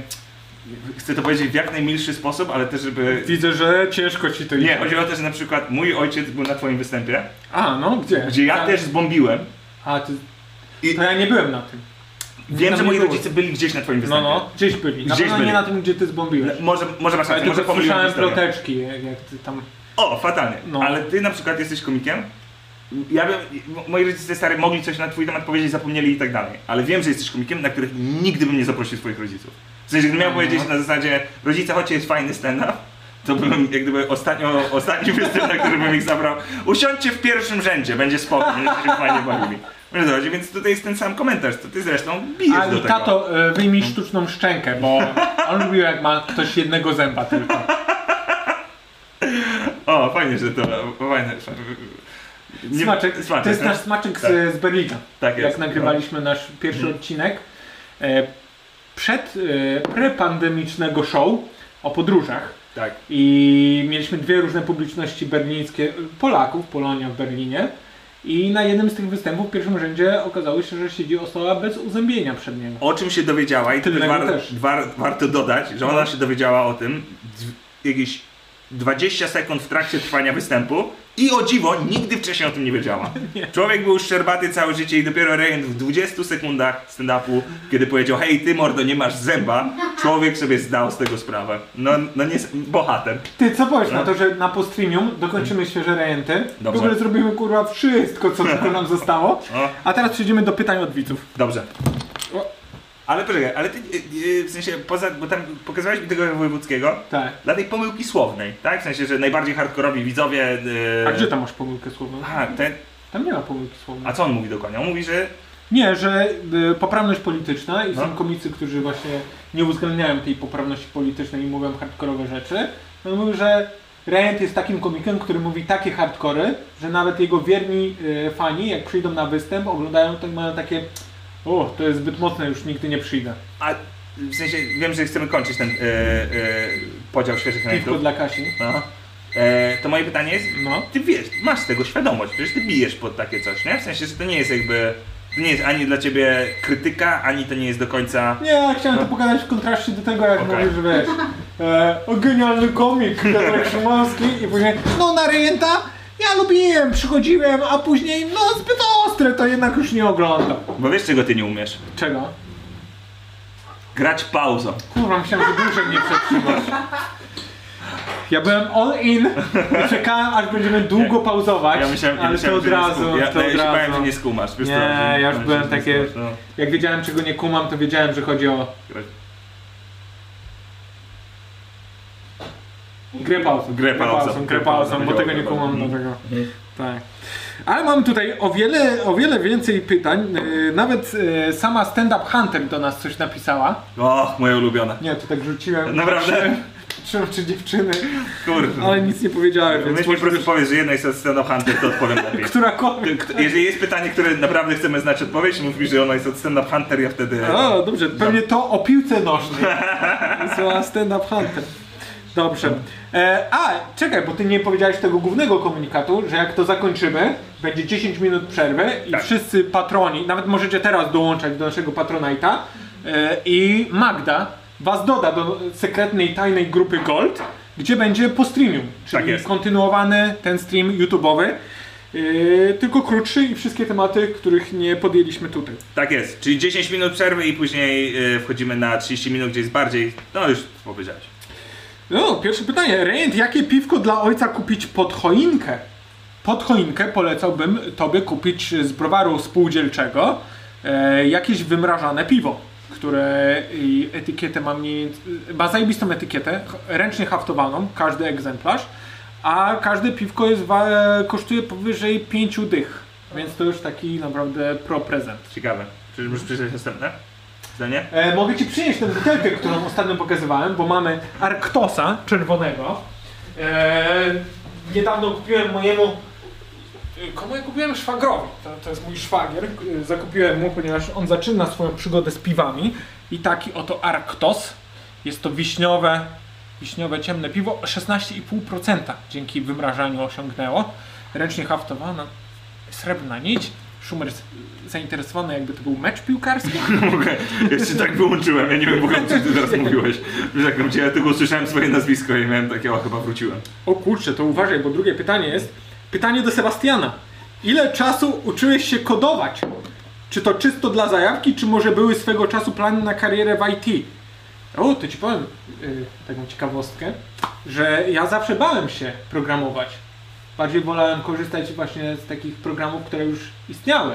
D: Chcę to powiedzieć w jak najmilszy sposób, ale też, żeby.
F: Widzę, że ciężko ci to
D: Nie,
F: idzie.
D: chodzi o to, że na przykład mój ojciec był na Twoim występie,
F: A, no, gdzie?
D: gdzie ja
F: A-
D: też zbombiłem.
F: A, ty...
D: I-
F: To ja nie byłem na tym.
D: Wiem,
F: Tam
D: że
F: nie
D: moi
F: było.
D: rodzice byli gdzieś na twoim
F: No,
D: występie.
F: no, gdzieś byli. Na
D: Gdzieś
F: pewno
D: byli.
F: nie na tym, gdzie ty
D: Le-
F: zbombiłeś.
D: Może, może masz
F: Ale
D: rację, może
F: tylko
D: pomyliłem
F: słyszałem
D: historię.
F: ploteczki, jak, jak ty tam
D: O, fatalnie.
F: No.
D: Ale ty na przykład jesteś komikiem? Ja wiem, m- moi rodzice stary mogli coś na twój temat powiedzieć, zapomnieli i tak dalej. Ale wiem, że jesteś komikiem, na których nigdy bym nie zaprosił swoich rodziców. W sensie,
F: No,
D: gdybym miał powiedzieć na zasadzie, rodzice, chodźcie, jest fajny stand-up, to bym jak gdyby ostatnio, ostatni [LAUGHS] występ, na który bym ich zabrał, usiądźcie w pierwszym rzędzie, będzie spokój, będziecie się fajnie bawili. Wiesz, o co chodzi? Więc tutaj jest ten sam komentarz, to ty zresztą bijesz do
F: Ale
D: tego.
F: tato, e, wyjmij sztuczną szczękę, bo on lubił jak ma ktoś jednego zęba tylko.
D: O, fajnie, że to, fajne. fajne. Nie-
F: Smaczek, to jest
D: no.
F: nasz smaczek
D: Tak.
F: z, z Berlina.
D: Tak jest, Mhm.
F: Jak nagrywaliśmy nasz pierwszy odcinek e, przed e, prepandemicznego show o podróżach.
D: Tak.
F: I mieliśmy dwie różne publiczności berlińskie, Polaków, Polonia w Berlinie. I na jednym z tych występów w pierwszym rzędzie okazało się, że siedzi osoba bez uzębienia przedniego.
D: O czym się dowiedziała i to
F: Tylnego
D: war,
F: też. No.
D: war, warto dodać, że ona się dowiedziała o tym dw- jakieś 20 sekund w trakcie trwania występu i o dziwo nigdy wcześniej o tym nie
F: [LAUGHS]
D: wiedziała. Człowiek był szczerbaty całe życie i dopiero Rejent w 20 sekundach stand-upu, kiedy powiedział hej ty mordo nie masz zęba, człowiek sobie zdał z tego sprawę. No, no nie, bohater.
F: Ty co powiesz na to, że na postrimium dokończymy świeże rejenty, w
D: No. Mm. Dobrze.
F: ogóle zrobimy kurwa wszystko, co tylko nam
D: [LAUGHS]
F: zostało,
D: O.
F: a teraz przejdziemy do pytań od widzów.
D: Dobrze. Ale poczekaj, ale ty y, y, w sensie poza, bo tam pokazywałeś mi tego wojewódzkiego,
F: Tak.
D: dla tej pomyłki słownej, tak? W sensie, że najbardziej hardkorowi widzowie... Yy...
F: A gdzie tam masz pomyłkę słowną?
D: Aha, ten...
F: Tam nie ma pomyłki słownej.
D: A co on mówi do konia? On mówi, że...
F: Nie, że y, poprawność polityczna i
D: No.
F: są komicy, którzy właśnie nie uwzględniają tej poprawności politycznej i mówią hardkorowe rzeczy. No i mówił, że Rejent jest takim komikiem, który mówi takie hardkory, że nawet jego wierni y, fani, jak przyjdą na występ, oglądają to i mają takie o, to jest zbyt mocne, już nigdy nie przyjdę.
D: A w sensie, wiem, że chcemy kończyć ten yy, yy, podział świeżych
F: Piwko
D: elementów.
F: dla Kasi.
D: No. E, to moje pytanie jest,
F: No.
D: ty wiesz, masz tego świadomość, przecież ty bijesz pod takie coś, nie? W sensie, że to nie jest jakby... To nie jest ani dla ciebie krytyka, ani to nie jest do końca...
F: Nie, ja chciałem to pokazać w kontraście do tego, jak
D: Okej.
F: mówisz, że wiesz, e, o genialny komik [LAUGHS] Piotrek Szymanski i później, no na rejenta ja lubiłem, przychodziłem, a później, no zbyt ostre, to jednak już nie oglądam.
D: Bo wiesz, czego ty nie umiesz?
F: Czego?
D: Grać pauzą.
F: Kurwa, myślałem, że dłużej mnie przetrzymasz. Ja byłem all in [LAUGHS] i czekałem, aż będziemy długo pauzować,
D: Ja myślałem, ja
F: ale
D: myślałem
F: to
D: że
F: od
D: nie
F: razu,
D: skum- ja,
F: to
D: ja
F: od
D: się bałem,
F: razu.
D: że nie skumasz. Wiesz,
F: Nie,
D: co, że-
F: ja
D: bałem
F: już
D: się,
F: byłem
D: że nie
F: takie-
D: skumasz, no.
F: Jak wiedziałem, czego nie kumam, to wiedziałem, że chodzi o Grę pauzą.
D: Grę pauzą.
F: Grę pauzą, bo
D: Grę
F: tego nie
D: pauzą.
F: kumam nowego. Tak. Ale mam tutaj o wiele, o wiele więcej pytań. Yy, Nawet yy, sama Stand Up Hunter do nas coś napisała.
D: no. O, moje ulubione.
F: Nie, to tak rzuciłem.
D: Naprawdę?
F: Patrzyłem, czy dziewczyny,
D: Kurde.
F: ale nic nie powiedziałem, więc
D: Więc mi po
F: może
D: prostu powiesz, że jedno jest od of Hunter, to odpowiem lepiej.
F: którakolwiek.
D: [LAUGHS] Kto- Jeżeli jest pytanie, które naprawdę chcemy znać odpowiedź, mów mi, że ono jest od stand-up Hunter, ja wtedy...
F: O, dobrze, pewnie to o piłce nożnej. [LAUGHS] Wysłała Stand Up Hunter. Dobrze. E, a, czekaj, bo ty nie powiedziałeś tego głównego komunikatu, że jak to zakończymy, będzie 10 minut przerwy i
D: Tak.
F: wszyscy patroni, nawet możecie teraz dołączać do naszego Patronite'a e, i Magda was doda do sekretnej, tajnej grupy Gold, gdzie będzie po streamium,
D: Tak
F: czyli
D: jest.
F: kontynuowany ten stream YouTube'owy, e, tylko krótszy i wszystkie tematy, których nie podjęliśmy tutaj.
D: Tak jest, czyli 10 minut przerwy i później y, wchodzimy na 30 minut, gdzie jest bardziej... No już powiedziałeś.
F: No, pierwsze pytanie. Rejent, jakie piwko dla ojca kupić pod choinkę? Pod choinkę polecałbym tobie kupić z browaru spółdzielczego e, jakieś wymrażane piwo, które i etykietę ma mniej... ma zajebistą etykietę, ch- ręcznie haftowaną, każdy egzemplarz, a każde piwko jest, wa- kosztuje powyżej 5 dych, więc to już taki naprawdę pro prezent.
D: Ciekawe. Czy możesz przeczytać następne? Zdanie? [LAUGHS]
F: E, mogę ci przynieść tę butelkę, którą ostatnio pokazywałem, bo mamy Arktosa czerwonego. E, niedawno kupiłem mojemu. e, Komu ja kupiłem? Szwagrowi. To, to jest mój szwagier. E, Zakupiłem mu, ponieważ on zaczyna swoją przygodę z piwami. I taki oto Arktos. Jest to wiśniowe, wiśniowe ciemne piwo. 16,5% dzięki wymrażaniu osiągnęło. Ręcznie haftowana, srebrna nić. Szumer jest zainteresowany, jakby to był mecz piłkarski.
D: Mogę. Ja się tak wyłączyłem, ja nie wiem w ogóle, co ty teraz mówiłeś. Wiesz, jak ja tylko usłyszałem swoje nazwisko i miałem takie, o chyba wróciłem.
F: O kurczę, to uważaj, bo drugie pytanie jest. Pytanie do Sebastiana. Ile czasu uczyłeś się kodować? Czy to czysto dla zajawki, czy może były swego czasu plany na karierę w IT? O, to ci powiem y, taką ciekawostkę, że ja zawsze bałem się programować. Bardziej wolałem korzystać właśnie z takich programów, które już istniały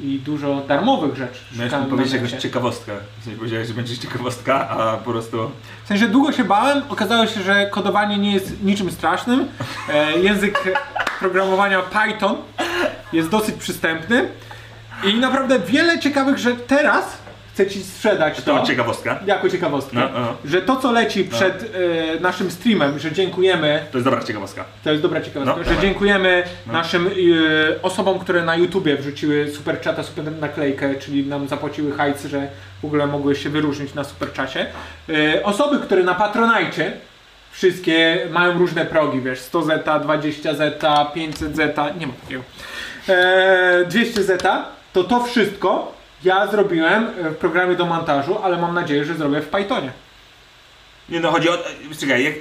F: i dużo darmowych rzeczy.
D: Miałeś
F: szukałem
D: mi No
F: na
D: powiedzieć
F: necie.
D: jakąś ciekawostkę. W sensie powiedziałeś, że będziesz ciekawostka, a po prostu...
F: W sensie długo się bałem, okazało się, że kodowanie nie jest niczym strasznym. E, język programowania Python jest dosyć przystępny i naprawdę wiele ciekawych rzeczy teraz chcę ci sprzedać
D: To
F: to.
D: ciekawostka. To
F: jako ciekawostkę,
D: No, no.
F: że to co leci przed e, naszym streamem, że dziękujemy,
D: jest dobra ciekawostka.
F: to jest dobra ciekawostka,
D: No,
F: że
D: dawaj.
F: dziękujemy naszym e, osobom, które na YouTubie wrzuciły super czata, super naklejkę, czyli nam zapłaciły hajs, że w ogóle mogły się wyróżnić na super czasie. E, osoby, które na Patronajcie wszystkie mają różne progi, wiesz, 100 zeta, 20 zeta, 500 zeta, nie ma takiego. E, 200 zeta, to to wszystko ja zrobiłem e, w programie do montażu, ale mam nadzieję, że zrobię w Pythonie.
D: Nie no, chodzi o... Czekaj, jak,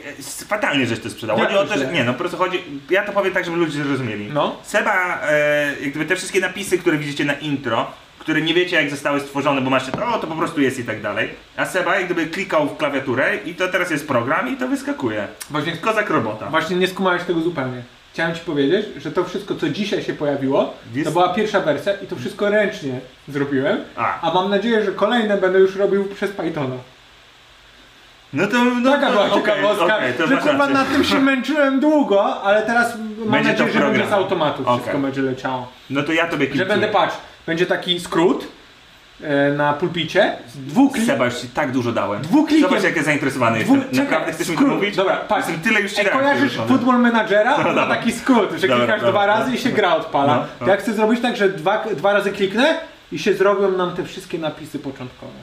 D: fatalnie żeś to sprzedał.
F: Jak
D: Chodzi o to,
F: źle?
D: że... Nie no, po prostu chodzi... Ja to powiem tak, żeby ludzie zrozumieli.
F: No.
D: Seba, e, jak gdyby te wszystkie napisy, które widzicie na intro, które nie wiecie jak zostały stworzone, bo macie to, o, to po prostu jest i tak dalej. A Seba jak gdyby klikał w klawiaturę i to teraz jest program i to wyskakuje.
F: Właśnie
D: Kozak robota.
F: Właśnie nie skumałeś tego zupełnie. Chciałem ci powiedzieć, że to wszystko, co dzisiaj się pojawiło,
D: Jest-
F: to była pierwsza wersja i to wszystko ręcznie zrobiłem.
D: A.
F: A mam nadzieję, że kolejne będę już robił przez Pythona.
D: No to... No,
F: Taka
D: to-
F: była
D: okej,
F: ciekawostka,
D: okej, to
F: że
D: masz
F: kurwa
D: rację.
F: nad tym się męczyłem długo, ale teraz
D: Będzie to
F: mam nadzieję, że
D: program.
F: będzie z automatu
D: Okej.
F: wszystko będzie leciało.
D: No to ja tobie
F: Że
D: klicuję.
F: będę, patrz, będzie taki skrót e, na pulpicie, dwuklik,
D: Seba, już ci tak dużo dałem.
F: Dwuklikiem.
D: Zobacz, jak ja zainteresowany
F: Dwu-
D: jestem.
F: czekaj,
D: Naprawdę chcesz mi to
F: skrót.
D: mówić?
F: Dobra, patrz.
D: Jestem tyle już ci
F: Ej,
D: dałem.
F: kojarzysz
D: kurwa.
F: Football
D: [LAUGHS]
F: Managera? On ma
D: dobra.
F: taki skrót, że
D: No, Dobra,
F: klikasz
D: dobra,
F: dwa
D: dobra.
F: razy i się gra odpala.
D: No,
F: To
D: no.
F: Ja chcę zrobić tak, że dwa, dwa razy kliknę i się zrobią nam te wszystkie napisy początkowe.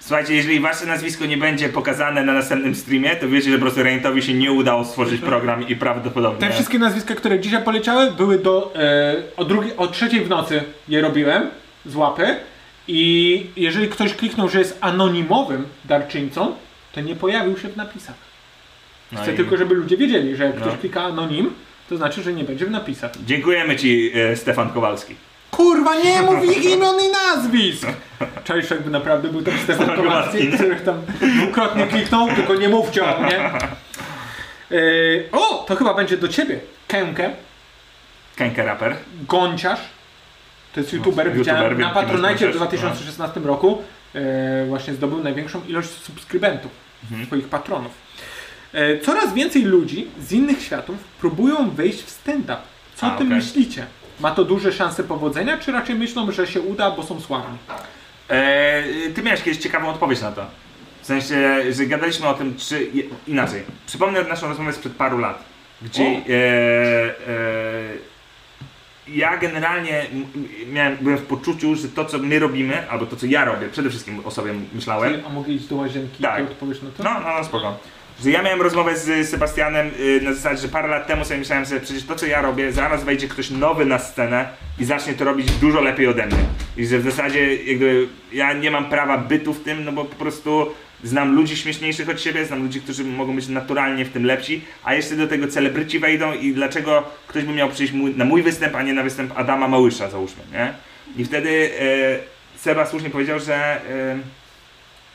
D: Słuchajcie, jeżeli wasze nazwisko nie będzie pokazane na następnym streamie, to wiecie, że po prostu Rejntowi się nie udało stworzyć program i prawdopodobnie...
F: Tak. Te wszystkie nazwiska, które dzisiaj poleciały, były do. E, o, drugiej, o trzeciej w nocy je robiłem z łapy. I jeżeli ktoś kliknął, że jest anonimowym darczyńcą, to nie pojawił się w napisach.
D: No
F: Chcę
D: i-
F: tylko, żeby ludzie wiedzieli, że jak
D: No.
F: ktoś klika anonim, to znaczy, że nie będzie w napisach.
D: Dziękujemy ci, e, Stefan Kowalski.
F: Kurwa, nie mów ich imion i nazwisk! Czaisz, jakby naprawdę był tam Stefan Kowalski,
D: Kowalski.
F: których tam dwukrotnie kliknął, tylko nie mówcie o mnie. Yy, o, to chyba będzie do ciebie. Kękę,
D: Kenke Raper.
F: Gąciarz, to jest youtuber,
D: No, YouTuber,
F: widziałem
D: wiem,
F: na
D: kim jest
F: Patronite w
D: Gąciarz,
F: 2016 roku yy, właśnie zdobył największą ilość subskrybentów,
D: Mhm.
F: swoich patronów. Yy, coraz więcej ludzi z innych światów próbują wejść w stand-up. Co
D: A,
F: o tym
D: okej.
F: myślicie? Ma to duże szanse powodzenia, czy raczej myślą, że się uda, bo są sławni?
D: Tak. E, ty miałeś kiedyś ciekawą odpowiedź na to. W sensie, że gadaliśmy o tym, czy. je- inaczej. Przypomnę naszą rozmowę sprzed paru lat, gdzie. E, e, ja generalnie m- m- miałem, byłem w poczuciu, że to, co my robimy, albo to, co ja robię, przede wszystkim o sobie myślałem,
F: A mogę iść do łazienki
D: Tak.
F: i ty odpowiesz na to?
D: No, no, no spoko. Że ja miałem rozmowę z Sebastianem y, na zasadzie, że parę lat temu sobie myślałem sobie, przecież to co ja robię, zaraz wejdzie ktoś nowy na scenę i zacznie to robić dużo lepiej ode mnie. I że w zasadzie jakby ja nie mam prawa bytu w tym, no bo po prostu znam ludzi śmieszniejszych od siebie, znam ludzi, którzy mogą być naturalnie w tym lepsi, a jeszcze do tego celebryci wejdą i dlaczego ktoś by miał przyjść mój, na mój występ, a nie na występ Adama Małysza załóżmy, nie? I wtedy y, Seba słusznie powiedział, że...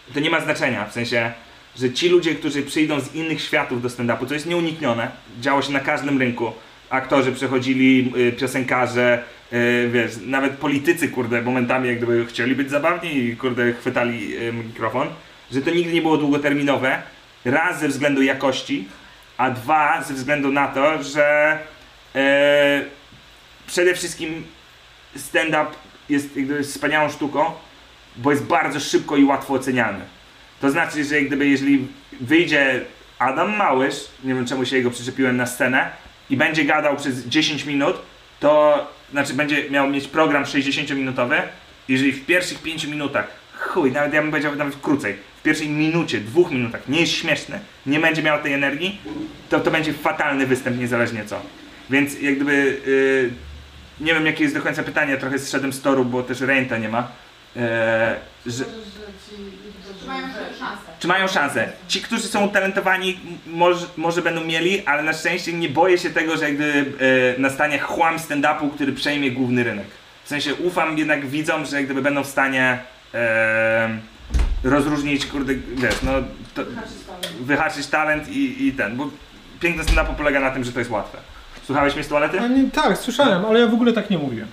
D: y, to nie ma znaczenia, w sensie, że ci ludzie, którzy przyjdą z innych światów do stand-upu, to jest nieuniknione, działo się na każdym rynku. Aktorzy przechodzili, y, piosenkarze, y, wiesz, nawet politycy, kurde, momentami jak gdyby chcieli być zabawni i kurde, chwytali y, mikrofon, że to nigdy nie było długoterminowe, raz ze względu jakości, a dwa ze względu na to, że y, przede wszystkim stand-up jest jak gdyby, wspaniałą sztuką, bo jest bardzo szybko i łatwo oceniany. To znaczy, że jak gdyby jeżeli wyjdzie Adam Małysz, nie wiem czemu się jego przyczepiłem na scenę, i będzie gadał przez 10 minut, to znaczy będzie miał mieć program 60-minutowy, jeżeli w pierwszych 5 minutach, chuj, nawet ja bym powiedział nawet krócej, w pierwszej minucie, dwóch minutach nie jest śmieszny, nie będzie miał tej energii, to to będzie fatalny występ niezależnie co. Więc jak gdyby yy, nie wiem jakie jest do końca pytanie, trochę zszedłem z toru, bo też renta nie ma. Eee, że,
H: Mają szansę.
D: czy mają szansę? Ci, którzy są utalentowani, m- może, może będą mieli, ale na szczęście nie boję się tego, że jakby e, nastanie chłam stand-upu, który przejmie główny rynek. W sensie ufam jednak widzom, że jak gdyby będą w stanie e, rozróżnić, kurde, wiesz, no, to, wyhaczyć talent i, i ten, bo piękna stand-upu polega na tym, że to jest łatwe. Słuchałeś mnie z toalety?
A: A nie, tak, słyszałem, ale ja w ogóle tak nie mówiłem.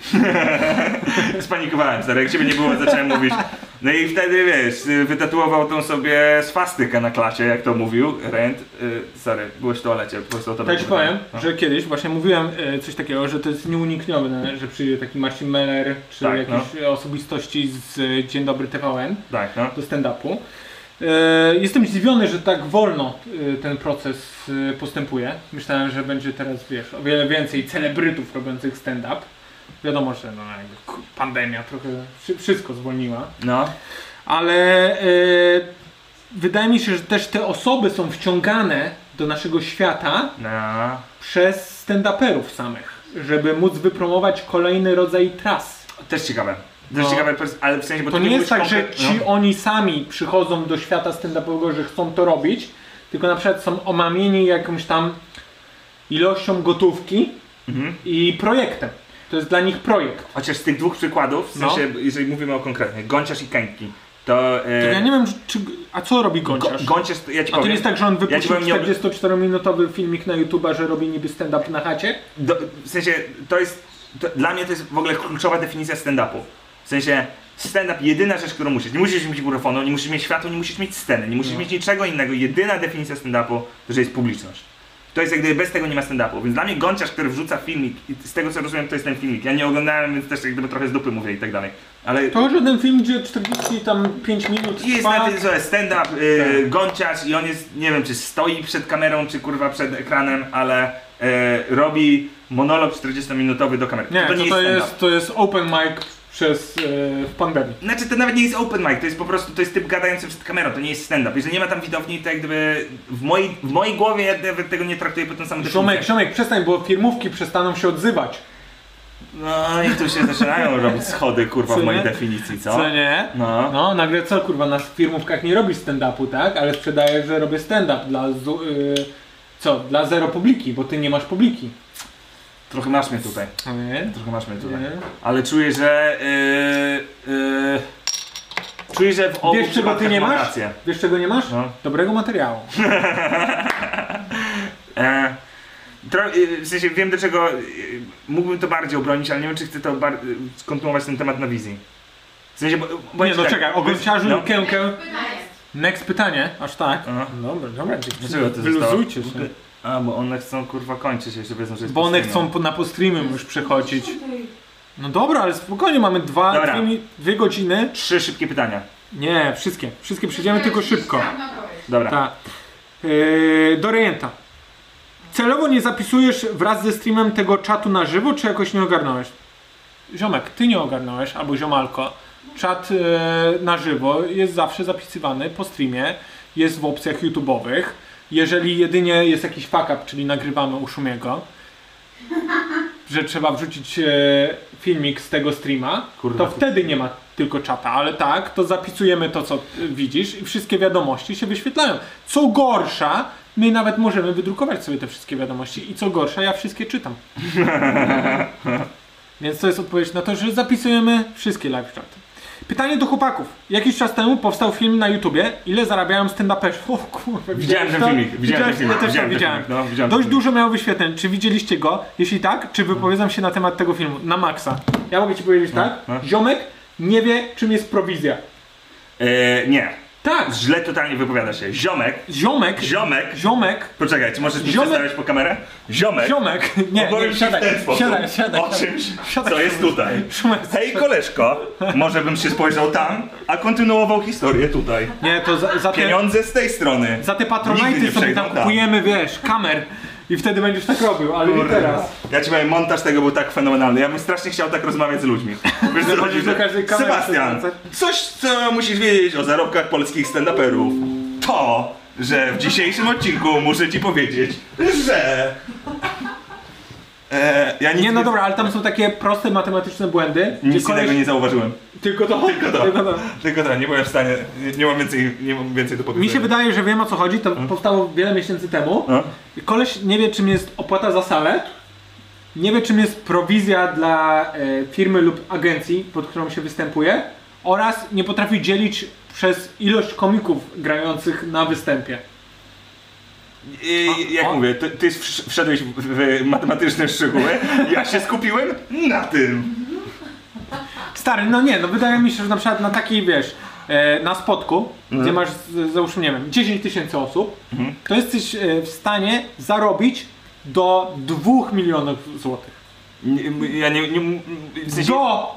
D: Spanikowałem, stary, jak ciebie nie było, zacząłem mówić. No i wtedy, wiesz, y, wytatuował tą sobie swastykę na klasie, jak to mówił, Rent. Y, sorry, byłeś w toalecie, po prostu o to
F: Ja Tak ci powiem, że kiedyś właśnie mówiłem e, coś takiego, że to jest nieuniknione, że przyjdzie taki Marcin Meller czy
D: Tak,
F: jakieś e, osobistości z e, Dzień Dobry TVN
D: Tak, no.
F: do stand-upu. E, Jestem zdziwiony, że tak wolno e, ten proces e, postępuje. Myślałem, że będzie teraz, wiesz, o wiele więcej celebrytów robiących stand-up. Wiadomo, że no, jakby k- pandemia trochę wszy- wszystko zwolniła.
D: No,
F: Ale e, wydaje mi się, że też te osoby są wciągane do naszego świata
D: no.
F: przez stand-uperów samych, żeby móc wypromować kolejny rodzaj tras.
D: Też ciekawe. Też
F: No.
D: ciekawe, pers- ale w sensie, bo
F: To
D: ty
F: nie jest
D: byłeś
F: tak, że
D: komplet-
F: ci
D: no.
F: oni sami przychodzą do świata stand-upowego, że chcą to robić, tylko na przykład są omamieni jakąś tam ilością gotówki
D: Mhm.
F: i projektem. To jest dla nich projekt.
D: Chociaż z tych dwóch przykładów, w
F: No.
D: sensie, jeżeli mówimy o konkretnych, Gąciarz i Kęki, to... e,
F: Ja nie wiem, czy, a co robi Gonciarz?
D: Gą- Gąciarz, to ja ci
F: a to
D: powiem,
F: nie jest tak, że on wypuścił
D: powiem, nie ob-
F: 44-minutowy filmik na YouTube'a, że robi niby stand-up na chacie?
D: do, w sensie, to jest... To, dla mnie to jest w ogóle kluczowa definicja stand-upu. W sensie, stand-up jedyna rzecz, którą musisz. Nie musisz mieć mikrofonu, nie musisz mieć światła, nie musisz mieć sceny, nie musisz mieć niczego innego. Jedyna definicja stand-upu to, że jest publiczność. To jest jak gdyby bez tego nie ma stand-upu. Więc dla mnie Gąciarz, który wrzuca filmik, i z tego co rozumiem, to jest ten filmik. Ja nie oglądałem, więc też jak gdyby trochę z dupy mówię i tak dalej. Ale
F: To chodzi o ten film, gdzie 40 tam 5 minut
D: Jest
F: trwa.
D: na tym że stand-up, y,
F: Tak.
D: gąciarz i on jest, nie wiem czy stoi przed kamerą, czy kurwa przed ekranem, ale y, robi monolog 40-minutowy do kamery.
F: Nie,
D: to, nie
F: to,
D: jest
F: jest,
D: stand-up.
F: to jest open mic przez e, w pandemii.
D: Znaczy to nawet nie jest open mic, to jest po prostu, to jest typ gadający przed kamerą, to nie jest stand-up. Jeżeli nie ma tam widowni, to jak gdyby w mojej, w mojej głowie ja nawet tego nie traktuję po tym samym
F: Siomek, Siomek, przestań, bo firmówki przestaną się odzywać.
D: No i tu się zaczynają robić schody kurwa
F: Co
D: w mojej
F: nie?
D: definicji, co?
F: Co nie?
D: No.
F: No, nagle co kurwa, na firmówkach nie robisz stand-upu, tak? Ale sprzedajesz, że robię stand-up dla zu, y, co? Dla zero publiki, bo ty nie masz publiki.
D: Trochę masz mnie tutaj.
F: Nie?
D: Trochę masz mnie tutaj.
F: Nie.
D: Ale czuję, że. Yy, yy, czuję, że w obu
F: Wiesz czego ty
D: przypadkach
F: nie
D: mam
F: masz?
D: rację.
F: Wiesz czego nie masz?
D: No. [LAUGHS]
F: Dobrego materiału.
D: E, tro, yy, w sensie wiem do czego. Yy, mógłbym to bardziej obronić, ale nie wiem, czy chcę to bar- yy, skontynuować ten temat na wizji. W sensie, bo. bo
F: Nie no
D: tak,
F: czekaj, o gąciarzu
D: No.
F: i kękę.
H: Pytanie.
F: Next pytanie, aż tak.
D: Aha.
F: Dobra, dobra,
D: No. Dlaczego to zostało?
F: Wyluzujcie się.
D: A, bo one chcą kurwa kończyć, jeszcze wiedzą, że jest
F: Bo one
D: postreamem.
F: chcą po, na postreamy już przechodzić. No dobra, ale spokojnie, mamy dwa,
D: Dobra.
F: dwie, mi- dwie godziny.
D: Trzy szybkie pytania.
F: Nie, wszystkie. Wszystkie przejdziemy, tylko szybko.
H: Dawna powieść.
D: Dobra.
F: Tak. Yy, do rejenta. Celowo nie zapisujesz wraz ze streamem tego czatu na żywo, czy jakoś nie ogarnąłeś? Ziomek, ty nie ogarnąłeś, albo ziomalko. Czat yy, na żywo jest zawsze zapisywany po streamie, jest w opcjach YouTube'owych. Jeżeli jedynie jest jakiś fuck up, czyli nagrywamy u Szumiego, że trzeba wrzucić e, filmik z tego streama,
D: Kurwa,
F: to
D: ty-
F: wtedy nie ma tylko czata, ale tak, to zapisujemy to, co y, widzisz i wszystkie wiadomości się wyświetlają. Co gorsza, my nawet możemy wydrukować sobie te wszystkie wiadomości i co gorsza, ja wszystkie czytam. Więc to jest odpowiedź na to, że zapisujemy wszystkie live czaty. Pytanie do chłopaków. Jakiś czas temu powstał film na YouTubie, ile zarabiają stand-uperzy. O kurwa,
D: Widziałem
F: widziałeś
D: ten
F: to?
D: filmik, widziałem ten
F: Widziałeś?
D: filmik,
F: Ja też
D: widziałem
F: widziałem.
D: ten
F: widziałem.
D: filmik, no, widziałem ten
F: Dość
D: filmik.
F: dużo miał wyświetleń. Czy widzieliście go? Jeśli tak, czy wypowiedzam się na temat tego filmu? Na maksa. Ja mogę ci powiedzieć tak?
D: no.
F: Ziomek nie wie, czym jest prowizja.
D: E, nie.
F: Tak,
D: Źle totalnie wypowiada się. Ziomek.
F: ziomek,
D: Ziomek.
F: ziomek,
D: Poczekaj, czy możesz mi
F: Ziomek-
D: przedstawiać po kamerę? Ziomek.
F: ziomek. Nie,
D: Opowiem
F: nie,
D: ci
F: siadaj,
D: w ten sposób
F: siadaj, siadaj.
D: o czymś,
F: Siadaj,
D: co jest tutaj.
F: Szumek,
D: Hej koleżko, może bym się spojrzał tam, a kontynuował historię tutaj.
F: Nie, to za, za te
D: Pieniądze z tej strony.
F: Za
D: Nigdy
F: te
D: nie
F: patronajty sobie
D: przejdą tak.
F: tam kupujemy, wiesz, kamer i wtedy będziesz tak robił, ale nie
D: Kurde.
F: teraz.
D: Ja ci powiem, montaż tego był tak fenomenalny. Ja bym strasznie chciał tak rozmawiać z ludźmi. Wiesz, co chodzi,
F: do
D: że-
F: każdej kamery
D: Sebastian,
F: przywracać.
D: coś co musisz wiedzieć o zarobkach polskich stand-uperów. To, że w dzisiejszym odcinku muszę ci powiedzieć, że... E, ja nic
F: Nie, no dobra, ale tam są takie proste matematyczne błędy, gdzie
D: Nic
F: koleś...
D: innego nie zauważyłem.
F: Tylko to,
D: Tylko to.
F: tylko to.
D: Tylko tak, nie byłem w stanie, nie, nie mam więcej, nie mam więcej do
F: Mi
D: powiedzenia.
F: się wydaje, że wiem o co chodzi, to powstało wiele miesięcy temu.
D: Mhm. No.
F: I Koleś nie wie czym jest opłata za salę, nie wie czym jest prowizja dla e, firmy lub agencji, pod którą się występuje oraz nie potrafi dzielić przez ilość komików grających na występie.
D: I, jak mówię, ty, ty wsz- wszedłeś w, w matematyczne szczegóły, ja się skupiłem na tym.
F: Stary, no nie, no wydaje mi się, że na przykład na takiej, wiesz, e, na spotku, gdzie
D: Mhm.
F: masz, z- załóżmy, nie wiem, 10 tysięcy osób, to jesteś e, w stanie zarobić do 2 milionów złotych.
D: Nie, m- Ja nie, nie m- w sensie,
F: Do!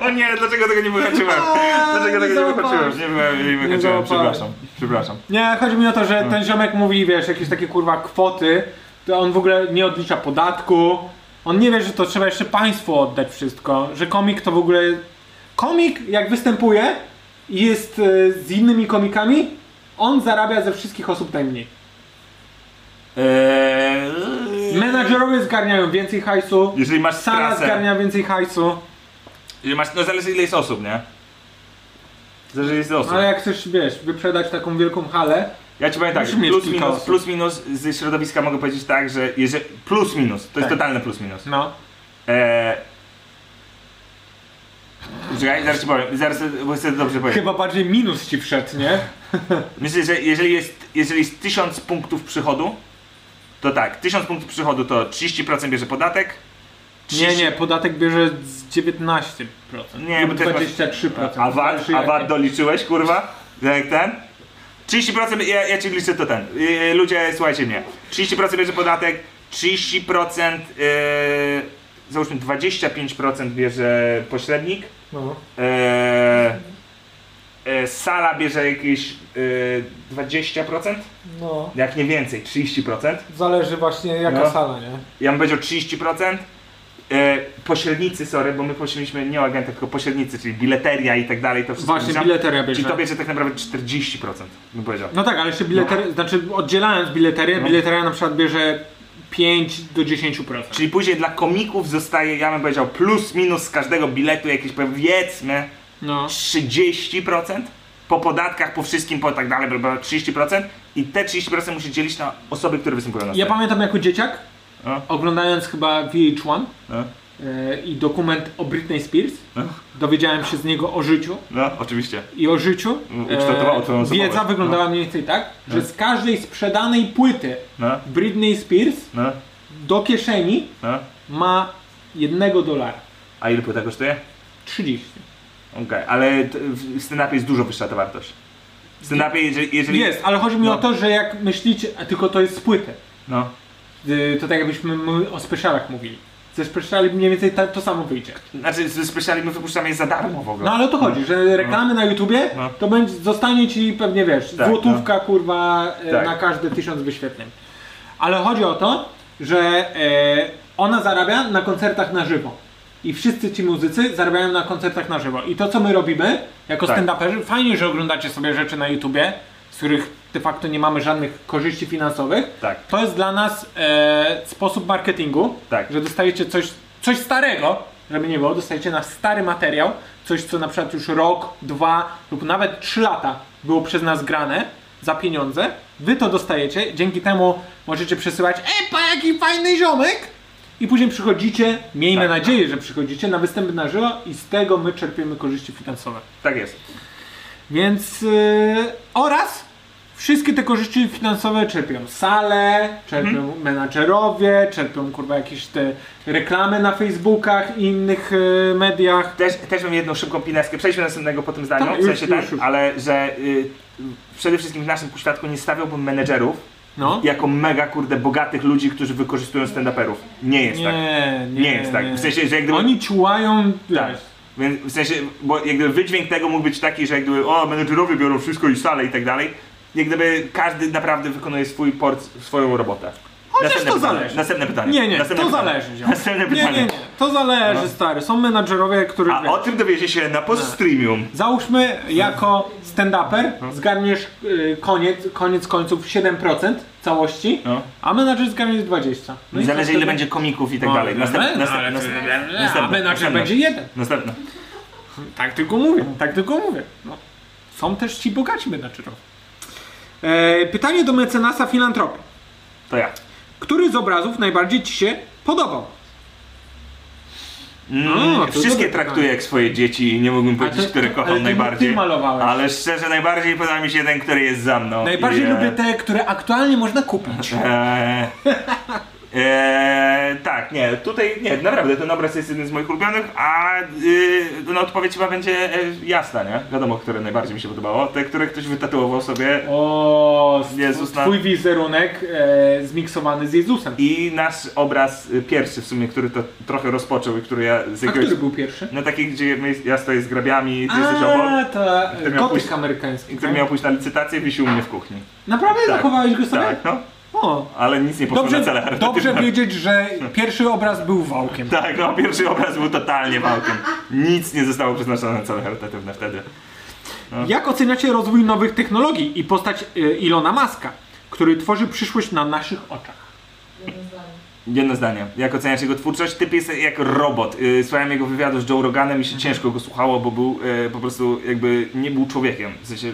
D: O nie, dlaczego tego nie
F: [LAUGHS]
D: wyhaczyłem? Dlaczego
F: nie
D: tego nie
F: załapałem.
D: wyhaczyłem? Nie, byłem- nie
F: Nie
D: wyhaczyłem,
F: załapałem.
D: przepraszam. Przepraszam.
F: Nie, chodzi mi o to,
D: Mhm.
F: że ten ziomek mówi, wiesz, jakieś takie kurwa kwoty, to on w ogóle nie odlicza podatku, on nie wie, że to trzeba jeszcze państwu oddać wszystko, że komik to w ogóle... Komik, jak występuje i jest e, z innymi komikami, on zarabia ze wszystkich osób najmniej.
D: Eee...
F: Menadżerowie zgarniają więcej hajsu,
D: Jeżeli masz
F: sala
D: trasę,
F: zgarnia więcej hajsu,
D: jeżeli masz, no zależy ile jest osób, nie? Zależy ile jest osób.
F: ale jak chcesz, wiesz, wyprzedać taką wielką halę,
D: Ja ci powiem tak,
F: Musi mieć
D: plus
F: kilka
D: minus,
F: osób.
D: plus minus ze środowiska mogę powiedzieć tak, że jeżeli, plus minus, to jest
F: Tak.
D: totalny plus minus.
F: no,
D: Eee... Czekaj, zaraz ci powiem, zaraz bo chcę to dobrze powiedzieć.
F: chyba bardziej minus ci wszedł, nie?
D: Myślę, że jeżeli jest, jeżeli jest 1000 punktów przychodu, to tak, 1000 punktów przychodu to 30% bierze podatek.
F: Nie, nie, podatek bierze z 19%.
D: Nie, bo
F: Lub
D: też masz-
F: 23%.
D: A VAT,
F: Zależy
D: a
F: jakie.
D: VAT doliczyłeś, kurwa? Jak ten? 30% ja, ja ci liczę to ten. Yy, ludzie, słuchajcie mnie. 30% bierze podatek, 30% yy, załóżmy 25% bierze pośrednik.
A: No.
D: Yy, yy, sala bierze jakieś yy, 20%,
A: No.
D: jak nie więcej, 30%.
A: Zależy właśnie jaka
D: No.
A: sala, nie?
D: Ja bym powiedział 30%. E, pośrednicy, sorry, bo my pośredniczyliśmy nie o agentach, tylko pośrednicy, czyli bileteria i tak dalej, to wszystko.
F: Właśnie,
D: wliczam.
F: bileteria bierze.
D: Czyli to bierze tak naprawdę 40%, bym powiedział.
F: No tak, ale jeszcze bileteria, znaczy oddzielając
D: No.
F: bileterię, bileteria na przykład bierze 5 do 10%.
D: Czyli później dla komików zostaje, ja bym powiedział, plus minus z każdego biletu jakieś powiedzmy
F: No.
D: 30%. Po podatkach, po wszystkim, po tak dalej, bla, bla, 30% i te 30% musi dzielić na osoby, które występują na
F: Ja
D: scenie.
F: pamiętam jako dzieciak,
D: No.
F: oglądając chyba VH1
D: No.
F: e, i dokument o Britney Spears,
D: No.
F: dowiedziałem się z niego o życiu
D: No, oczywiście.
F: i o życiu. E,
D: Ukształtowało Mm, twoją osobowość. Mm.
F: wiedza wyglądała mniej więcej tak, że z każdej sprzedanej płyty
D: No,
F: Britney Spears
D: no,
F: do kieszeni
D: no.
F: ma jednego dolara.
D: A ile płyta kosztuje?
F: 30.
D: Okej, ale t- w stand-upie jest dużo wyższa ta wartość. W stand-upie, jeżeli... jeżeli
F: Jest, ale chodzi mi
D: No.
F: o to, że jak myślicie, a tylko to jest z płyty.
D: No.
F: Y, To tak jakbyśmy my o specialach mówili. Ze speciali mniej więcej ta, to samo wyjdzie.
D: Znaczy, z specjalnie my wypuszczamy je za darmo w ogóle.
F: No ale o to chodzi, że reklamy na YouTubie
D: No.
F: to będzie, zostanie ci pewnie wiesz,
D: Tak,
F: złotówka kurwa e,
D: Tak.
F: na każde tysiąc wyświetleń. Ale chodzi o to, że e, ona zarabia na koncertach na żywo. I wszyscy ci muzycy zarabiają na koncertach na żywo. I to co my robimy jako
D: Tak.
F: stand-uperzy, fajnie, że oglądacie sobie rzeczy na YouTubie, z których de facto nie mamy żadnych korzyści finansowych.
D: Tak.
F: To jest dla nas e, sposób marketingu,
D: Tak.
F: że dostajecie coś, coś starego, żeby nie było, dostajecie nasz stary materiał, coś co na przykład już rok, dwa lub nawet trzy lata było przez nas grane za pieniądze. Wy to dostajecie, dzięki temu możecie przesyłać epa jaki fajny ziomek i później przychodzicie, miejmy
D: Tak.
F: nadzieję, że przychodzicie na występy na żywo i z tego my czerpiemy korzyści finansowe.
D: Tak jest.
F: Więc yy, oraz wszystkie te korzyści finansowe czerpią sale, czerpią
D: Mhm.
F: menadżerowie, czerpią kurwa jakieś te reklamy na Facebookach i innych yy, mediach.
D: Też, też mam jedną szybką pineskę. Przejdźmy do następnego po tym zdaniu,
F: Tak,
D: w sensie
F: już,
D: tak,
F: już, już.
D: ale że y, przede wszystkim w naszym poświadku nie stawiałbym menedżerów
F: No.
D: jako mega, kurde, bogatych ludzi, którzy wykorzystują stand-uperów. Nie jest
F: nie,
D: tak.
F: nie,
D: Nie, jest tak. W sensie, że jak gdyby...
F: Oni ciułają,
D: Tak.
F: wiesz,
D: Więc w sensie, bo jak gdyby wydźwięk tego mógł być taki, że jak gdyby, o, menedżerowie biorą wszystko i salę i tak dalej. Jak gdyby każdy naprawdę wykonuje swój port, swoją robotę.
F: Chociaż
D: Następne
F: to
D: pytanie.
F: zależy.
D: Następne pytanie.
F: Nie, nie,
D: Następne
F: to
D: pytanie.
F: zależy. ziom.
D: Następne
F: nie,
D: pytanie.
F: nie, nie, to zależy,
D: No.
F: stary. Są menadżerowie, których...
D: A
F: wiesz,
D: o tym dowiecie się na poststreamium.
F: Załóżmy, jako stand-uper
D: No.
F: zgarniesz y, koniec, koniec końców 7% całości,
D: No.
F: a menadżer zgarniesz 20%. No
D: I zależy ile
F: wtedy-
D: będzie komików i tak
F: No,
D: dalej.
F: no,
D: Następne,
F: no, ale
D: następne,
F: to-
D: następne,
F: A
D: następne,
F: menadżer będzie
D: następne.
F: jeden.
D: Następne.
F: Tak tylko mówię, tak tylko mówię. No. Są też ci bogaci menadżerowie. E, pytanie do mecenasa filantropii.
D: To ja.
F: Który z obrazów najbardziej ci się podobał?
D: Mm,
F: A, No, to
D: wszystkie
F: dobre
D: traktuję
F: pytanie.
D: jak swoje dzieci i nie mógłbym powiedzieć,
F: to-
D: które
F: to-
D: kocham
F: ale ty-
D: najbardziej.
F: ty malowałeś.
D: Ale szczerze, najbardziej podoba mi się ten, który jest za mną.
F: Najbardziej
D: I, e,
F: lubię te, które aktualnie można
D: [LAUGHS]
F: kupić.
D: Eee, eee, tak, nie, tutaj nie, naprawdę ten obraz jest jeden z moich ulubionych, a yy, no, odpowiedź chyba będzie e, jasna, nie? Wiadomo, które najbardziej mi się podobało. Te, które ktoś wytatuował sobie
F: O, stw-
D: Jezus na-
F: twój wizerunek e, zmiksowany z Jezusem.
D: i nasz obraz y, pierwszy w sumie, który to trochę rozpoczął i który ja z
F: A
D: jakiegoś...
F: który był pierwszy?
D: No taki, gdzie my, ja stoję z grabiami, ty jesteś
F: A, tak.
D: obok.
F: ta
D: który miał
F: kotyk
D: pójść-
F: amerykański.
D: I który
F: tak?
D: miał pójść na licytację, wisił u mnie w kuchni.
F: Naprawdę
D: Tak.
F: zachowałeś go sobie?
D: Tak, no.
F: O.
D: Ale nic nie poszło na cele
F: Dobrze,
D: charytatywne.
F: dobrze wiedzieć, że pierwszy obraz był wałkiem.
D: Tak, no pierwszy obraz był totalnie wałkiem. Nic nie zostało przeznaczone na cele charytatywne wtedy.
F: Jak oceniacie rozwój nowych technologii i postać e, Ilona Maska, który tworzy przyszłość na naszych oczach?
D: Jedno zdanie. Jak oceniasz jego twórczość? Typ jest jak robot. Yy, Słuchałem jego wywiadu z Joe Roganem i się ciężko go słuchało, bo był yy, po prostu jakby nie był człowiekiem. W sensie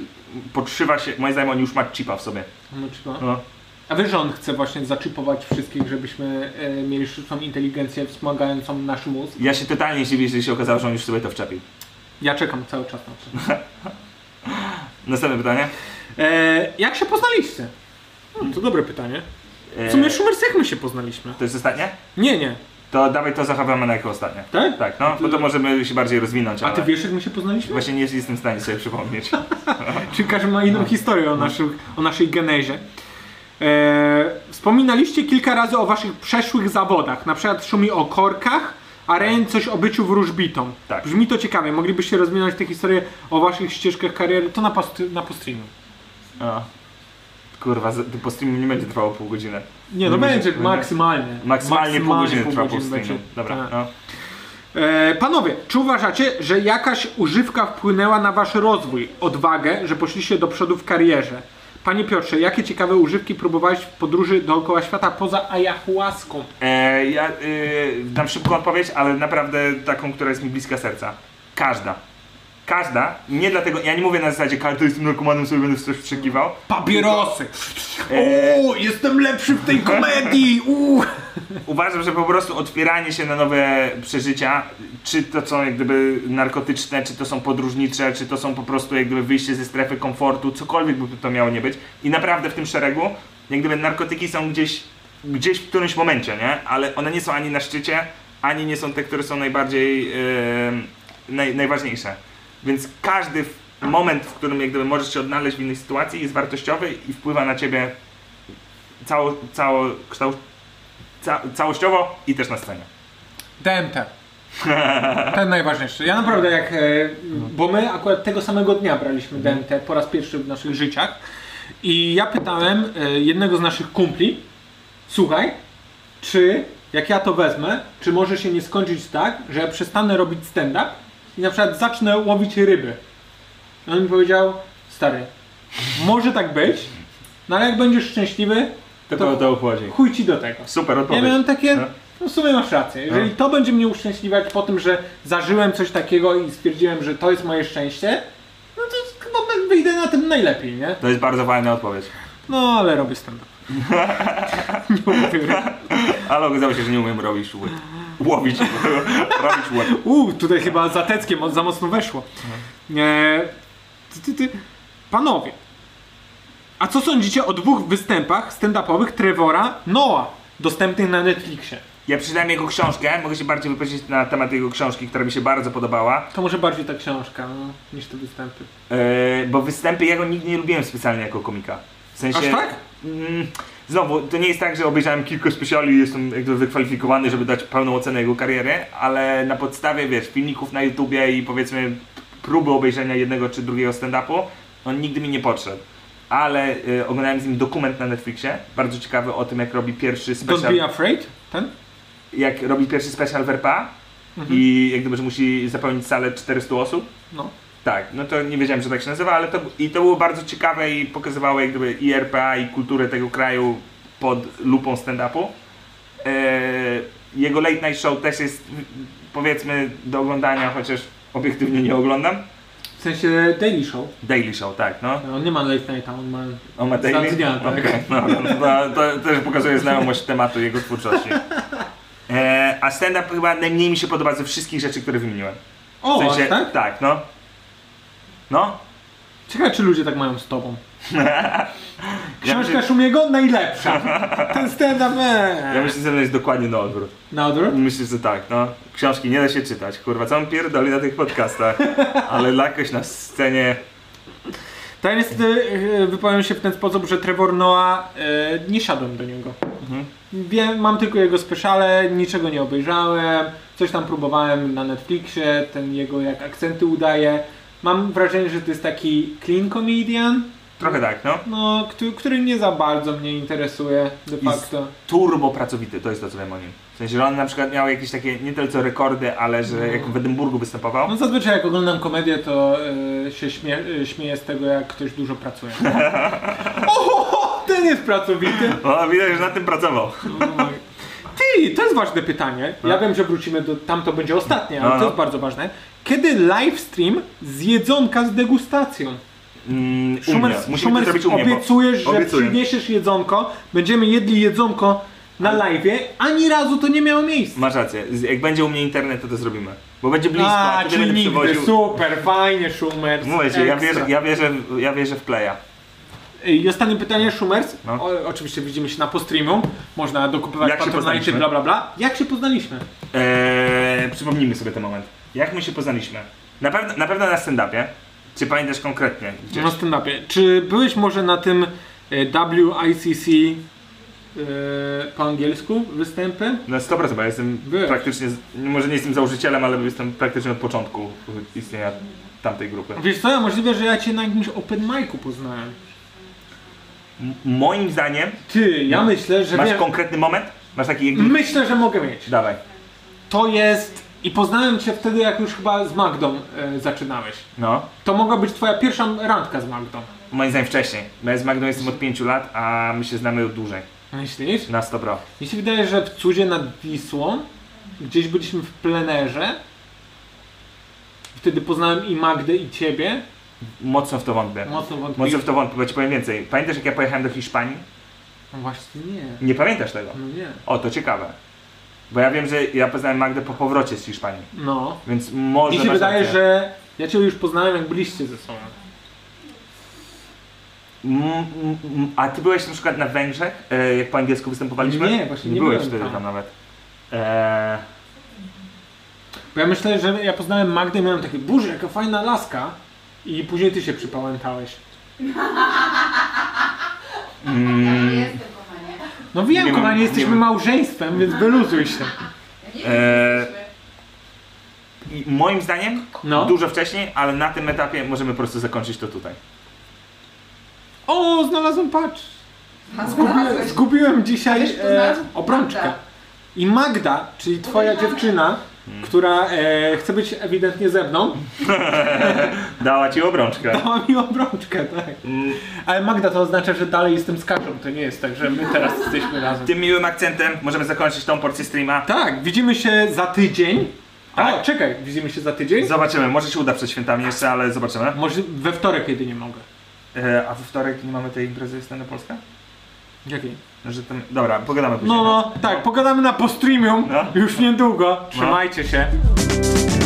D: podszywa się, moim zdaniem on już ma chipa w sobie.
F: No, czy ma?
D: No.
F: A wiesz, że on chce właśnie zaczypować wszystkich, żebyśmy e, mieli sztuczną inteligencję wspomagającą nasz mózg?
D: Ja się totalnie zdziwię, jeżeli się okazało, że on już sobie to wczepił.
F: Ja czekam cały czas na to.
D: Następne pytanie.
F: E, jak się poznaliście? No, to dobre pytanie. W sumie
D: Yy,
F: Schumer jak my się poznaliśmy.
D: To jest ostatnie?
F: Nie, nie.
D: To dawaj to zachowamy na jako ostatnie.
F: Tak?
D: Tak, no, bo to możemy się bardziej rozwinąć,
F: A
D: ale
F: ty wiesz, jak my się poznaliśmy?
D: właśnie nie jestem w stanie sobie przypomnieć.
F: Czy każdy ma
D: No.
F: inną historię o, naszych, o naszej genezie. E, wspominaliście kilka razy o waszych przeszłych zawodach. Na przykład Szumi o korkach, a Ren coś o byciu wróżbitą.
D: Tak.
F: Brzmi to ciekawie. Moglibyście rozwinąć te historie o waszych ścieżkach kariery. To na, post na postreamu.
D: O. Kurwa, z- po streamie nie będzie trwało pół godziny.
F: Nie, no
D: Nie
F: będzie
D: będzie.
F: maksymalnie.
D: Maksymalnie, pół godziny
F: pół
D: trwa pół
F: godziny
D: streamu.
F: będzie.
D: Dobra,
F: Tak.
D: no.
F: E, panowie, czy uważacie, że jakaś używka wpłynęła na wasz rozwój, odwagę, że poszliście do przodu w karierze? Panie Piotrze, jakie ciekawe używki próbowałeś w podróży dookoła świata poza ayahuaską?
D: E, ja y, dam szybką odpowiedź, ale naprawdę taką, która jest mi bliska serca. Każda. Każda. Nie dlatego, ja nie mówię na zasadzie, każdy jestem narkomanem, sobie będę w coś wstrzykiwał.
F: Papierosy!
D: E,
F: O, jestem lepszy w tej komedii! Uuu.
D: uważam, że po prostu otwieranie się na nowe przeżycia, czy to są jak gdyby narkotyczne, czy to są podróżnicze, czy to są po prostu jak gdyby wyjście ze strefy komfortu, cokolwiek by to miało nie być. I naprawdę w tym szeregu, jak gdyby narkotyki są gdzieś, gdzieś w którymś momencie, nie? Ale one nie są ani na szczycie, ani nie są te, które są najbardziej em, naj, najważniejsze. Więc każdy w- moment, w którym jak gdyby możesz się odnaleźć w innej sytuacji, jest wartościowy i wpływa na ciebie cało, cało kształt, ca- całościowo i też na scenie.
F: DMT. Ten najważniejszy. Ja naprawdę jak. E, bo my akurat tego samego dnia braliśmy DMT po raz pierwszy w naszych życiach. I ja pytałem e, jednego z naszych kumpli, słuchaj, czy jak ja to wezmę, czy może się nie skończyć tak, że ja przestanę robić stand-up i na przykład zacznę łowić ryby. I on mi powiedział, stary, może tak być, no ale jak będziesz szczęśliwy, to,
D: to później.
F: chuj ci do tego.
D: Super
F: Ja
D: odpowiedź.
F: miałem takie,
D: No.
F: no w sumie masz rację, jeżeli to będzie mnie uszczęśliwiać po tym, że zażyłem coś takiego i stwierdziłem, że to jest moje szczęście, no to chyba be- wyjdę na tym najlepiej, nie?
D: To jest bardzo fajna odpowiedź.
F: No ale robię stand-up. [LAUGHS] Nie lubię.
D: Ale okazało się, że nie umiem robić łyb. Łowić. [LAUGHS] robić łyb.
F: Uuu, tutaj chyba za teckiem mo- za mocno weszło. E, ty, ty, ty. Panowie, a co sądzicie o dwóch występach stand-upowych Trevora Noah, dostępnych na Netflixie?
D: Ja przeczytałem jego książkę, mogę się bardziej wypowiedzieć na temat jego książki, która mi się bardzo podobała,
F: To może bardziej ta książka no, niż te występy.
D: e, bo występy jego nigdy nie lubiłem specjalnie jako komika. W sensie...
F: Aż tak?
D: Mm, Znowu, to nie jest tak, że obejrzałem kilka specjali i jestem jakby wykwalifikowany, żeby dać pełną ocenę jego kariery, ale na podstawie, wiesz, filmików na YouTubie i powiedzmy próby obejrzenia jednego czy drugiego stand-upu, on nigdy mi nie podszedł. Ale y, oglądałem z nim dokument na Netflixie, bardzo ciekawy o tym, jak robi pierwszy
F: Don't
D: special,
F: be afraid? Ten? Mhm.
D: jak robi pierwszy special w RPA i jak gdyby, że musi zapełnić salę 400 osób.
F: No.
D: Tak, no to nie wiedziałem, że tak się nazywa, ale to, i to było bardzo ciekawe i pokazywało jak gdyby i RPA i kulturę tego kraju pod lupą stand-upu. Eee, jego late night show też jest mm, powiedzmy do oglądania, chociaż obiektywnie nie oglądam.
F: W sensie Daily Show.
D: Daily show, tak, no.
F: On nie ma late nighta, on ma...
D: On ma
F: Za
D: daily? no,
F: dnia, tak.
D: Okej, no, no, to, to też pokazuje znajomość tematu jego twórczości. E, A stand-up chyba najmniej mi się podoba ze wszystkich rzeczy, które wymieniłem.
F: O, aż tak?
D: Tak, no. No.
F: Ciekawe, czy ludzie tak mają z tobą.
D: Ja
F: Książka
D: myślę, [LAUGHS]
F: Szumiego najlepsza. Ten stand-up.
D: ja
F: eee.
D: myślę, że to jest dokładnie na odwrót.
F: Na odwrót?
D: Myślę, że tak, no. Książki nie da się czytać, kurwa, co on pierdoli na tych podcastach. Ale jakoś na scenie...
F: To ja niestety e, wypowiem się w ten sposób, że Trevor Noah, e, nie siadłem do niego.
D: Mhm.
F: Wiem, mam tylko jego speciale, niczego nie obejrzałem, coś tam próbowałem na Netflixie, ten jego jak akcenty udaje. Mam wrażenie, że to jest taki clean comedian,
D: Trochę tak, no.
F: no, który, który nie za bardzo mnie interesuje de
D: I z-
F: facto.
D: Turbo pracowity, to jest to, co wiem o nim. W sensie, że on na przykład miał jakieś takie, nie tyle co rekordy, ale że jak w Edynburgu występował,
F: No zazwyczaj jak oglądam komedię, to e, się śmie e, śmieję z tego, jak ktoś dużo pracuje.
D: [LAUGHS]
F: Oho, ten jest pracowity.
D: no widać, że na tym pracował.
F: Ty, to jest ważne pytanie. Ja wiem, że wrócimy do. Tam to będzie ostatnie, ale
D: Tak? No,
F: to
D: no.
F: jest bardzo ważne. Kiedy livestream z jedzonka z degustacją?
D: Mm, u
F: Szumer,
D: mnie. Musimy
F: Szumer
D: to zrobić u mnie, bo-
F: obiecujesz, że
D: obiecuję.
F: przyniesiesz jedzonko, będziemy jedli jedzonko na live'ie, ani razu to nie miało miejsca.
D: Masz rację, Z- jak będzie u mnie internet, to to zrobimy. Bo będzie blisko, a,
F: A,
D: wtedy
F: czyli
D: będę
F: nigdy,
D: przywoził...
F: super, fajnie, Szumer.
D: Mówię ci, ja
F: ekstra.
D: wierzę, ja, wierzę, w- ja wierzę w playa.
F: I ostatnie pytanie, Szumers.
D: No.
F: O, oczywiście widzimy się na postreamu. Można dokupywać
D: Jak się
F: patronajty,
D: poznaliśmy?
F: bla bla bla. Jak się poznaliśmy?
D: Eee, przypomnijmy sobie ten moment. Jak my się poznaliśmy? Na pewno na, pewno na stand-upie. Czy pamiętasz konkretnie? Gdzieś?
F: Na stand-upie. Czy byłeś może na tym e, WICC e, po angielsku występy?
D: Na 100% No, bo ja jestem
F: Byłeś.
D: praktycznie, z- może nie jestem założycielem, ale jestem praktycznie od początku istnienia tamtej grupy.
F: Wiesz co, możliwe, że ja cię na jakimś open micu poznałem.
D: M- moim zdaniem,
F: Ty, ja myślę, że
D: No. masz
F: wiem.
D: konkretny moment? Masz taki jakby...
F: Myślę, że mogę mieć.
D: Dawaj.
F: To jest... I poznałem cię wtedy, jak już chyba z Magdą e, zaczynałeś.
D: No.
F: To mogła być twoja pierwsza randka z Magdą.
D: Moim zdaniem wcześniej. Bo ja z Magdą jestem od 5 lat, a my się znamy od dłużej.
F: Myślisz?
D: Na 100%.
F: Mi się wydaje, że w cudzie nad Wisłą, gdzieś byliśmy w plenerze, wtedy poznałem i Magdę i ciebie,
D: Mocno w to wątpię.
F: mocno wątpię.
D: Mocno w to wątpię, bo ci powiem więcej. Pamiętasz jak ja pojechałem do Hiszpanii?
F: No właśnie nie,
D: Nie pamiętasz tego.
F: no nie.
D: O, to ciekawe. Bo ja wiem, że ja poznałem Magdę po powrocie z Hiszpanii,
F: No.
D: więc może...
F: Mi się
D: masz
F: wydaje,
D: rację.
F: że ja cię już poznałem jak byliście ze sobą.
D: Mm, mm, mm, a ty byłeś na przykład na Węgrzech, e, jak po angielsku występowaliśmy?
F: Nie, właśnie nie
D: byłeś
F: byłem
D: wtedy
F: tam.
D: tam, nawet. E,
F: Bo ja myślę, że ja poznałem Magdę i miałem takie, burzy, jaka fajna laska. I później ty się przypałętałeś.
H: Ja
D: mm,
H: nie jestem, kochanie.
F: No wiem,
D: Nie mam-
F: kochanie,
D: nie
F: jesteśmy
D: mam-
F: małżeństwem, więc wyluzuj się.
H: Ja nie
D: Eee.
H: jestem.
D: i moim zdaniem
F: No.
D: dużo wcześniej, ale na tym etapie możemy po prostu zakończyć to tutaj.
F: O, znalazłem patrz. Zgubiłem,
H: znalazłeś.
F: zgubiłem dzisiaj
H: Wiesz, kto
F: e,
H: znalazł?
F: obrączkę.
H: Magda.
F: I Magda, czyli twoja dziewczyna, która e, chce być ewidentnie ze mną, [LAUGHS]
D: Dała ci obrączkę.
F: dała mi obrączkę, tak. Ale Magda to oznacza, że dalej jestem z Kasią, to nie jest tak, że my teraz jesteśmy razem.
D: Tym miłym akcentem możemy zakończyć tą porcję streama.
F: Tak, widzimy się za tydzień. O,
D: Tak.
F: czekaj, widzimy się za tydzień?
D: Zobaczymy, może się uda przed świętami jeszcze, ale zobaczymy.
F: Może we wtorek jedynie mogę.
D: E, a we wtorek nie mamy tej imprezy Stand Up Polska?
F: Jakiej?
D: Że tam... Dobra, pogadamy później.
F: No, no, tak, pogadamy na postreamium
D: No.
F: już niedługo. Trzymajcie się.